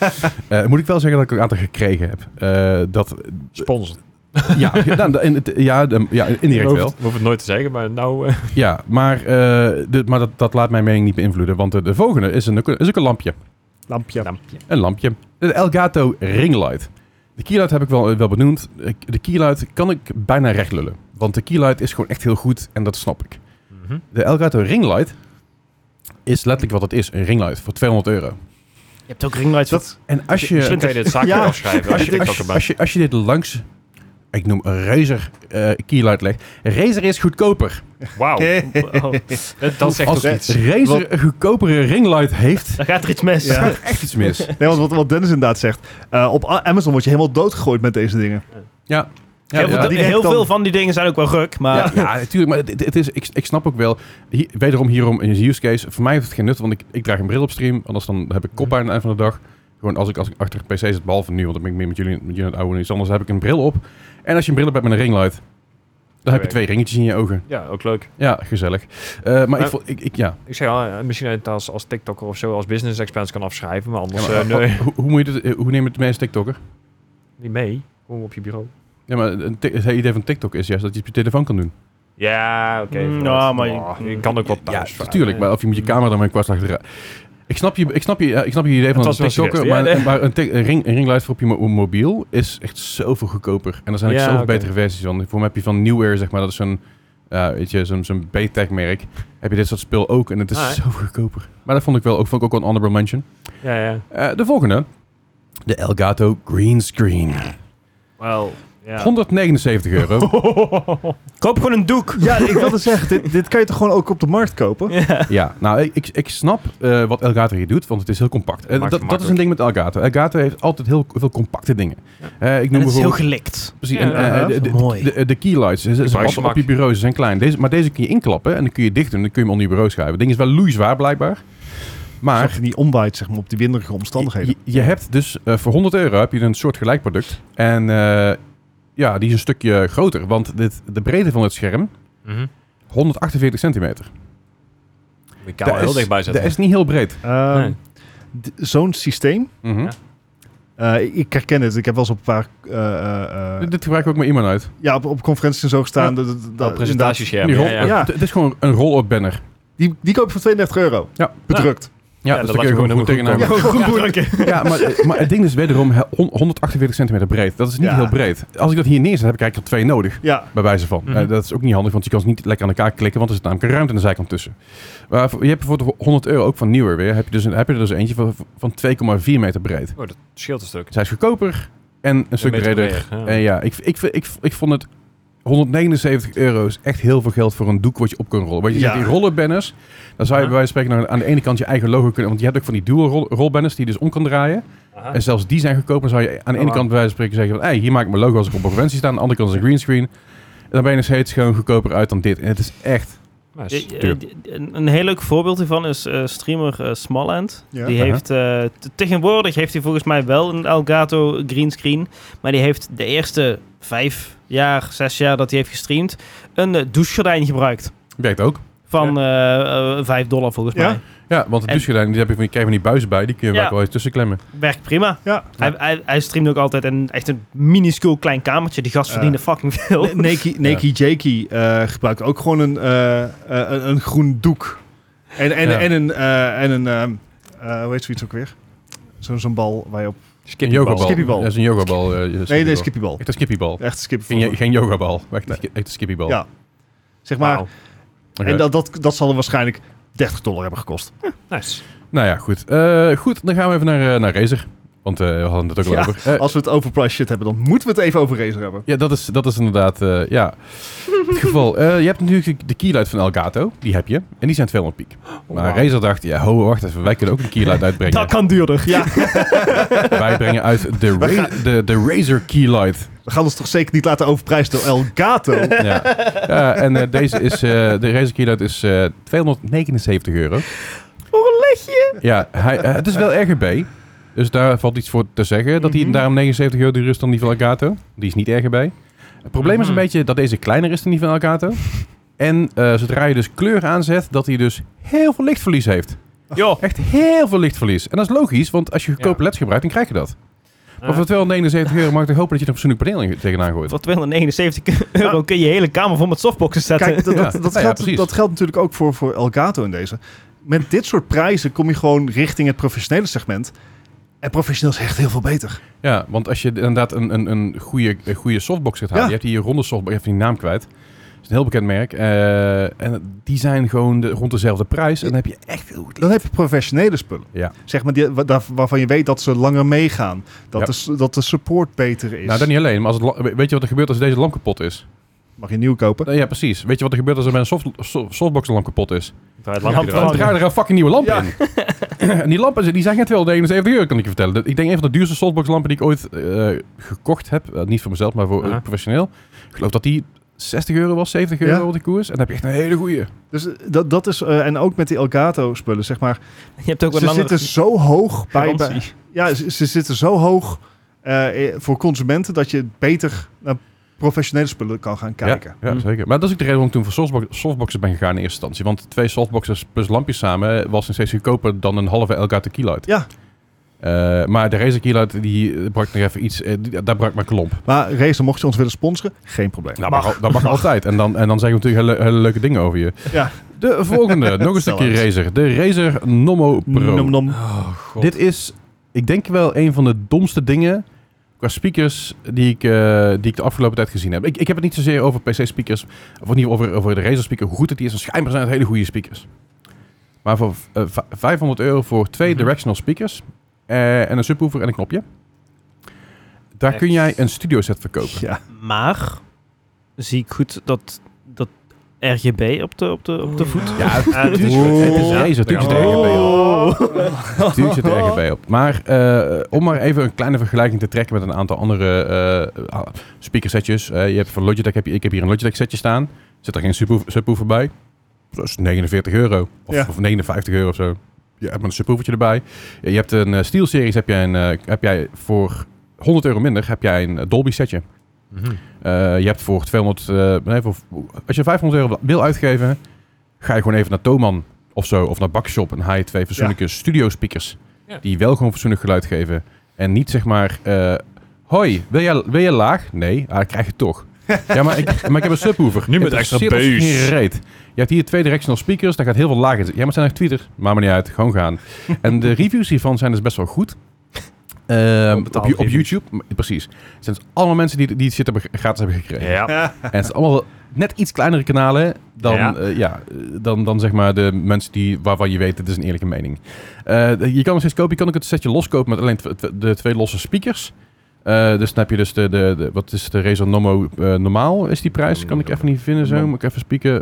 Eh, moet ik wel zeggen dat ik ook een aantal gekregen heb. Eh, dat Sponsor. Ja, nou, in het- ja, de- ja, indirect hoef wel. het- hoef het nooit te zeggen, maar nou... eh, Ja, maar, eh, dit, maar dat, dat laat mijn mening niet beïnvloeden. Want de, de volgende is, een, is ook een lampje. Lampje. Nou. Een lampje. De Elgato Ringlight. De keylight heb ik wel, wel benoemd. De keylight kan ik bijna recht lullen. Want de keylight is gewoon echt heel goed en dat snap ik. mhm. De Elgato Ringlight is letterlijk wat het is. Een ringlight voor 200 euro. Je hebt ook ringlights. Dat- voor- En als je... Misschien kan je dit zaakje Ja. afschrijven. als je, als, je, als, je, als je dit langs, ik noem een Razer eh keylight legt. Razer is goedkoper. Wauw, Oh, dat- dat zegt Als toch iets. Razer een goedkopere ringlight heeft, daar gaat er iets mis. dan gaat er echt iets mis. Nee, want wat, wat Dennis inderdaad zegt. eh, op A- Amazon word je helemaal doodgegooid met deze dingen. Ja, heel ja. veel, die heel werkt dan- veel van die dingen zijn ook wel ruk, maar... Ja, ja, natuurlijk. Maar het, het is, ik, ik snap ook wel. Hier, wederom hierom een use case. Voor mij heeft het geen nut, want ik, ik draag een bril op stream. Anders dan heb ik koppijn aan het eind van de dag. Gewoon als ik, als ik achter een PC zit, behalve nu, want dan ben ik meer met jullie, met jullie aan het oude en iets anders. heb ik een bril op. En als je een bril op hebt met een ringlight, dan heb je Oké. twee ringetjes in je ogen. Ja, ook leuk. Ja, gezellig. Eh, maar ik, Maar- vond- ik, ik ja. Ik zeg al, eh, misschien dat je het als, als TikToker of zo als business expense kan afschrijven, maar anders Ja, maar, eh, nee, ho- hoe, moet je dit, hoe nemen het de meeste TikTokker? niet mee. Kom op je bureau. Ja, maar een tik- het hele idee van TikTok is juist dat je het op je telefoon kan doen. Ja, oké. Mm, vooruit. nou, maar je- Oh, je kan ook wat thuis. eh, mm. ja, natuurlijk. Maar of je met je camera dan met een kwast achter. Ik snap je, ik snap je, ja, ik snap je idee van was een wel TikToker, suggestie, maar, ja, nee. maar een, tik- een ring, een ringlight voor op je mo- mobiel is echt zoveel goedkoper. En er zijn ook Ja, zoveel oké. betere versies van. Voor mij heb je van Newair, zeg maar, dat is zo'n, eh, weet je, zo'n, zo'n B-tech merk. Heb je dit soort spul ook en het is Ah, hè. zo goedkoper. Maar dat vond ik wel ook, vond ik ook wel een honorable mention. Ja, ja. Eh, de volgende, de Elgato Green Screen. Wel, ja. 179 euro. Koop gewoon een doek. Ja, ik wilde zeggen, dit, dit kan je toch gewoon ook op de markt kopen? Ja, nou, ik, ik, ik snap eh, wat Elgato hier doet, want het is heel compact. Eh, Maakt het dat, dat is een ding met Elgato. Elgato heeft altijd heel veel compacte dingen. Eh, ik En noem het is heel bijvoorbeeld... gelikt. Precies, Ja, en, eh, ja, de, de, mooi. de, de keylights, ze- ze Gebruiksgemak. passen op je bureau, ze zijn klein. Deze, maar deze kun je inklappen en dan kun je dicht doen en dan kun je hem onder je bureau schuiven. Het ding is wel loeizwaar blijkbaar. Maar Zodat je niet omwaait, zeg maar, op die winderige omstandigheden. je, je hebt dus eh, voor 100 euro heb je een soort gelijk product. En eh, ja, die is een stukje groter, want dit, de breedte van het scherm, Mhm. 148 centimeter. Moet Je kan er heel dichtbij dat zetten. is niet heel breed. Ehm, Nee. d- Zo'n systeem, Mhm. Ja. eh, ik- ik herken het. Ik heb wel eens op een paar... eh, eh, Dit- Dit gebruik ik ook met iemand uit. ja, op, op conferenties en zo gestaan. dat- dat- dat- Dat presentatiescherm. Die Ja, rol- ja. Ja. Het- Het is gewoon een roll-up banner. Die, die koop je voor 32 euro. Ja. Bedrukt. Ja, dat dus laat daar kun je je gewoon gewoon goed helemaal tegenaan. goed Ja, ja maar, maar het ding is wederom he- hon- 148 centimeter breed. Dat is niet Ja. heel breed. Als ik dat hier neerzet, heb ik eigenlijk er twee nodig. Ja. Bij wijze van. Mhm. Eh, dat is ook niet handig, want je kan ze niet lekker aan elkaar klikken, want er zit namelijk een ruimte aan de zijkant tussen. Maar voor- je hebt bijvoorbeeld 100 euro ook van nieuwer weer. Heb je, dus een, heb je er dus eentje van, van 2,4 meter breed. Oh, dat scheelt een stuk. Dus hij is goedkoper en een stuk meter breder. meer, ja. En ja, ik, ik, ik, ik, ik vond het 179 euro is echt heel veel geld voor een doek wat je op kunt rollen. Want je Ja. zegt die rollenbanners, dan zou je Ja. bij wijze van spreken aan de ene kant je eigen logo kunnen. Want je hebt ook van die dual rol, rolbanners die je dus om kan draaien. Aha. En zelfs die zijn goedkoper. Dan zou je aan de Ja, ene maar- kant bij wijze van spreken zeggen van, hey, hier maak ik mijn logo als ik op een conferentie sta. Aan de andere kant is een greenscreen. En dan ben je nog steeds gewoon goedkoper uit dan dit. En het is echt... Nice. Eh, eh, Tuurlijk. d- Een een heel leuk voorbeeld hiervan is eh, streamer eh, Smallhand. Ja. Die Aha. heeft, eh, t- tegenwoordig heeft hij volgens mij wel een Elgato greenscreen. Maar die heeft de eerste vijf jaar, zes jaar dat hij heeft gestreamd, een eh, douchegordijn gebruikt. Werkt ook. Van eh, eh, 5 dollar volgens Ja? mij. Ja, want het En- douchegordijn, die heb je van, je krijgt van die buizen bij. Die kun je Ja. vaak wel eens tussen klemmen. Werkt prima. Ja. Hij, hij, hij streamt ook altijd een, echt een minuscuul klein kamertje. Die gast Eh, verdiende fucking veel. N- Nakey, Nakey Jakey eh, gebruikt ook gewoon een, eh, eh, een, een groen doek. En, en, Ja. en een, eh, en een ehm, eh, hoe heet zoiets ook weer? Zo- Zo'n bal waar je op... Een yogabal. Skippybal. Dat is een yogabal. eh, Nee, skippybal. nee, skippiebal. Echt een skippybal. Echt skip. Geen, je- geen yogabal. maar Echt, een ski- echt een skippybal. Ja. Zeg maar, Wauw. Oké. en dat, dat, dat zal er waarschijnlijk 30 dollar hebben gekost. Nice. Nou ja, goed. Eh, goed, dan gaan we even naar, eh, naar Razer. Want eh, we hadden het ook al Ja, over. Eh, Als we het overpriced shit hebben, dan moeten we het even over Razer hebben. ja, dat is, dat is inderdaad eh, ja. het geval. Eh, je hebt natuurlijk de keylight van Elgato. Die heb je. En die zijn 200 piek. Oh, Maar Wauw. Razer dacht, ja, ho, wacht even. Wij kunnen ook een keylight uitbrengen. dat kan duurder. Ja. wij brengen uit de, Ra- de, de Razer keylight. We gaan ons toch zeker niet laten overprijzen door Elgato? Ja. Ja, en eh, deze is, eh, de Razer keylight is eh, 279 euro. Voor een legje. Ja, hij, eh, het is wel RGB. Dus daar valt iets voor te zeggen. Dat hij Mhm. daarom 79 euro duurder is dan die van Elgato. Die is niet RGB. Het probleem is een Mhm. beetje dat deze kleiner is dan die van Elgato. En eh, zodra je dus kleur aanzet, dat hij dus heel veel lichtverlies heeft. Joh. Echt heel veel lichtverlies. En dat is logisch, want als je goedkope E Ja. leds gebruikt, dan krijg je dat. Maar voor 279 euro mag ik toch hopen dat je er een persoonlijk paneel in- tegenaan gooit. Voor 279 euro kun je je hele kamer vol met softboxen zetten. Kijk, dat, Ja. dat, dat, Ja, ja, geldt, precies. dat geldt natuurlijk ook voor, voor Elgato in deze. Met dit soort prijzen kom je gewoon richting het professionele segment. En professioneel is echt heel veel beter. Ja, want als je inderdaad een, een, een, goede, een goede softbox gaat halen. Ja. Je hebt hier ronde softbox, even die naam kwijt. Het is een heel bekend merk. eh, en die zijn gewoon de, rond dezelfde prijs. En dan heb je echt heel goed licht. Dan heb je professionele spullen. Ja. Zeg maar die, wa- daar- waarvan je weet dat ze langer meegaan. Dat, Ja. de, s- dat de support beter is. Nou, dat niet alleen. Maar als het, la- weet je wat er gebeurt als deze lamp kapot is? Mag je nieuw kopen. Nou, Ja, precies. Weet je wat er gebeurt als er bij een soft, so- softbox een lamp kapot is? Draai het lampje Ja, Dan eruit. want- draai je er een fucking nieuwe lamp Ja. in. en die lampen zijn- die zijn geen 271 euro, kan ik je vertellen. Dat- Ik denk een van de duurste softbox lampen die ik ooit eh, gekocht heb. Eh, niet voor mezelf, maar voor eh, Ja. professioneel. Ik geloof dat die 60 euro was, 70 euro Ja. op de koers. En dan heb je echt een hele goede. Dus eh, dat, dat is, eh, en ook met die Elgato spullen, zeg maar. Je hebt ook wat Ze langer... zitten zo hoog bij, garantie. bij- ja, ze, ze zitten zo hoog eh, eh, voor consumenten dat je beter naar professionele spullen kan gaan kijken. Ja, ja, Hm. zeker. Maar dat is ook de reden waarom ik toen voor softbox- softboxen ben gegaan in eerste instantie. Want twee softboxes plus lampjes samen was nog steeds goedkoper dan een halve Elgato Keylight. Ja. Eh, maar de Razer Keylight, die eh, brak nog even iets... eh, die- daar brak maar klomp. Maar Razer, mocht je ons willen sponsoren, geen probleem. Nou, mag. al- dat mag altijd. En dan, en dan zeggen we natuurlijk hele, hele leuke dingen over je. Ja. De volgende, nog een stukje Stel Razer. De Razer Nomo Pro. Nom, nom. Oh, god. Dit is, ik denk wel, een van de domste dingen qua speakers die ik, eh, die ik de afgelopen tijd gezien heb. Ik, ik heb het niet zozeer over PC-speakers, of niet over, over de Razer speaker, hoe goed het die is. En schijnbaar zijn het hele goede speakers. Maar voor eh, v- 500 euro voor twee Mhm. directional speakers eh, en een subwoofer en een knopje. Daar Echt. kun jij een studio set verkopen. Ja. Maar zie ik goed dat, dat RGB op de, op de, Oh, op de voet. Ja, het natuurlijk. Het is Razer, natuurlijk zit er RGB op. Oh. Oh. Natuurlijk zit er RGB op. Maar eh, om maar even een kleine vergelijking te trekken met een aantal andere eh, ah, speakersetjes. Eh, je hebt van Logitech, heb je, ik heb hier een Logitech setje staan. Zit er geen subwoof- subwoofer bij. Dat is 49 euro. Of, Ja. of 59 euro of zo. Je hebt een subwoofertje erbij. Je je hebt een eh, SteelSeries, heb jij, een, eh, heb jij voor 100 euro minder heb jij een eh, Dolby setje. Mhm. Eh, je hebt voor 200, eh, nee, voor, als je 500 euro wil uitgeven, ga je gewoon even naar Thoman of zo, of naar Bakshop en haal je twee fatsoenlijke studio speakers. Ja. Die wel gewoon fatsoenlijk geluid geven. En niet zeg maar, eh, hoi, wil jij, wil jij laag? Nee, ah, krijg je toch. ja, maar ik, maar ik heb een subwoofer. Nu met extra Interesseert ons bass. geen reet. Je hebt hier twee directional speakers, daar gaat heel veel laag in zitten. Ja, maar het zijn echt Twitter. Maakt me niet uit, gewoon gaan. en de reviews hiervan zijn dus best wel goed. Ehm, op, Onbetaald Ju- op reviews. YouTube, m- precies. Het zijn dus allemaal mensen die, die het shit hebben, gratis hebben gekregen. Ja. En het zijn allemaal net iets kleinere kanalen dan, Ja. ja. ja, eh, dan, dan zeg maar de mensen die, waarvan je weet, het is een eerlijke mening. Eh, de- je kan hem steeds kopen, je kan ook het setje loskopen met alleen tw- tw- de twee losse speakers. Eh, dus dan heb je dus de, de, de- wat is de Razer Nomo eh, normaal is die prijs? Kan ik even niet vinden zo, moet ik even spieken.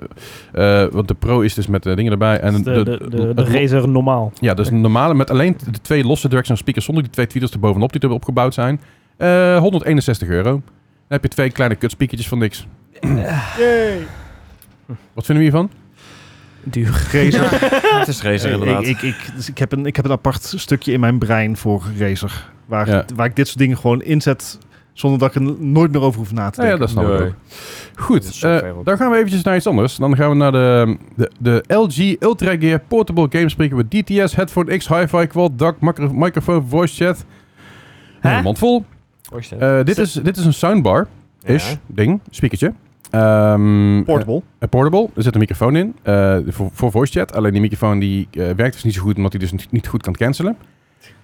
Eh, want de Pro is dus met de dingen erbij. En De, de, de, de, het lo- Razer normaal. ja, dus een normale met alleen de twee losse directional speakers zonder die twee tweeters erbovenop die er opgebouwd zijn. Eh, 161 euro. Dan heb je twee kleine kutspeakertjes van niks. Eh. Wat vinden we hiervan? Duur. Razer. Het is Razer inderdaad. Eh, Ik, ik, ik, dus ik, heb een, ik heb een apart stukje in mijn brein voor Razer. Waar, Ja. waar ik dit soort dingen gewoon inzet zonder dat ik er nooit meer over hoef na te Nou ja, denken. dat snap ik Nee. ook. Goed, Dat is zo eh, ver op. dan gaan we eventjes naar iets anders. Dan gaan we naar de, de, de LG Ultra Gear Portable Game Speaker met DTS, Headphone X, Hi-Fi, Quad, DAC, macro- microfoon, voice chat. Hè? Helemaal vol. Mooi stem. Eh, dit, is, dit is een soundbar, is Ja. ding, speakertje. Ehm, Portable. eh, portable, er zit een microfoon in eh, voor, voor voice chat. Alleen die microfoon die eh, werkt dus niet zo goed, omdat hij dus niet- niet goed kan cancelen.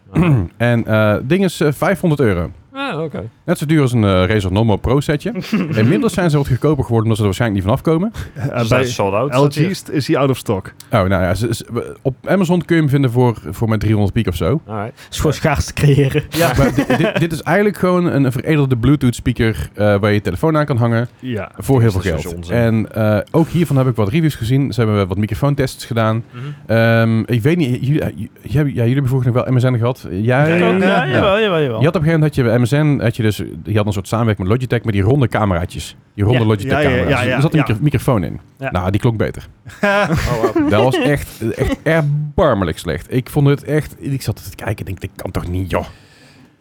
en eh ding is eh, 500 euro. Ah, oké. Net zo duur als een eh, Razer Normal Pro setje. Inmiddels zijn ze wat goedkoper geworden, omdat ze er waarschijnlijk niet vanaf komen. Eh, Dus dat bij is sold out. LG is, is die out of stock. Oh, nou ja, ze- ze- op Amazon kun je hem vinden voor, voor maar 300 piek of zo. Alright. Is gewoon schaars te creëren. Ja. Maar di- dit, dit is eigenlijk gewoon een veredelde Bluetooth speaker eh, waar je je telefoon aan kan hangen Ja. voor heel Dat veel is dus geld. onzin. En eh, ook hiervan heb ik wat reviews gezien. Ze hebben wat microfoontests gedaan. Mhm. Ehm, ik weet niet, jullie, eh, j- jij- ja, jullie hebben vroeger nog wel MSN gehad. Jij, Ja, ja, ja. jawel, jawel, jawel. Je had op een gegeven moment had je bij MSN, had je, dus, je had een soort samenwerking met Logitech met die ronde cameraatjes. Die ronde Ja. Logitech Ja, ja, camera's. ja, ja, er zat een ja. micro- microfoon in. Ja. Nou, die klonk beter. Oh, wow. Dat was echt, echt erbarmelijk slecht. Ik vond het echt... Ik zat te kijken en denk, dit kan toch niet, joh.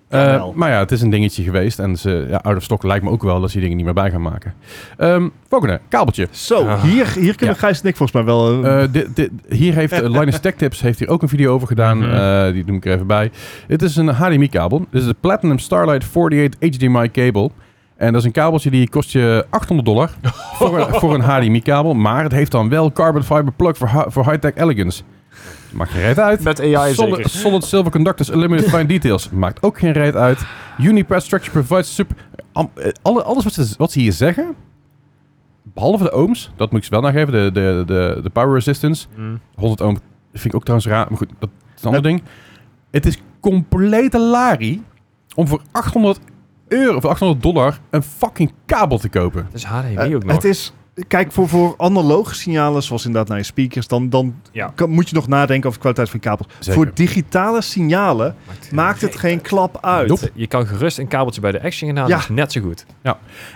Eh, Jawel. maar ja, het is een dingetje geweest. En ze, ja, out of stock lijkt me ook wel dat ze die dingen niet meer bij gaan maken. Ehm, volgende, kabeltje. Zo, Ah. hier, hier kunnen Ja. Gijs en ik volgens mij wel... eh, Eh, dit- dit- hier heeft eh, Linus Tech Tips heeft hier ook een video over gedaan. Mhm. Eh, die noem ik er even bij. Dit is een HDMI-kabel. Dit is de Platinum Starlight 48 HDMI-kabel. En dat is een kabeltje die kost je 800 dollar voor, een- voor een HDMI-kabel. Maar het heeft dan wel carbon fiber plug voor, hi- voor high-tech elegance. Maakt geen reet uit. Met AI Solid, zeker. solid silver conductors, eliminate fine details. Maakt ook geen reet uit. Unipath structure provides super... am- eh, alle, alles wat ze, wat ze hier zeggen, behalve de ohms, dat moet ik ze wel nageven, de, de, de, de power resistance. Mm. 100 ohm vind ik ook trouwens raar, maar goed, dat is een ander ding. Het is complete larie om voor 800 euro, of 800 dollar, een fucking kabel te kopen. Het is HDMI ook eh, nog. het is... Kijk, voor, voor analoge signalen, zoals inderdaad naar je speakers, dan, dan Ja. kan- moet je nog nadenken over de kwaliteit van je kabel. Zeker. Voor digitale signalen maakt het geen klap uit. Nope. Je kan gerust een kabeltje bij de action gaan halen. Ja. Dat is net zo goed.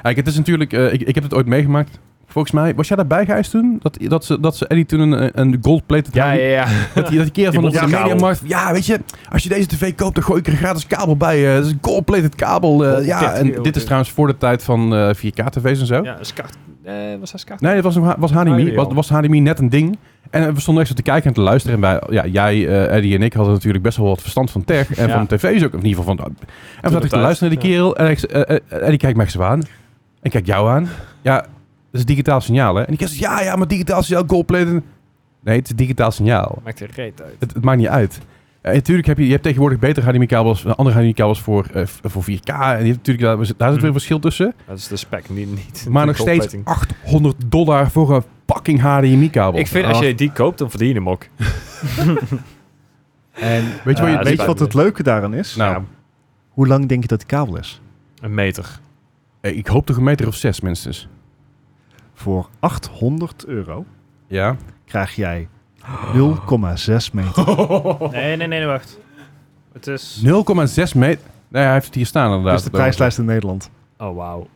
Kijk, het is natuurlijk, eh, ik, ik heb het ooit meegemaakt. Volgens mij, was jij daarbij, Gijs, toen? Dat, dat, ze, dat ze Eddie toen een, een gold-plated HDMI ja. Dat, die- dat die keer van Die onze monsterkabel. mediamarkt. Ja, weet je, als je deze tv koopt, dan gooi ik er een gratis kabel bij. eh, Het is een gold-plated kabel. eh, Oh, ja, 40 en euro. dit is trouwens voor de tijd van eh, 4K-tv's en zo. Ja, Skart. Eh, was dat Skart? Nee, dat was, een- was Oh, HDMI. jee, Was, joh. was HDMI net een ding. En eh, we stonden echt zo te kijken en te luisteren. En wij, ja, jij, eh, Eddie en ik hadden natuurlijk best wel wat verstand van tech. En Ja. van tv's ook. Of in ieder geval van... En we zaten tijd, te luisteren naar die ja. kerel. En ik, eh, eh, Eddie kijkt mij zo aan. En kijkt jou aan. Ja, dat is een digitaal signaal, hè? En ik zegt, ja, ja, maar digitaal signaal, gold-plated. Nee, het is een digitaal signaal. Maakt er reet uit. Het, het maakt niet uit. Eh, natuurlijk heb je, je hebt tegenwoordig betere HDMI-kabels, eh, andere HDMI-kabels voor, eh, v- voor 4K. En je hebt natuurlijk, daar, daar zit weer een Hmm. verschil tussen. Dat is de spec, niet, niet Maar de nog steeds goldplating. 800 dollar voor een fucking HDMI-kabel. Ik vind als je die koopt, dan verdien je hem ook. En Weet je wat je- Ja, weet dat je is wat het leuke daaraan is? Nou, Hoe lang denk je dat die kabel is? Een meter. eh, ik hoop toch een meter of zes minstens. Voor 800 euro Ja. krijg jij 0,6 meter. Nee, nee, nee, wacht. Het is... 0,6 meter. Nee, hij heeft het hier staan inderdaad. Dat is de prijslijst in Nederland. Oh, wauw.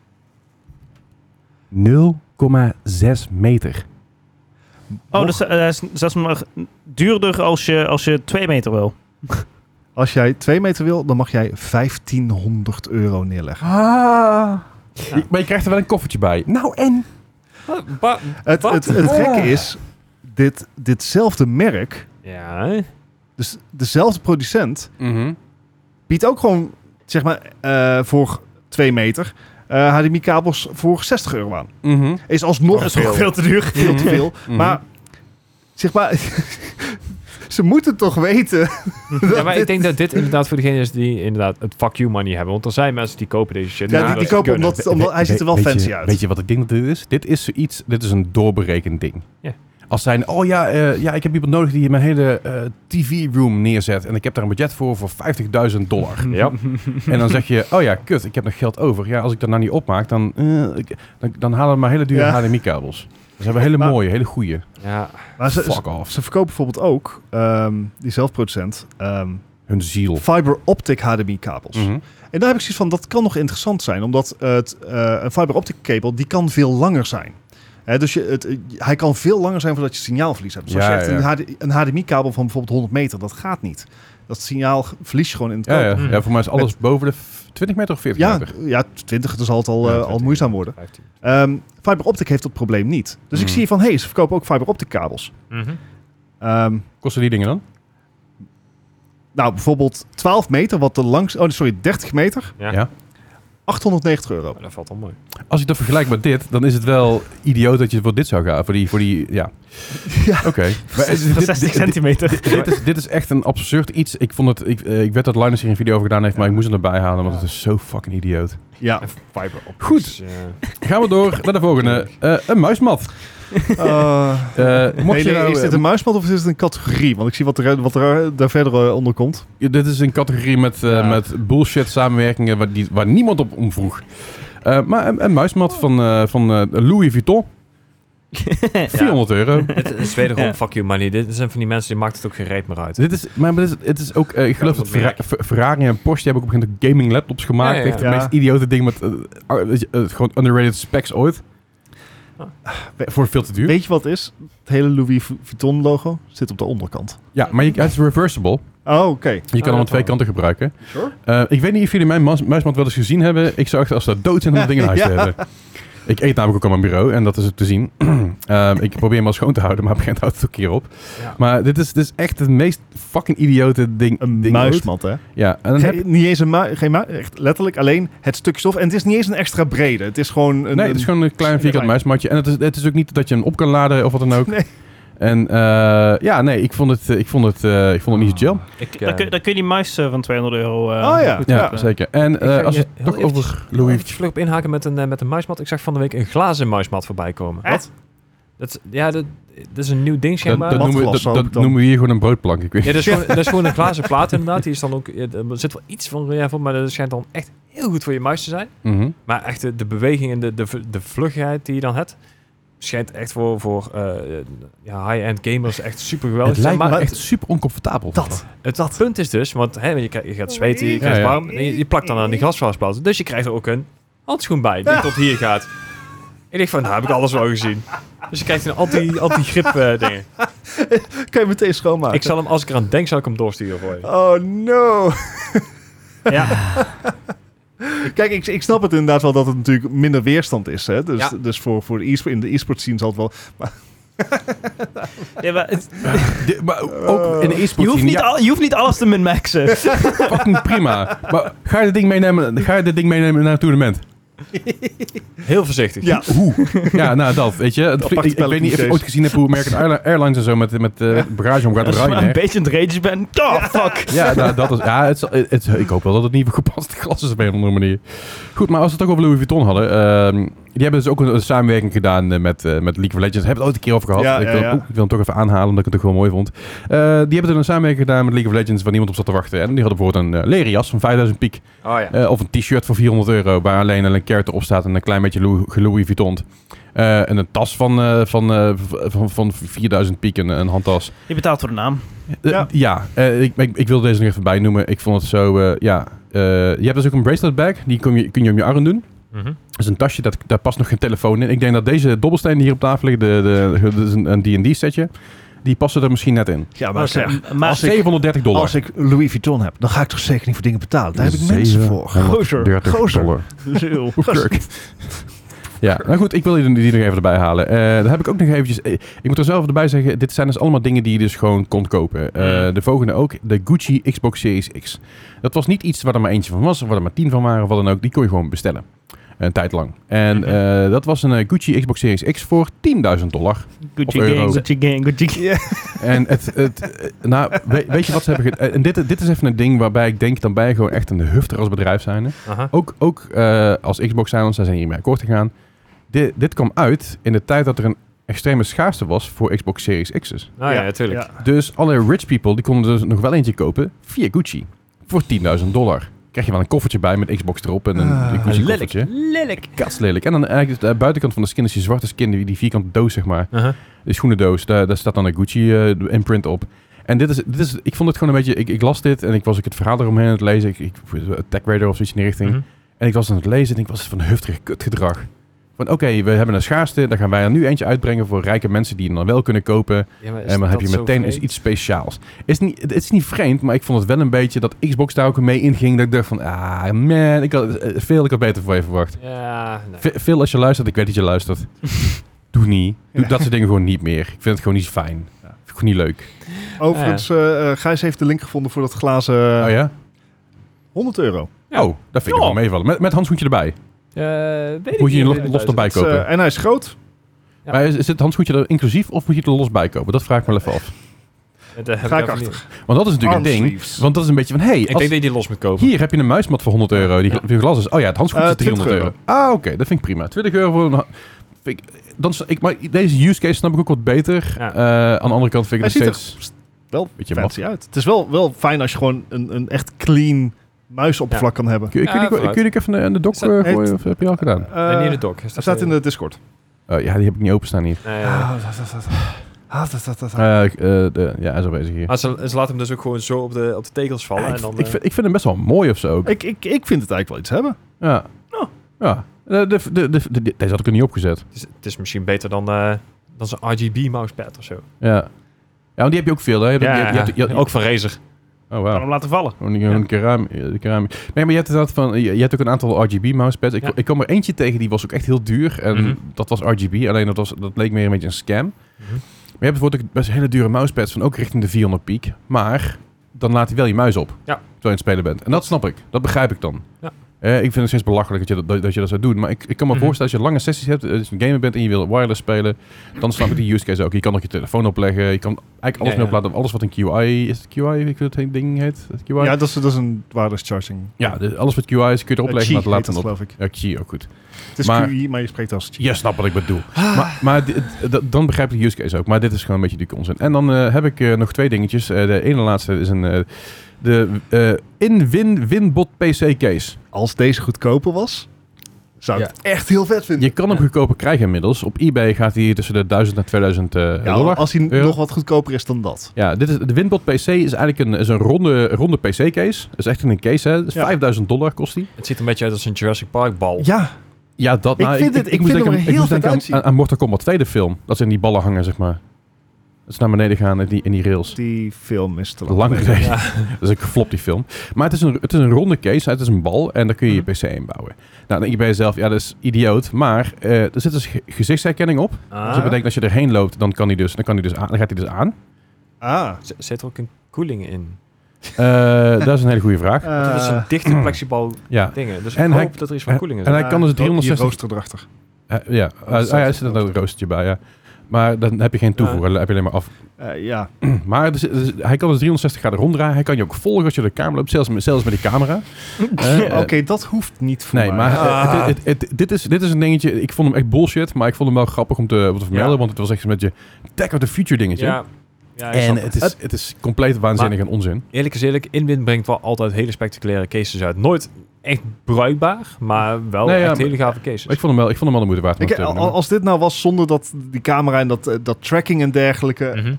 0,6 meter. Oh, dus eh, hij is zelfs maar duurder als je, als je twee meter wil. Als jij 2 meter wil, dan mag jij 1500 euro neerleggen. Je- Maar je krijgt er wel een koffertje bij. Nou en? Het, Wat? Oh. het, het gekke is, dit, ditzelfde merk, Ja, hè? dus dezelfde producent, Mhm. biedt ook gewoon, zeg maar, eh, voor 2 meter eh, HDMI-kabels voor 60 euro aan. Mhm. Is alsnog Dat is toch veel te duur. veel te veel. Mhm. Maar zeg maar, ze moeten toch weten. ja, maar ik denk dat dit inderdaad voor degenen is die inderdaad het fuck you money hebben. Want er zijn mensen die kopen deze shit. Ja, die, dat die ze kopen kunnen. omdat, omdat hij ziet er wel Weet- weet fancy je- uit. Weet je wat ik denk dat dit is? Dit is zoiets, dit is een doorberekend ding. Ja. Als zijn, oh ja, eh, ja, ik heb iemand nodig die mijn hele TV-room neerzet. En ik heb daar een budget voor voor 50.000 dollar. Ja, Mhm. en dan zeg je, oh ja, kut, ik heb nog geld over. Ja, als ik dat nou niet opmaak, dan, eh, ik- dan, dan halen we maar hele dure Ja. HDMI-kabels. Dat zijn we Dus hele Maar- mooie, hele goede. ja. maar ze, ze, Fuck off. ze verkopen bijvoorbeeld ook, ehm die zelfproducent, ehm, Hun ziel. fiber optic HDMI-kabels. Mhm. En daar heb ik zoiets van, dat kan nog interessant zijn. Omdat het, eh, een fiber optic kabel, die kan veel langer zijn. Hè, dus je, het, eh, hij kan veel langer zijn voordat je signaalverlies hebt. Dus als Ja, je echt ja. een, HD een HDMI-kabel van bijvoorbeeld 100 meter, dat gaat niet. Dat signaal verlies je gewoon in het Ja, ja. Mhm. ja, voor mij is alles boven de f- 20 meter of 40 Ja, meter. ja, 20 dus zal het al, Ja, eh, 20, al moeizaam worden. 15. Ehm fiber optic heeft dat probleem niet. Dus ik Mhm. zie van, hé, hey, ze verkopen ook fiber optic kabels. Mhm. Ehm, Kosten die dingen dan? nou, bijvoorbeeld 12 meter, wat de langs... Oh, sorry, 30 meter. Ja. Ja. 890 euro. Maar dat valt al mooi. Als je dat vergelijkt met dit, dan is het wel idioot dat je voor dit zou gaan. Voor die, voor die ja. Ja. Oké. Maar is- Voor dit- 60 dit- centimeter. Dit is, dit is echt een absurd iets. Ik, vond het, ik, eh, ik weet dat Linus hier een video over gedaan heeft, maar ik moest hem erbij halen, want het is zo fucking idioot. Ja. En fiber op. Ah. Goed. Dus, eh, Gaan we door naar de volgende. Eh, een muismat. Eh, Eh, mocht nee, je nee, nou, is dit een muismat of is dit een categorie? Want ik zie wat er, wat er daar verder eh, onder komt. eh, dit is een categorie met, eh, Ja. met bullshit samenwerkingen waar, die, waar niemand op om vroeg. Eh, maar een, een muismat van, eh, van eh, Louis Vuitton. 400 euro. Het is wederom Ja. fuck you money. Dit zijn van die mensen die maakt het ook geen reet meer uit. Dit is, maar dit is, het is ook, eh, ik geloof dat dat Ferra- merk. Fer- Ferrari en Porsche die hebben ook op een gegeven moment gaming laptops gemaakt. Ja, ja, ja. Echt Ja. het meest idiote ding met eh, ar- weet je, eh, gewoon underrated specs ooit. Ah. We- Voor veel te duur. Weet je wat het is? Het hele Louis Vu- Vuitton logo zit op de onderkant. Ja, maar je, het is reversible. Oh, oké. Je kan dat hem aan wel. twee kanten gebruiken. Sure. Eh, ik weet niet of jullie mijn muis- muismat wel eens gezien hebben. Ik zou echt als dat dood zijn om dat ding in huis te Ja. hebben. Ik eet namelijk ook aan mijn bureau en dat is het te zien. Ehm, ik probeer hem wel schoon te houden, maar op een gegeven moment houdt het ook een keer op. Ja. Maar dit is, dit is echt het meest fucking idiote ding. Een ding ooit. muismat, hè? Ja, en dan heb, Geen- niet eens een muis, geen muis, echt letterlijk alleen het stuk stof. En het is niet eens een extra brede. Het is gewoon een... nee, het is gewoon een klein vierkant klein. muismatje. En het is, het is ook niet dat je hem op kan laden of wat dan ook. Nee. En eh, ja, nee, ik vond het, eh, ik vond het, eh, ik vond het niet zo chill. Ah. Ik, Dan, kun, dan kun je die muis eh, van 200 euro... eh, Oh ja. goed Ja, kopen. zeker. En eh, als je het heel toch eventjes- over Louis. Louis... Even vlug op inhaken met een, eh, met een muismat. Ik zag van de week een glazen muismat voorbij komen. Wat? Dat, ja, dat, dat is een nieuw ding Dat, schijnbaar. dat, noemen, we, dat, Matglas, hoop dat ik dan. noemen we hier gewoon een broodplank. Ik weet Ja, dus- dat is, gewoon, dat is gewoon een glazen plaat inderdaad. Die is dan ook, er zit wel iets van relief op, maar dat schijnt dan echt heel goed voor je muis te zijn. Mhm. Maar echt de, de beweging en de, de, v- de vlugheid die je dan hebt, schijnt echt voor, voor eh, ja, high-end gamers echt super geweldig Het te zijn. lijkt me Maar echt super oncomfortabel. Dat. het punt is dus, want hè, je, krijgt- je gaat zweten, je krijgt Ja, ja. warm, en je, je plakt dan aan die glasvastplaat. Dus je krijgt er ook een handschoen bij, die tot hier gaat. Ik denk van, nou heb ik alles wel gezien. Dus je krijgt een anti- anti-grip eh, dingen. Kan je meteen schoonmaken. Ik zal hem, als ik eraan denk, zal ik hem doorsturen voor je. Oh no. Ja. Kijk, ik, ik snap het inderdaad wel dat het natuurlijk minder weerstand is. Hè? Dus, Ja. dus voor, voor de e in de e-sport scene zal het wel... Ja, maar het- De- maar ook in de je, e-sport hoeft zien, niet ja, al, je hoeft niet alles te min-maxen. fucking prima. Maar ga je dit ding meenemen, ga je dit ding meenemen naar een toernooi? Heel voorzichtig. Ja. Hoe? Ja, nou dat, weet je. Het vlie- aparte ik, ik weet niet of je spelletjes. ooit gezien hebt hoe American Airli- Airlines en zo met, met eh, bagage omgaat. Als je maar een Ryanair. beetje in het rage bent. Oh, fuck. Ja, nou, dat is, ja het, zal- het- ik hoop wel dat het niet voor gepaste glas is op een of andere manier. Goed, maar als we het ook over Louis Vuitton hadden. ehm, die hebben dus ook een, een samenwerking gedaan eh, met, eh, met League of Legends. Hebben we het ooit een keer over gehad. Ja, ik, ja, wil, ja. oeh, ik wil hem toch even aanhalen, omdat ik het toch wel mooi vond. Eh, die hebben er een samenwerking gedaan met League of Legends, waar niemand op zat te wachten. En die hadden bijvoorbeeld een eh, leren jas van 5000 piek. Oh ja. Eh, of een t-shirt voor 400 euro, waar alleen een character op staat en een klein beetje Louis, Louis Vuitton. Eh, en een tas van, eh, van, eh, van, van 4000 piek, een, een handtas. Je betaalt voor de naam. Eh, Ja. ja, eh, ik, ik, ik wilde deze nog even bijnoemen. Ik vond het zo, eh, ja. Eh, je hebt dus ook een bracelet bag, die kun je, kun je om je arm doen. Mhm. Dat is een tasje, dat, daar past nog geen telefoon in. Ik denk dat deze dobbelstenen die hier op tafel liggen, de, de, dat is een- een D&D setje, die passen er misschien net in. Ja, Oké, maar als ik- 730 dollar. Als ik Louis Vuitton heb, dan ga ik toch zeker niet voor dingen betalen. Daar heb ik mensen voor. 730 Gozer. dollar. Lul. Kirk. Ja, nou goed, ik wil die, die nog even erbij halen. Eh daar heb ik ook nog eventjes... eh, Ik moet er zelf erbij zeggen, dit zijn dus allemaal dingen die je dus gewoon kon kopen. Eh, de volgende ook, de Gucci Xbox Series X. Dat was niet iets waar er maar eentje van was, of waar er maar tien van waren, of wat dan ook. Die kon je gewoon bestellen. Een tijd lang. En eh, dat was een eh, Gucci Xbox Series X voor 10.000 dollar. Gucci Of euro. gang, Gucci gang, Gucci gang. En het, het, eh, nou, we- weet je wat ze hebben gedaan? En dit, dit is even een ding waarbij ik denk, dan ben je gewoon echt een hufter als bedrijf zijnde. Aha. Ook, ook eh, als Xbox Silence, daar zijn hiermee akkoord gegaan. Di- dit kwam uit in de tijd dat er een extreme schaarste was voor Xbox Series X's. Nou ja, natuurlijk. Ja. Dus alle rich people die konden dus nog wel eentje kopen via Gucci. Voor 10.000 dollar. Krijg je wel een koffertje bij met Xbox erop en een Ah, Gucci koffertje. lelijk. Katslelijk. En dan eigenlijk de eh, buitenkant van de skin is die zwarte skin, die, die vierkante doos zeg maar. Aha. De schoenendoos, daar, daar staat dan een Gucci-imprint op. En dit is, dit is, ik vond het gewoon een beetje, ik, ik las dit en ik was ook het verhaal eromheen aan het lezen. Ik, ik, Tech Raider of zoiets in die richting. Mhm. En ik was aan het lezen en ik was van hufterig kutgedrag. Van oké, we hebben een schaarste, dan gaan wij er nu eentje uitbrengen voor rijke mensen die hem dan wel kunnen kopen. Ja, maar is en dan heb dat je zo meteen eens vreemd? iets speciaals. Is niet, het is niet vreemd, maar ik vond het wel een beetje dat Xbox daar ook mee inging. Dat ik dacht van, ah man, ik had, eh, veel ik had beter voor je verwacht. Ja, nee. Ve- Veel als je luistert, ik weet dat je luistert. Doe niet. Doe dat soort dingen gewoon niet meer. Ik vind het gewoon niet fijn. Ja. Vind ik gewoon niet leuk. Overigens, eh, eh, Gijs heeft de link gevonden voor dat glazen oh ja? 100 euro. ja. Oh, dat vind ik Ja. wel meevallen. Met, met handschoentje erbij. Eh, weet ik Moet je niet, een los, eh, los erbij Het is, kopen. eh, en hij is groot. ja. Maar is, is het handschoentje er inclusief of moet je het er los bij kopen? Dat vraag ik me wel even af. Dat heb Ga ik even niet. achter. Want dat is natuurlijk een ding. Armsleeves. Want dat is een beetje van, hey, Ik als- denk dat je die los moet kopen. hier heb je een muismat voor 100 euro. Die, Ja. die glas is, oh ja, het handschoentje Eh, is 300 euro. 20 Ah, oké, dat vind ik prima. 20 euro voor een... ha- vind ik, dan, s- ik, maar deze use case snap ik ook wat beter. Ja. Eh, aan de andere kant vind Hij ik ziet het er steeds... pst, wel Beetje fancy uit. Het is wel, wel fijn als je gewoon een, een echt clean muisoppervlak kan hebben. Kun, je- kun, Ja, je, die- vooruit. kun je die even aan de dok Is eh, dat- gooien? heeft- Of heb je al gedaan? Eh, nee, niet in de dock. Is hij dat staat eh, in de Discord. Eh, ja, die heb ik niet openstaan hier. nee, nee. Ah, dat, dat, dat. Ah, dat, dat, dat. Eh, ik, eh, de, ja, hij is al bezig hier. Maar ze, ze laten hem dus ook gewoon zo op de, op de tegels vallen. Ja, en ik, dan, ik, eh, vind, ik vind hem best wel mooi of zo. ook. Ik, ik, ik vind het eigenlijk wel iets hebben. Ja. ja. Eh, de, de, de, de- de- deze had ik er niet opgezet. het, is, het is misschien beter dan, eh, dan zo'n RGB mousepad of zo. Ja. Ja, want die heb je ook veel. Hè? Je hebt- je hebt- je hebt- je hebt- ook van Razer. Oh, Kan wauw. hem laten vallen. Gewoon gewoon een kerami- eh, kerami- Nee, maar je hebt inderdaad van, je, je hebt ook een aantal RGB mousepads. Ik, Ja. ik kwam er eentje tegen, die was ook echt heel duur. En Mhm. dat was RGB, alleen dat, was, dat leek meer een beetje een scam. Maar je hebt bijvoorbeeld ook best hele dure mousepads van ook richting de 400 piek. Maar dan laat hij wel je muis op. Ja. Terwijl je aan het spelen bent. En dat snap ik. Dat begrijp ik dan. Ja. Eh, ik vind het steeds belachelijk dat je dat, dat, dat je dat zou doen. Maar ik, ik kan me Mhm. voorstellen, als je lange sessies hebt, eh, als je een gamer bent en je wil wireless spelen, dan snap ik die use case ook. Je kan ook je telefoon opleggen, je kan eigenlijk alles Ja, mee ja. opladen. Alles wat een QI is, het QI, ik weet het ding heet, het QI? Ja, dat is, dat is een wireless charging. Ja, de- alles wat QI is, kun je Eh, erop leggen, Qi maar heet laat dat, dan op. geloof ik. Ja, Qi, ook goed. Het is Maar- QI, maar je spreekt als Qi. Je snapt wat ik bedoel. Ah. Maar, maar dit- d- dan begrijp ik de use case ook. Maar dit is gewoon een beetje die onzin. En dan eh, heb ik eh, nog twee dingetjes. Eh, de ene laatste is een... eh, de eh, in-win-winbot PC case. Als deze goedkoper was, zou ik Ja. het echt heel vet vinden. Je kan hem goedkoper krijgen inmiddels. Op eBay gaat hij tussen de 1000 en 2000 eh, Ja, dollar. als hij euro. nog wat goedkoper is dan dat. Ja, dit is, de Winbot PC is eigenlijk een, is een ronde, ronde PC case. Dat is echt een case hè. Dus Ja. 5000 dollar kost die. Het ziet er een beetje uit als een Jurassic Park bal. Ja, Ja, dat. Ik vind het- ik vind hem er heel moest vet denken aan- uitzien. aan, aan Mortal Kombat 2 de film. Dat ze in die ballen hangen zeg maar. Dat ze naar beneden gaan in die, in die rails. die film is te lang. Lang geleden. geleden. Dat is ook geflopt, die film. Maar het is, een, het is een ronde case. Het is een bal. En daar kun je je PC in bouwen. Nou, dan denk je bij jezelf, ja, dat is idioot. Maar eh, er zit dus ge- gezichtsherkenning op. Dus dat betekent dat je erheen loopt, dan, kan die dus, dan, kan die dus aan, dan gaat hij dus aan. Ah. Z- Zit er ook een koeling in? Eh, dat is een hele goede vraag. dat is een dichte plexibal ja. dingen. Dus Eh, En ik hij- hoop eh, dat er iets van en- koeling is. en hij kan dus 360 roosterdrachtig. Eh, ja, Eh, ah, ja, er zit een roostertje bij, ja. Maar dan heb je geen toevoer, dan heb je alleen maar af. Eh ja, Maar er zit- er zit- hij kan dus 360 graden ronddraaien. Hij kan je ook volgen als je de kamer loopt, zelfs met, zelfs met die camera. Eh, eh, oké, dat hoeft niet voor Nee, mij. maar eh, Ah. het- het- het- dit, is, dit is een dingetje. Ik vond hem echt bullshit, maar ik vond hem wel grappig om te, om te vermelden. Ja. Want het was echt een beetje tech of the future dingetje. ja, ja, ik en snap het is, het is compleet waanzinnig en onzin. Eerlijk is eerlijk, Inwin brengt wel altijd hele spectaculaire cases uit. Nooit echt bruikbaar, maar wel Nee, ja, echt maar- hele gave cases. Maar ik vond hem wel, ik vond hem wel de moeite waard. om Ik, het te al- benoemen. als dit nou was zonder dat die camera en dat, eh, dat tracking en dergelijke. Mhm.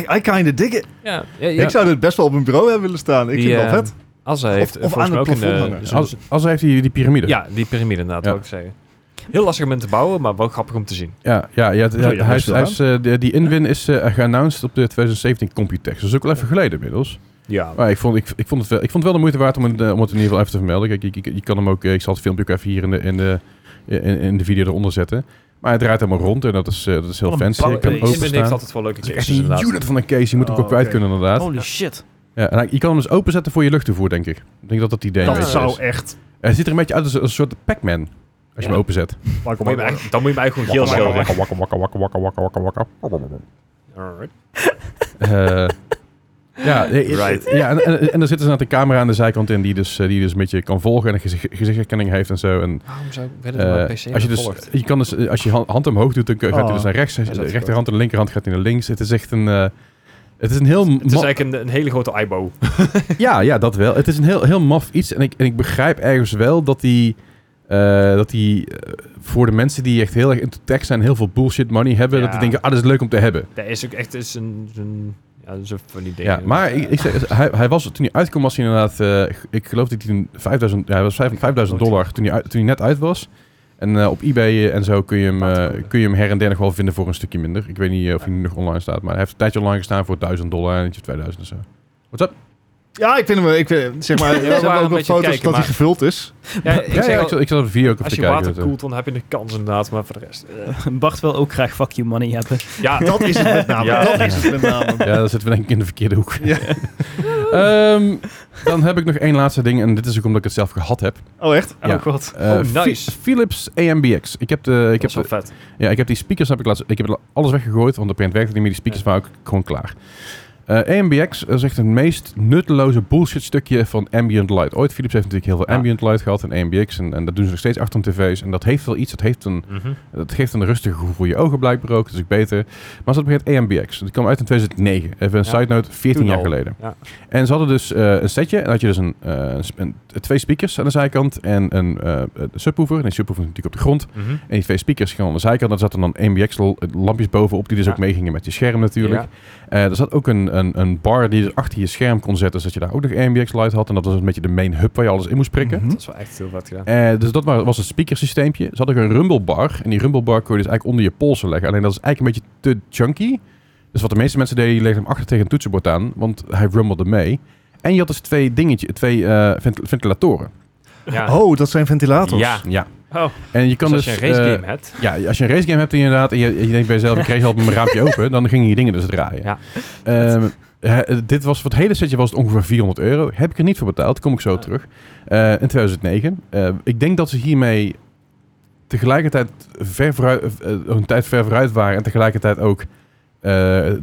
I, I kinda dig it. ja, ja, Ik zou dit best wel op mijn bureau hebben willen staan. Ik Die, vind het eh, wel vet. Als hij heeft of eh, volgens aan mij ook het een... plafond eh, hangen. zo'n- als, als hij heeft die, die piramide. ja, die piramide inderdaad, Ja. wil ik zeggen. Heel lastig om in te bouwen, maar wel grappig om te zien. ja, ja, ja, het- Zo, ja, hij is- best wel, hij is, eh, de- die inwin is eh, geannounced op de 2017 Computex. Dat is ook wel even geleden inmiddels. Ja. Maar ik vond, ik, ik, vond het wel, ik vond het wel de moeite waard om het, eh, om het in ieder geval even te vermelden. Kijk, je, je- je kan hem ook, eh, ik zal het filmpje ook even hier in de, in de, in, in de video eronder zetten. Maar hij draait helemaal rond en dat is, eh, dat is heel Wat een fancy. blauwe Ik kan hem case. Inwin openstaan. heeft altijd wel leuke Het is echt cases een inderdaad. unit van een case. Je moet hem Oh, ook kwijt oké. kunnen inderdaad. Holy shit. Ja, en hij- je kan hem dus openzetten voor je luchttoevoer, denk ik. Ik denk dat dat idee een Dat beetje zou is. echt... Hij ziet er een beetje uit als een, als een soort Pac-Man. Als je hem openzet. Waar kom Dan moet je hem ik- eigenlijk- Dan moet je hem eigenlijk gewoon geel Wakka, schilderen. Wakka, wakka, wakka, wakka, wakka, wakka, wakka, wakka. Alright. Eh, Ja, eh, Right. ja en, en, en er zit dus net een camera aan de zijkant in die dus, eh, die dus een beetje kan volgen en een gezi- gezichtsherkenning heeft en zo. En Waarom zou ik Eh, als je, dus, je kan dus, eh, als je hand, hand omhoog doet, dan kun- gaat hij Oh. dus naar rechts. dat de is rechterhand en de linkerhand gaat hij naar links. Het is echt een... eh, het is een heel... Het is ma- eigenlijk een, een hele grote eyebow. ja, ja, dat wel. Het is een heel, heel maf iets. En ik, en ik begrijp ergens wel dat die... eh, dat die eh, voor de mensen die echt heel erg into tech zijn... heel veel bullshit money hebben... dat Ja. die denken, ah, dat is leuk om te hebben. Dat is ook echt is een, een, ja, zo van die dingen. Ja, maar ik, ik zeg, hij, hij was, toen hij uitkwam was hij inderdaad... eh, ik geloof dat hij toen 5000, ja, hij was vijf- 5000 dollar toen hij, uit- toen hij net uit was. En eh, op eBay en zo kun je, hem, eh, kun je hem her en der nog wel vinden voor een stukje minder. Ik weet niet eh, of hij nu nog online staat, maar hij heeft een tijdje online gestaan voor 1000 dollar en eentje 2000 en zo. What's up? Ja, ik vind hem... Ik vind, zeg maar, Ja, we er zijn waren ook een wel beetje foto's kijken, dat hij maar- gevuld is. Ja, ik ja, zeg ja, al, ik, zal, ik zal de video ook even als je kijken. water dat, eh, koelt, dan heb je een kans inderdaad, maar voor de rest... eh, Bart wil ook graag fuck you money hebben. ja, Dat is het met name. Ja. Nou, Dat is het met name. Ja, dan zitten we denk ik in de verkeerde hoek. Ja. Ehm, dan heb ik nog één laatste ding en dit is ook omdat ik het zelf gehad heb. Oh, echt? Ja. Oh, god. Eh, Oh, nice. Phi- Philips AMBX. Ik heb de, ik dat heb is de- wel vet. Ja, ik heb die speakers heb ik laatst, ik heb alles weggegooid, want op een werkte niet meer. Die speakers Ja. waren ook gewoon klaar. Eh AMBX is echt het meest nutteloze bullshit stukje van ambient light. Ooit Philips heeft natuurlijk heel veel Ja. ambient light gehad en AMBX en, en dat doen ze nog steeds achter hun tv's en dat heeft wel iets. Dat heeft een Mhm, dat geeft een rustig gevoel voor je ogen blijkbaar ook. Dat is ook beter. Maar ze hadden begint AMBX. Dat kwam uit in 2009. Even een Ja. side note, 14 Toen jaar al. geleden. Ja. En ze hadden dus eh, een setje. En dan had je dus een, eh, een sp- een- twee speakers aan de zijkant en een eh, een subwoofer. En die subwoofer natuurlijk op de grond. mhm. En die twee speakers gingen aan de zijkant. Daar zaten dan AMBX-lampjes bovenop die dus Ja. ook meegingen met je scherm natuurlijk. Ja. Eh, er zat ook een, een, een bar die je dus achter je scherm kon zetten, zodat je daar ook nog AMBX-light had. En dat was een beetje de main hub waar je alles in moest prikken. Mhm. Dat is wel echt heel vet gedaan. Eh, dus dat wa- was het speakersysteempje. Ze hadden ook een rumble-bar. En die rumble-bar kon je dus eigenlijk onder je polsen leggen. Alleen dat is eigenlijk een beetje te chunky. Dus wat de meeste mensen deden, die legden hem achter tegen een toetsenbord aan. Want hij rummelde mee. En je had dus twee dingetje, twee eh, vent- ventilatoren. Ja. Oh, dat zijn ventilators. Ja. Ja. Oh. En je kan Dus dus... als je een race eh, game hebt. Ja, als je een racegame hebt inderdaad en je, je denkt bij jezelf, ik kreeg al mijn raampje open, dan gingen je dingen dus draaien. Ja. Ehm, hè, dit was, voor het hele setje was het ongeveer 400 euro. Heb ik er niet voor betaald, kom ik zo terug. Eh, in 2009. Eh, ik denk dat ze hiermee tegelijkertijd ver vooruit, eh, een tijd ver vooruit waren en tegelijkertijd ook eh,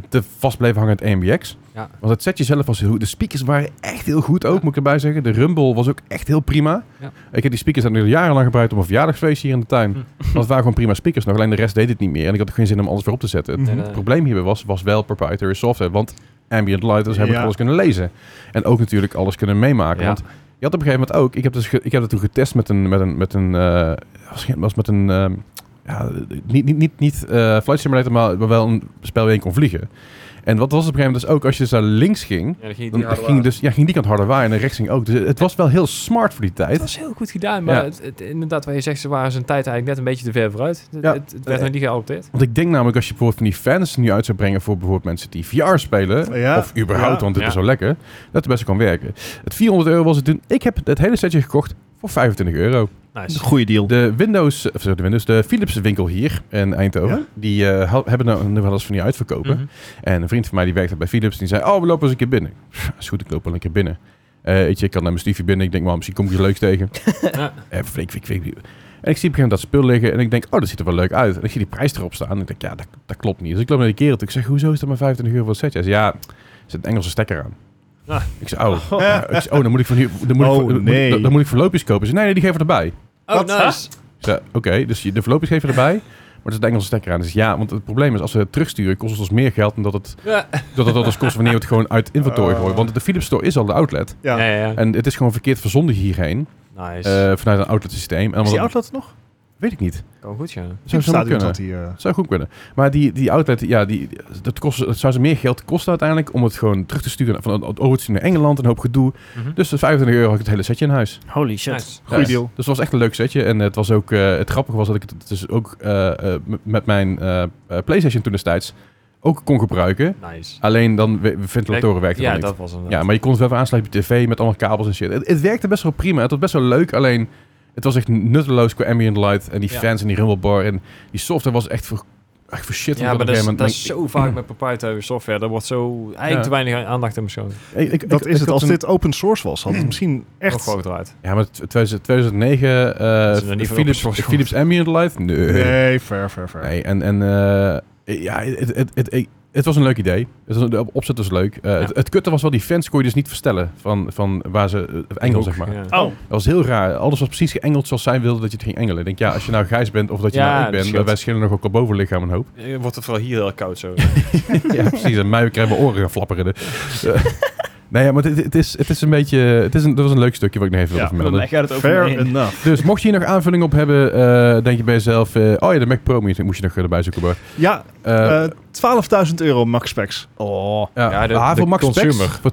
te vast bleven hangen aan het AMBX. Ja. Want het setje zelf was heel goed. De speakers waren echt heel goed ook, Ja. moet ik erbij zeggen. De Rumble was ook echt heel prima. Ja. Ik heb die speakers dan jarenlang gebruikt op een verjaardagsfeest hier in de tuin. Hm. Want het waren gewoon prima speakers nog. Alleen de rest deed het niet meer. En ik had ook geen zin om alles weer op te zetten. Mhm. Nee, nee, Het nee. probleem hierbij was, was wel proprietary software. Want ambient lighters hebben Ja. alles kunnen lezen. En ook natuurlijk alles kunnen meemaken. Ja. Want je had op een gegeven moment ook... Ik heb, dus ge- ik heb dat toen getest met een... Met een, met een eh, was, geen- was met een... ehm, ja, niet niet, niet, niet eh, flight simulator, maar maar wel een spel waar je in kon vliegen. En wat was op een gegeven moment dus ook... Als je dus naar links ging... Ja, dan ging je Dan die harde ging, waarde. dus, ja, ging die kant harder waar en naar rechts ging ook. Dus het was wel heel smart voor die tijd. Het was heel goed gedaan, maar Ja. het, het- inderdaad, waar je zegt, ze waren zijn tijd eigenlijk net een beetje te ver vooruit. Het, Ja. het, het werd nog niet geadopteerd. Want ik denk namelijk als je bijvoorbeeld van die fans nu uit zou brengen voor bijvoorbeeld mensen die VR spelen. Ja. Of überhaupt, Ja. want het is Ja. zo lekker. Dat het best wel kan werken. Het 400 euro was het toen. Ik heb het hele setje gekocht voor 25 euro. Nice. Goede deal. De Windows, of sorry, de Windows, de Philips winkel hier in Eindhoven. Ja? Die eh, ha- hebben nou, nu wel eens van die uitverkopen. Mhm. En een vriend van mij die werkte bij Philips. Die zei, oh we lopen eens een keer binnen. Pff, is goed, ik loop wel een keer binnen. Eh, weet je, ik kan naar mijn stiefje binnen. Ik denk, maar misschien kom ik iets leuks tegen. Ja. En flink, flink, flink. En ik zie op een gegeven moment dat spul liggen en ik denk, oh, dat ziet er wel leuk uit. En ik zie die prijs erop staan en ik denk, ja, dat, dat klopt niet. Dus ik loop naar die kerel toe. Ik zeg, hoezo is dat maar 25 euro voor het setje? Hij zei, ja, er zit een Engelse stekker aan. Ah. Ik zei, oh, ja. ik zei, oh, dan moet ik van hier, dan moet, Oh, ik, dan, nee. moet, dan moet ik verloopjes kopen. Ze zei, nee, nee, die geven we erbij. Ik Oh, Wat? nice. zei, oké, dus je- de verloopjes geven we erbij, maar er zit een Engelse stekker aan. Dus ja, want het probleem is, als we het terugsturen, kost het ons meer geld dan dat het, Ja. dat het, dat het kost wanneer we het gewoon uit inventory Oh. gooien. Want de Philips Store is al de outlet Ja. Ja, ja, ja. en het is gewoon verkeerd verzonden hierheen Nice. eh, vanuit een outlet systeem. En Is omdat- die outlet nog? Weet ik niet. Kan goed, ja. Zou zo Stadion kunnen. zat die, eh, Zou goed kunnen. Maar die, die outlet, ja, die, dat, kost, dat zou ze meer geld kosten uiteindelijk om het gewoon terug te sturen van het oversturen naar Engeland, een hoop gedoe. Mhm. Dus de 25 euro had ik het hele setje in huis. Holy shit. Nice. Goeie Ja. deal. Dus het was echt een leuk setje. En het was ook, eh, het grappige was dat ik het dus ook eh, eh, m- met mijn eh, eh, PlayStation toen destijds ook kon gebruiken. Nice. Alleen dan we- ventilatoren werkten ja, dan niet. dat was een. Ja, maar je kon het wel even aansluiten op je tv met allemaal kabels en shit. Het, het werkte best wel prima. Het was best wel leuk, alleen het was echt nutteloos qua ambient light en die Ja. fans en die rummelbar. En die software was echt voor, echt voor shit. op Ja, maar een dat is, gegeven dat moment. is zo vaak met proprietary software. Daar wordt zo eigenlijk Ja. te weinig aandacht aan beschoten. Ik- ik- ik- dat ik is het. had Als een- dit open source was, had het misschien Echt echt... groot eruit. Ja, maar 2000 2009 eh, Dat is nog niet van open Philips, source Philips ambient light? Nee. Nee, Nee, ver, ver, ver. en, en eh, ja, het, het, het, ik- het was een leuk idee. Het was, de opzet was leuk. Eh, Ja. het, het kutte was wel, die fans kon je dus niet verstellen van, van waar ze... eh, Engel, Ook, zeg maar. Ja. Oh, Dat was heel raar. Alles was precies geëngeld zoals zij wilde dat je het ging engelen. Ik denk, ja, als je nou grijs bent of dat je Ja, nou ik dat bent, scheelt. wij schillen nog ook al boven lichaam een hoop. Eh, Wordt het vooral hier heel koud zo. ja, precies. En mij krijgen mijn oren gaan flapperen. Eh, nee, ja, maar het, het, is, het is een beetje... Het is een, dat was een leuk stukje wat ik nog even Ja, wilde dan vermelden. gaat het over me Fair heen. enough. Dus mocht je hier nog aanvulling op hebben, eh, denk je bij jezelf... eh, oh ja, de Mac Pro Mini, die moest je nog eh, erbij zoeken. Bart. Ja, Eh, eh, 12.000 euro max specs. Oh. ja, ja, de- Havel de Max Specs consumer. voor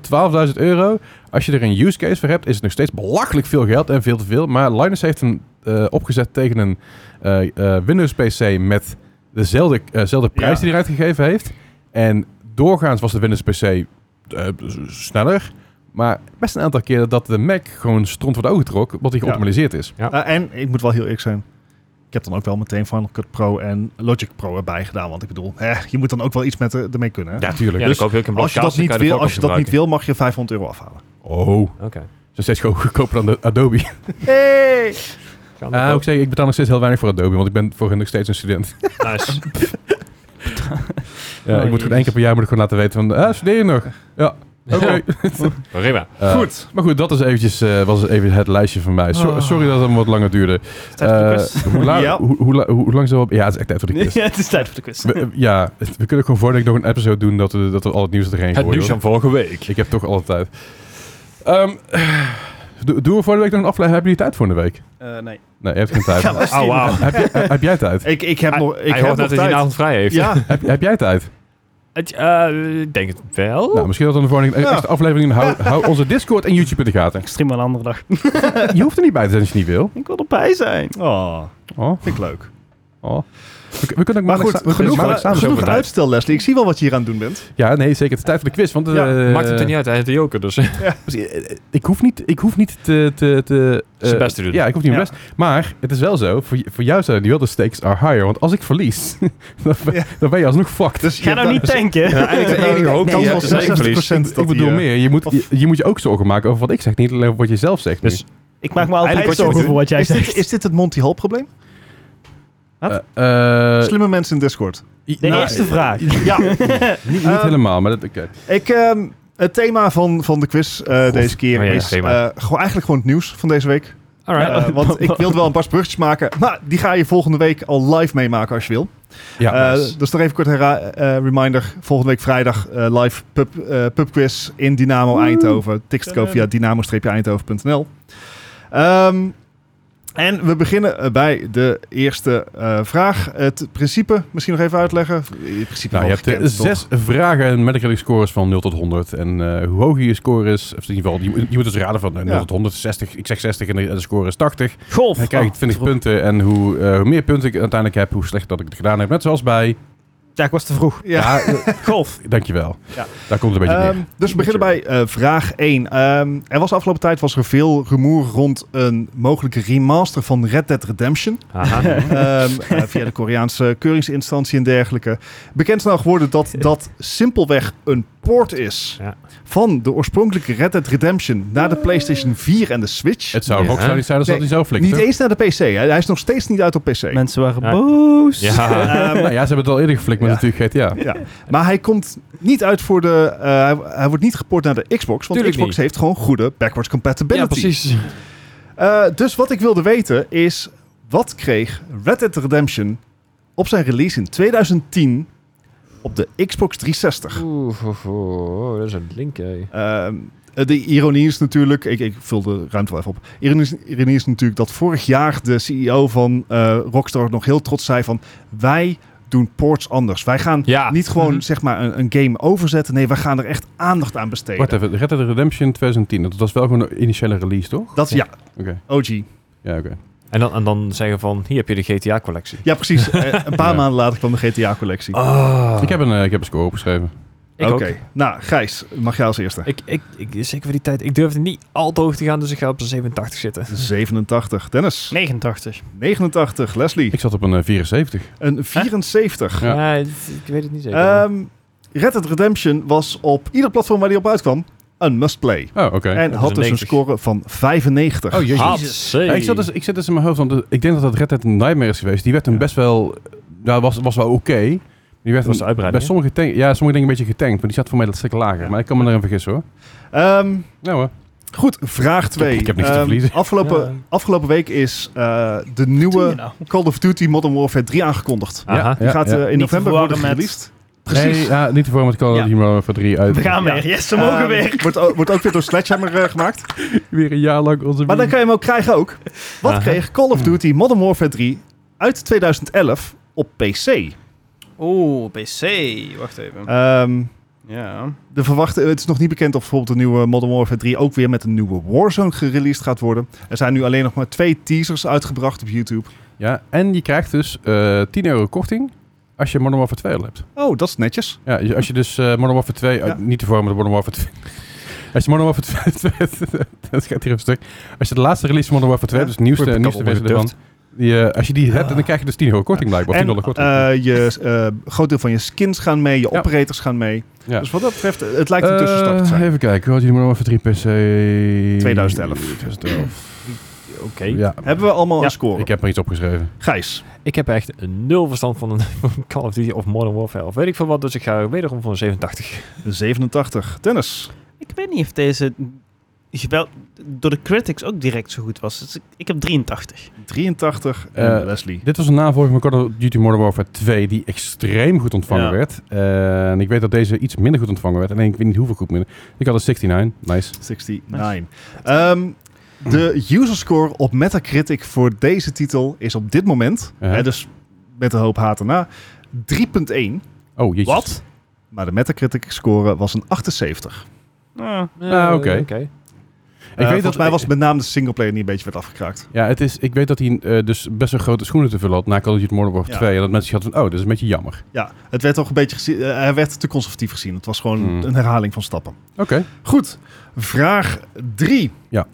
12.000 euro. Als je er een use case voor hebt, is het nog steeds belachelijk veel geld en veel te veel. Maar Linus heeft hem eh, opgezet tegen een eh, eh, Windows PC met dezelfde, eh, zelfde prijs Ja. die hij eruit gegeven heeft. En doorgaans was de Windows PC eh, s- sneller. Maar best een aantal keren dat de Mac gewoon stront wordt ogen trok, omdat hij Ja. geoptimaliseerd is. Ja. Eh, en ik moet wel heel eerlijk zijn. Ik heb dan ook wel meteen Final Cut Pro en Logic Pro erbij gedaan. Want ik bedoel, eh, je moet dan ook wel iets met eh, ermee kunnen. hè? Ja, tuurlijk. Ja, Dus- dus koop je ook een als je dat, niet wil, als je dat niet wil, mag je 500 euro afhalen. oh, Oké. ze steeds gewoon goedkoper dan de Adobe. Hey! Gaan we Ah, ik, kopen. zeg, ik betaal nog steeds heel weinig voor Adobe, want ik ben voor hun nog steeds een student. Nice. Ja, ik moet gewoon één keer per jaar moet ik gewoon laten weten van, ah, studeer je nog? Ja, oké. Oh, Prima. Eh, Goed. Maar goed, dat is eventjes, eh, was even het lijstje van mij. So- Oh. Sorry dat het een wat langer duurde. Tijd voor de Eh, quiz. hoe, la- Ja. hoe, hoe, la- hoe lang zijn we op? Ja, het is echt tijd voor de quiz. ja, het is tijd voor de quiz. We, eh, ja, het- we kunnen gewoon vorige week nog een episode doen dat we, dat we al het nieuws erheen Het gooien. nieuws hoor. van vorige week. Ik heb toch alle tijd. Ehm, do- doen we vorige week nog een aflevering? Hebben jullie tijd voor de week? Eh, nee. Nee, je hebt geen tijd. Ja, Oh, wauw. heb, je- eh, heb jij tijd? Ik, ik heb Hij- nog, ik Hij heb hoort nog net dat hij tijd. een avond vrij heeft. ja, Heb, heb jij tijd? Het, eh, Ik denk het wel. Nou, misschien dat we de volgende een Ja. extra aflevering doen. Hou, hou onze Discord en YouTube in de gaten. Ik stream wel een andere dag. Je hoeft er niet bij te zijn als je niet wil. Ik wil erbij zijn. oh, Oh, vind ik leuk. oh. We, we kunnen ook Maar maandag, goed, sa- we kunnen ook genoeg, maandag samen zo genoeg praten. uitstel, Leslie. Ik zie wel wat je hier aan het doen bent. Ja, nee, zeker. Het is tijd voor de quiz. Want, Ja, eh, Maakt het er niet uit, hij heeft de joker, dus precies, eh, Ik hoef niet, ik hoef niet te... te, te eh, Zijn best te doen. Ja, ik hoef niet mijn Ja. best. Maar het is wel zo, voor, j- voor jou zijn die wel de stakes are higher. Want als ik verlies, dan, ben- Ja. dan ben je alsnog fucked. Dus Ga nou niet tanken. Ja, eigenlijk de enige hoop die Kans je wel hebt is dat ik 66% verlies. procent dat ik bedoel hij, eh, meer, je moet, of- je, je moet je ook zorgen maken over wat ik zeg. Niet alleen over wat je zelf zegt. nu. Dus- Ik maak me altijd Eigenlijk wat je zorgen moet voor wat jij Is zegt. dit, is dit het Monty Hall probleem? Eh, eh, Slimme mensen in Discord. De nou, eerste vraag. Ja, Niet, niet Ehm, helemaal, maar dat... eh, oké. ik, ehm, het thema van, van de quiz eh, deze keer Oh ja, is thema. eh, gewoon eigenlijk gewoon het nieuws van deze week. Alright. Eh, want ik wilde wel een paar bruggetjes maken, maar die ga je volgende week al live meemaken als je wil. ja, Eh, nice. Dus nog even kort een ra- eh, reminder. Volgende week vrijdag eh, live pub, eh, pubquiz in Dynamo Eindhoven. Tickets te koop via dynamo-eindhoven.nl Ehm, En we beginnen eh, bij de eerste eh, vraag. Het principe misschien nog even uitleggen. Het principe Nou, je wel hebt eh, gekend, toch? zes vragen met een scores van 0 tot 100. En eh, hoe hoger je score is, of in ieder geval, je, moet- je moet dus raden van eh, 0 Ja. tot 100, 60. Ik zeg 60 en de, de score is 80. Golf. Oh, Dan krijg ik 20 punten. En hoe, eh, hoe meer punten ik uiteindelijk heb, hoe slechter dat ik het gedaan heb. Net zoals bij... Ja, ik was te vroeg. Ja. eh, Golf. dankjewel. Ja. Daar komt het een beetje Ehm, neer. dus we beginnen bij eh, vraag 1. Ehm, er was afgelopen tijd was er veel rumoer rond een mogelijke remaster van Red Dead Redemption. Aha. Ehm, eh, via de Koreaanse keuringsinstantie en dergelijke. Bekend is nou geworden dat dat simpelweg een port is Ja. van de oorspronkelijke Red Dead Redemption naar de PlayStation 4 en de Switch. Het zou Ja. Rockstar niet zijn als dat Nee, hij zelf flikt. Niet eens naar de PC. Hij hij is nog steeds niet uit op PC. Mensen waren Ja. boos. Ja. Ehm, Nou ja, ze hebben het al eerder geflikt met Ja. natuurlijk GTA. ja. Maar hij komt niet uit voor de. eh, hij, hij wordt niet geport naar de Xbox. Want Tuurlijk Xbox niet. heeft gewoon goede backwards compatibility. ja, precies. Eh, dus wat ik wilde weten is, wat kreeg Red Dead Redemption op zijn release in 2010 op de Xbox 360? Oeh, oeh, oeh, dat is een link, hé. Ehm, de ironie is natuurlijk, ik, ik vul de ruimte wel even op. Ironie is, ironie is natuurlijk dat vorig jaar de CEO van eh, Rockstar nog heel trots zei van, wij doen ports anders. Wij gaan Ja. niet gewoon Mhm. zeg maar een, een game overzetten, nee, wij gaan er echt aandacht aan besteden. Wacht even, Red Dead Redemption 2010. Dat was wel gewoon een initiële release, toch? Dat ja, Oké. OG. Ja, oké. En dan, en dan zeggen van, hier heb je de GTA-collectie. Ja, precies. Eh, een paar Ja. maanden later kwam de GTA-collectie. Ah. Ik, heb een, eh, ik heb een score opgeschreven. Ik Oké, ook. nou Gijs, mag jij als eerste. Ik, ik, ik, zeker voor die tijd. Ik durfde niet al te hoog te gaan, dus ik ga op een 87 zitten. 87, Dennis. 89. 89, Leslie. Ik zat op een eh, 74. Een 74. Ja. Ja, het- ik weet het niet zeker. Ehm, Red Dead Redemption was op ieder platform waar die op uitkwam een must-play. Oh, oké. En had dus een 90. score van 95. Oh, jezus. Hatsé. Ja, ik, zat dus, ik zit dus in mijn hoofd, want eh, ik denk dat dat Red Dead Nightmare is geweest. Die werd hem best wel... Ja, was, was wel oké. Die werd Dat was de hem uitbreiding, bij sommige, tank, ja, sommige dingen een beetje getankt, maar die zat voor mij dat stuk lager. Ja. Maar ik kan me daarin vergissen hoor. Ehm, Nou hoor. goed, vraag 2. ik heb niks te verliezen. Afgelopen, Ja. afgelopen week is eh, de Doe je nieuwe nou? Call of Duty Modern Warfare 3 aangekondigd. Aha. Ja. Die gaat eh, in Niet november verwarren worden met- gereleased. Precies. Precies. ja, niet te voor met Call of Ja. Duty Modern Warfare 3 uit. We gaan Ja. weer. Yes, we mogen Ehm, weer. Wordt, ook- wordt ook weer door Sledgehammer eh, gemaakt. Weer een jaar lang onze Maar dan bier. kan je hem ook krijgen ook. Wat Aha. kreeg Call of Duty Modern Warfare 3 uit 2011 op PC? Oeh, PC. Wacht even. Ehm, ja. de verwachte, het is nog niet bekend of bijvoorbeeld de nieuwe Modern Warfare 3 ook weer met een nieuwe Warzone gereleased gaat worden. Er zijn nu alleen nog maar twee teasers uitgebracht op YouTube. Ja, en je krijgt dus eh 10 euro korting als je Modern Warfare 2 al hebt. Oh, dat is netjes. Ja, je- als je dus eh, Modern Warfare 2... uit- Ja. niet te voor met Modern Warfare 2... Als je Modern Warfare 2... dat gaat hier een stuk. Als je de laatste release van Modern Warfare 2 Ja. hebt, dus nieuwste, Wordt nieuwste bekabbeld versie door ervan... de Die, eh, als je die hebt, dan krijg je dus 10 euro korting blijkbaar. Of 10 dollar korting. Ah. eh, je eh, groot deel van je skins gaan mee, je Ja. operators gaan mee. Ja. Dus wat dat betreft, het lijkt een Eh, tussenstap te zijn. Even kijken, had jullie Modern Warfare 3 PC... 2011. 2011. Oké. Ja, Hebben we allemaal Ja. een score? ik heb er iets opgeschreven. Gijs. Ik heb echt nul verstand van een van Call of Duty of Modern Warfare of weet ik veel wat, dus ik ga wederom voor een 87. 87. Dennis. Ik weet niet of deze geweld door de critics ook direct zo goed was. Dus ik, ik heb 83. 83. En Eh, Leslie. Dit was een navolging van Call of Duty Modern Warfare 2, die extreem goed ontvangen Ja. werd. Eh, en ik weet dat deze iets minder goed ontvangen werd. En ik weet niet hoeveel goed minder. Ik had een 69, nice. 69. Ehm, de userscore op Metacritic voor deze titel is op dit moment, Uh-huh. hè, dus met een hoop haat erna, 3.1. Oh, jeetje. Wat? Maar de Metacritic score was een 78. Nou, Ah, oké. Eh, Oké. Ik weet Eh, volgens dat- mij was het met name de singleplayer die een beetje werd afgekraakt. Ja, het is, ik weet dat hij eh, dus best wel grote schoenen te vullen had na Call of Duty Modern Warfare Ja. 2. En dat mensen hadden van, oh, dat is een beetje jammer. Ja, het werd toch een beetje gezien, eh, hij werd te conservatief gezien. Het was gewoon Hmm. een herhaling van stappen. Oké. Goed, vraag 3. Ja.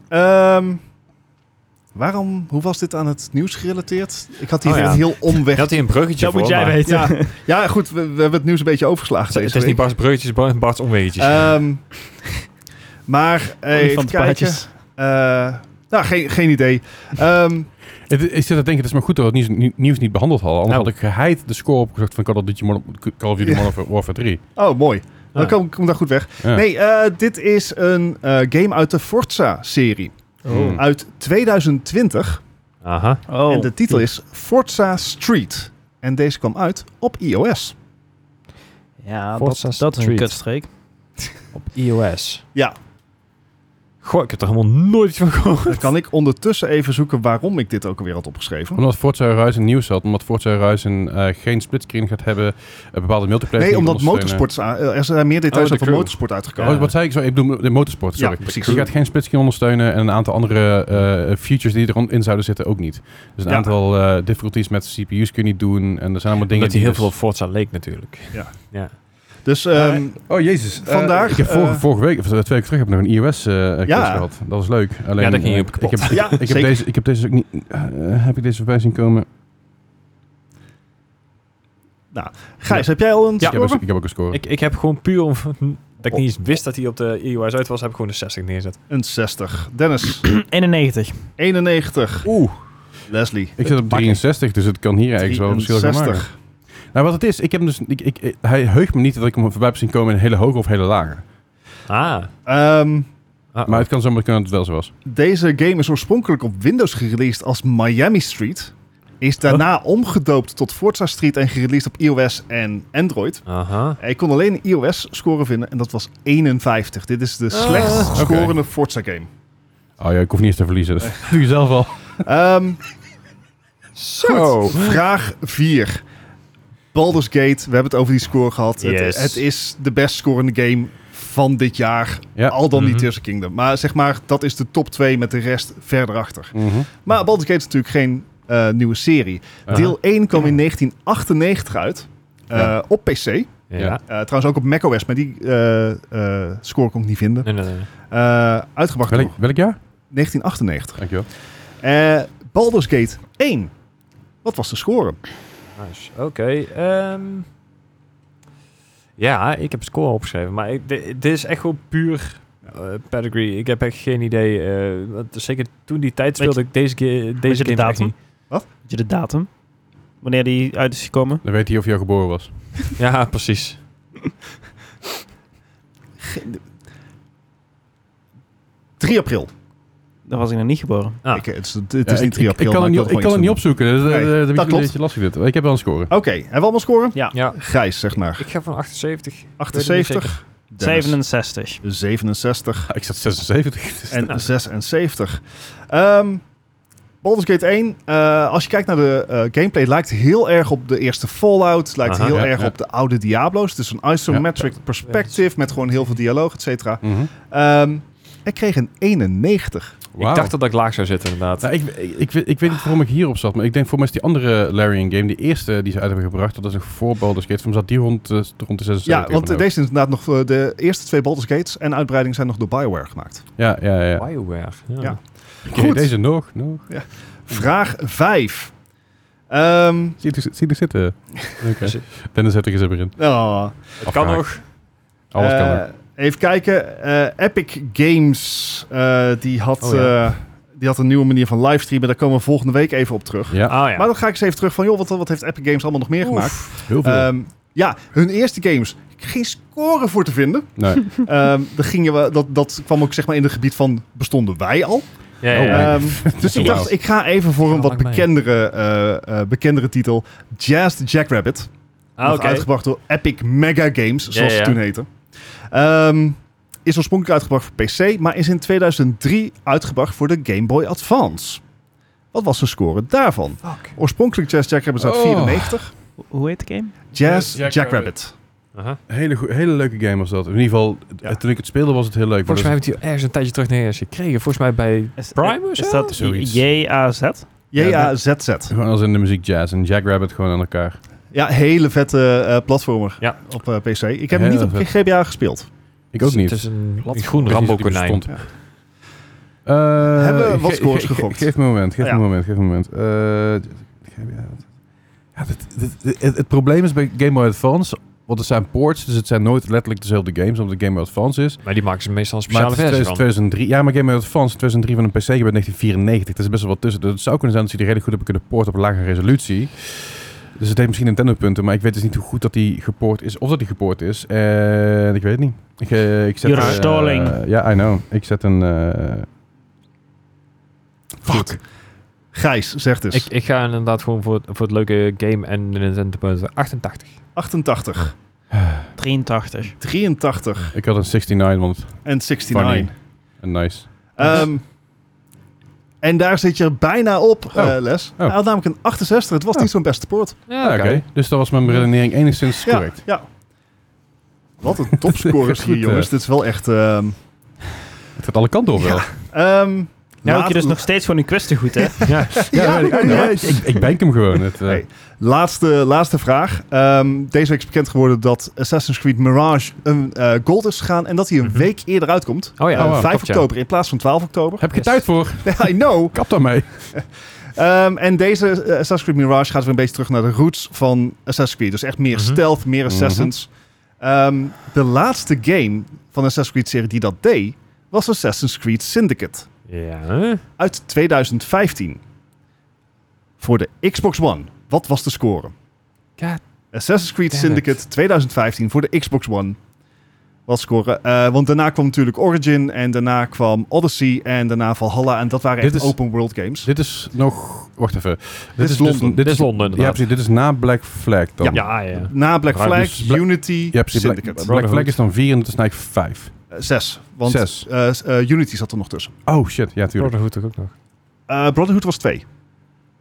waarom, hoe was dit aan het nieuws gerelateerd? Ik had hier Oh weer ja. een heel omweg. Ik had hij een bruggetje voor, maar- Ja, ja, goed, we, we hebben het nieuws een beetje overgeslagen. Het is- Het deze is niet week. Bart's bruggetjes, Bar- Bart's omweggetjes. Eh, Ehm, maar eh, even kijken. Olifantenpaadjes. Eh, nou, geen, geen idee. Ehm, Het, ik zit te denken, het is maar goed dat we het nieuws, nieuws niet behandeld hadden. Anders Nou. had ik geheid de score opgezocht van Call of Duty Modern, Call of Duty Ja. Modern Warfare 3. oh, mooi. Ja. Dan kom, kom daar goed weg. Ja. Nee, eh, dit is een eh, game uit de Forza-serie. Hm. Oh. Uit 2020. Hmm. Aha. Oh. En de titel is Forza Street. En deze kwam uit op iOS. Ja, Forza dat, dat is een Street. kutstreek. Op iOS. Ja, Goh, ik heb er helemaal nooit iets van gehoord. dan kan ik ondertussen even zoeken waarom ik dit ook alweer had opgeschreven. Omdat Forza Horizon nieuws had. Omdat Forza Horizon eh, geen splitscreen gaat hebben. eh, bepaalde multiplayer Nee, niet omdat ondersteunen. motorsport... eh, Er zijn meer Oh, details de over crew. motorsport uitgekomen. Oh, wat zei ik zo? Ik bedoel de motorsport, sorry. Ja, precies. Je gaat geen splitscreen ondersteunen en een aantal andere eh, features die erin zouden zitten ook niet. Dus een Ja. aantal eh, difficulties met CPU's kun je niet doen. En er zijn allemaal dingen Omdat hij heel dus- veel op Forza leek natuurlijk. Ja. ja. Dus ehm, Oh jezus. Eh, Vandaag, ik heb vorige, eh, vorige week, of twee weken terug, heb ik nog een iOS eh quiz Ja. gehad. Dat is leuk. Alleen, Ja, daar ging je eh, op kapot. Ik heb, Ja, ik heb zeker. deze, ik heb deze ook niet. eh, heb ik deze voorbij zien komen? Gijs, heb jij al een Ik, heb, score? ook- ik heb ook een score. Ik, ik heb gewoon puur om... Dat ik niet eens wist dat hij op de iOS uit was, heb ik gewoon een 60 neerzet. Een 60. Dennis, 91. 91. Oeh. Leslie. Ik zit op 63, dus het kan hier eigenlijk wel een verschil gaan maken. 63. Nou, wat het is, ik heb hem dus, ik, ik, ik- hij heugt me niet dat ik hem voorbij heb zien komen in een hele hoge of hele lage. Ah. Ehm, Ah, Maar het kan zomaar kunnen dat het wel zo was. deze game is oorspronkelijk op Windows gereleased als Miami Street. Is daarna omgedoopt tot Forza Street en gereleased op iOS en Android. Aha. Eh, Ik kon alleen een iOS-score vinden en dat was 51. Dit is de slechtst scorende Forza-game. Oh ja, ik hoef niet eens te verliezen. dus. Dat doe je zelf al. Ehm, Zo. Goed, vraag 4. Baldur's Gate, we hebben het over die score gehad. Het, Yes. het is de best scorende game van dit jaar. Ja. Al dan Mhm. niet Tears of Kingdom. Maar zeg maar, dat is de top 2 met de rest verder achter. Mhm. Maar Baldur's Gate is natuurlijk geen eh, nieuwe serie. Deel 1 kwam in 1998 uit. eh, Ja. Op PC. Eh, Ja. trouwens ook op macOS, maar die eh, eh, score kon ik niet vinden. Nee, nee, nee. Eh, uitgebracht door Welk, welk jaar? 1998. Dankjewel. Eh Baldur's Gate 1. Wat was de score? Nice. Oké. ehm. ja, ik heb score opgeschreven. Maar ik- di- dit is echt gewoon puur eh, pedigree. Ik heb echt geen idee. eh, want zeker toen die tijd Weet je- speelde ik deze, ge- deze je de game echt datum? niet. Weet je de datum? Wanneer die uit is gekomen? Dan weet hij of hij al geboren was. Ja, precies. Ge- 3 april. Dan was ik nog niet geboren. Ah. Ik, het is, het is Ja, niet ik, 3 ik, april. ik kan maar het niet, wilde ik kan het gewoon niet iets opzoeken. dus, eh, Dat, Nee, dat, dat dat klopt. Een beetje lastig dit. Ik heb wel een score. doen. Oké, hebben we allemaal scoren? Ja. Ja. Gijs, zeg maar. Ik ga van 78. 78. Dennis, 67. 67 Ik zat 76. Dus en 76. Ehm Baldur's Gate 1, eh, als je kijkt naar de eh, gameplay, het lijkt heel erg op de eerste Fallout. Lijkt Aha. heel Ja, erg ja. op de oude Diablo's. Het is een isometric perspective met gewoon heel veel dialoog, et cetera. Mhm. Ehm, ik kreeg een 91. Wauw. Ik dacht dat ik laag zou zitten, inderdaad. Nou, ik, ik, ik, weet- ik weet niet waarom ik hierop zat, maar ik denk voor mij is die andere Larian game, die eerste die ze uit hebben gebracht, dat is een voor Baldur's Gate, voor mij zat die rond, eh, rond de nou? 76. Ja, want even eh, deze is inderdaad nog eh, de eerste twee Baldur's Gates en uitbreiding zijn nog door Bioware gemaakt. Ja, ja, ja. ja. Bioware. Ja. Ja. Oké, Goed. Deze nog, nog. Vraag 5. Ehm Zie je zie je er zitten? Oké. Dennis heeft er gezin in. oh, Het kan Afgehaakt. nog. Alles kan eh, er. Even kijken. Eh, Epic Games, eh, die, had, Oh, ja. eh, die had een nieuwe manier van livestreamen. Daar komen we volgende week even op terug. Ja, Ah ja. Maar dan ga ik eens even terug van, joh, wat, wat heeft Epic Games allemaal nog meer gemaakt? heel veel. Ehm, ja, hun eerste games. Geen score voor te vinden. nee. Ehm, dan gingen we, dat, dat kwam ook zeg maar in het gebied van, bestonden wij al? ja, Oh, ja, ja. mijn. Ehm, dus ik dacht, ik ga even voor een Ja, wat maakt mij. bekendere, eh, eh, bekendere titel. Jazz the Jackrabbit. Ah, Wordt oké. Uitgebracht door Epic Mega Games, zoals ja, ze ja. toen heette. Ehm, is oorspronkelijk uitgebracht voor PC, maar is in 2003 uitgebracht voor de Game Boy Advance. Wat was de score daarvan? Fuck. Oorspronkelijk Jazz Jackrabbit uit Oh. 94. Hoe heet de game? Jazz Jazz Jackrabbit. Jackrabbit. Aha. Hele, goe- hele leuke game was dat. In ieder geval, het- Ja. toen ik dus- het speelde was het heel leuk. maar Volgens mij heb ik die ergens een tijdje terug neer gekregen. Volgens mij bij Is, Prime of is zo? dat Zoiets. JAZ? JAZZ. dat is gewoon als in de muziek jazz en Jackrabbit gewoon aan elkaar. Ja, hele vette eh, platformer Ja. op eh, PC. Ik heb hem Heel niet op vet. GBA gespeeld. Ik ook niet. Het is een, een groen Ik weet niet of rambo die konijn. bestond. Ja. Eh, Hebben we ge- wat scores ge- ge- gegokt? Geef me een moment, geef Ja. me een moment, geef me een moment. Eh, ja, dit, dit- dit- het, het probleem is bij Game Boy Advance, want het zijn ports, dus het zijn nooit letterlijk dezelfde games, omdat het Game Boy Advance is. Maar die maken ze meestal een Maar speciale het is versie van. 2003, ja, maar Game Boy Advance 2003 van een PC gebeurt 1994. Dat is best wel wat tussen. Dus het zou kunnen zijn dat ze die redelijk goed hebben kunnen porten op een lagere resolutie. Dus het heeft misschien Nintendo-punten, maar ik weet dus niet hoe goed dat die gepoord is. Of dat die gepoord is. En ik weet het niet. Ik, eh, ik zet, You're eh, stalling. eh, Ja, I know. Ik zet een... eh, Fuck. Gijs, zegt dus. Ik, ik ga inderdaad gewoon voor, het- voor het leuke game en de Nintendo punten 88. 88, 83. 83 Ik had een 69, want en 69. Funny. een nice. Ehm, en daar zit je bijna op, Oh. eh, Les. Hij had namelijk een 68. Het was Oh. niet zo'n beste poort. Ja, Ah, Oké, dus dat was mijn redenering enigszins Ja, correct. Ja. Wat een topscore is hier, Goed, jongens. eh. Dit is wel echt... ehm Het gaat alle kanten op wel. ehm, Nou, heb laat- je dus nog steeds gewoon een quiz te goed, hè? Ja. Ja, weet ik, ook. ja. ik, ik, ik bank hem gewoon. Het, eh, Hey. Laatste, laatste vraag. Ehm, deze week is bekend geworden dat Assassin's Creed Mirage een eh, gold is gegaan en dat hij een Mhm. week eerder uitkomt. Oh ja, Eh, oh, wow, 5 klopt, ja. oktober in plaats van 12 oktober. Heb ik er tijd Yes. voor? I know. Kap daarmee. Ehm, en deze eh, Assassin's Creed Mirage gaat weer een beetje terug naar de roots van Assassin's Creed. Dus echt meer Mhm. stealth, meer assassins. Ehm, de laatste game van de Assassin's Creed serie die dat deed, was Assassin's Creed Syndicate Ja. uit 2015. Voor de Xbox One. Wat was de score? God Assassin's Creed damn Syndicate 2015 voor de Xbox One. Wat scoren. Eh, want daarna kwam natuurlijk Origin en daarna kwam Odyssey en daarna Valhalla. En dat waren Dit echt is- open world games. Dit is nog... Wacht even. Dit, is dus- Londen. dit Dit is Londen, Ja, inderdaad. precies. Dit is na Black Flag dan. Ja, ja. Na Black Maar Flag, dus Bla- Unity, Ja, precies. Black, Syndicate. Black Flag is dan 4 en dat is eigenlijk 5. Eh, zes. Want Zes. eh, s- eh, Unity zat er nog tussen. Oh shit, ja tuurlijk. Brotherhood ook nog. Eh, Brotherhood was twee.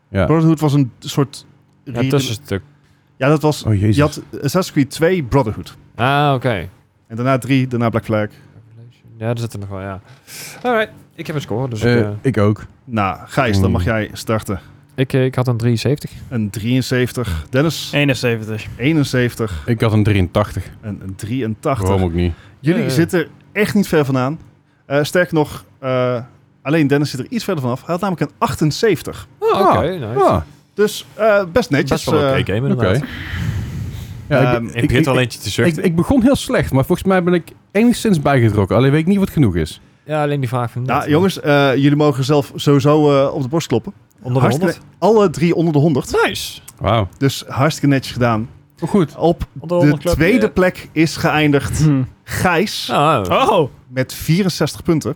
Ja. Brotherhood was een soort... Ja, tussenstuk. Ja, dat was... Oh jezus. Je had Assassin's Creed 2, Brotherhood. Ah, oké. En daarna 3, daarna Black Flag. Ja, er zitten nog wel, ja. Alright, ik heb een score, dus Eh, ik, eh, ik ook. Nou, Gijs, dan Hmm. mag jij starten. ik, eh, ik had een 73. Een 73, Dennis 71. Eh. 71 Ik had een 83. en een 83. Waarom ook niet? Jullie Ja, ja. zitten er echt niet ver vandaan. Eh sterker nog, eh, alleen Dennis zit er iets verder vanaf. Hij had namelijk een 78. Oh, Ah, oké, nice. Ah, Dus eh, best netjes. Best wel oké eh, game, oké. inderdaad. Ja, Ehm, ik, ik ik, ik, eentje te ik, ik begon heel slecht, maar volgens mij ben ik enigszins bijgetrokken. Alleen weet ik niet wat genoeg is. Ja, alleen die vraag van net. nou, jongens, eh, jullie mogen zelf sowieso eh, op de borst kloppen. Onder de Hartstikke- 100? Alle drie onder de 100. Nice. Wauw. Dus hartstikke netjes gedaan. Oh, goed. Op Onder de 100 club, tweede eh. plek is geëindigd Hm. Gijs Ah, Oh! met 64 punten.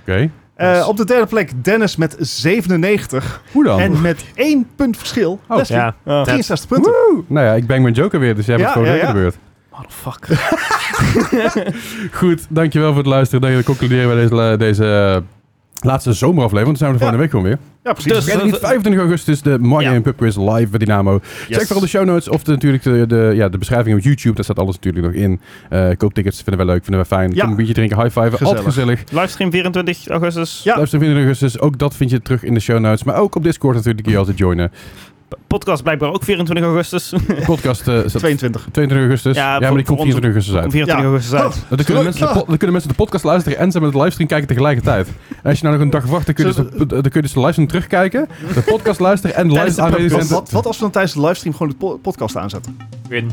Oké. Eh, Nice. op de derde plek Dennis met 97. Hoe dan? En met één punt verschil, Oh. Leslie, ja. oh. 63 punten. Nou ja, ik bang mijn joker weer, dus jij bent Ja, gewoon ja, weer ja. de beurt. Motherfucker. Goed, dankjewel voor het luisteren. Dan concluderen we deze, la- deze eh, laatste zomeraflevering, want dan zijn we de Ja. volgende week gewoon weer. Ja, precies. Dus- Vergeet niet, 25 augustus de Mario Ja. Game Pub Quiz live bij Dynamo. Check vooral de show notes of de, natuurlijk de, de, ja, de beschrijving op YouTube. Daar staat alles natuurlijk nog in. Eh, koop tickets, vinden wij leuk, vinden wij fijn. Ja. Kom een biertje drinken, high five. Altijd Gezellig. gezellig. Livestream 24 augustus. Ja. Luister 24 augustus, ook dat vind je terug in de show notes. Maar ook op Discord natuurlijk, kun je altijd joinen. P- Podcast blijkbaar ook 24 augustus. De podcast eh, staat 22. 22 augustus. Ja, Ja, voor- maar die voor komt 24 augustus uit. Om 24 Ja. augustus uit. Dan kunnen, mensen de po- dan kunnen mensen de podcast luisteren en ze met het livestream kijken tegelijkertijd. En als je nou nog een dag wacht, dan kun je dus de, dan kun je dus de livestream terugkijken, de podcast luisteren en Tijdens live de aanwezig zijn. Wat, En dan wat, wat als we dan tijdens de livestream gewoon de po- podcast aanzetten? Dan Win.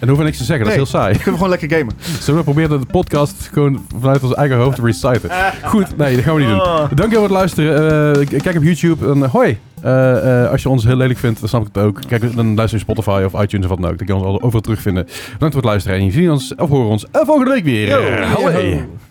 hoeven we niks te zeggen, dat is heel saai. kunnen we gewoon lekker gamen. Zullen we proberen de podcast gewoon vanuit ons eigen hoofd te reciten? Goed, nee, dat gaan we niet Oh. doen. Dankjewel voor het luisteren. Eh, k- kijk op YouTube en eh, hoi. Eh, eh, als je ons heel lelijk vindt, dan snap ik het ook. Kijk, dan luister je Spotify of iTunes of wat dan ook. Dan kan je ons overal terugvinden. Bedankt voor het luisteren en je ziet ons of horen ons eh, volgende week weer. Eh, hoi. Hallo.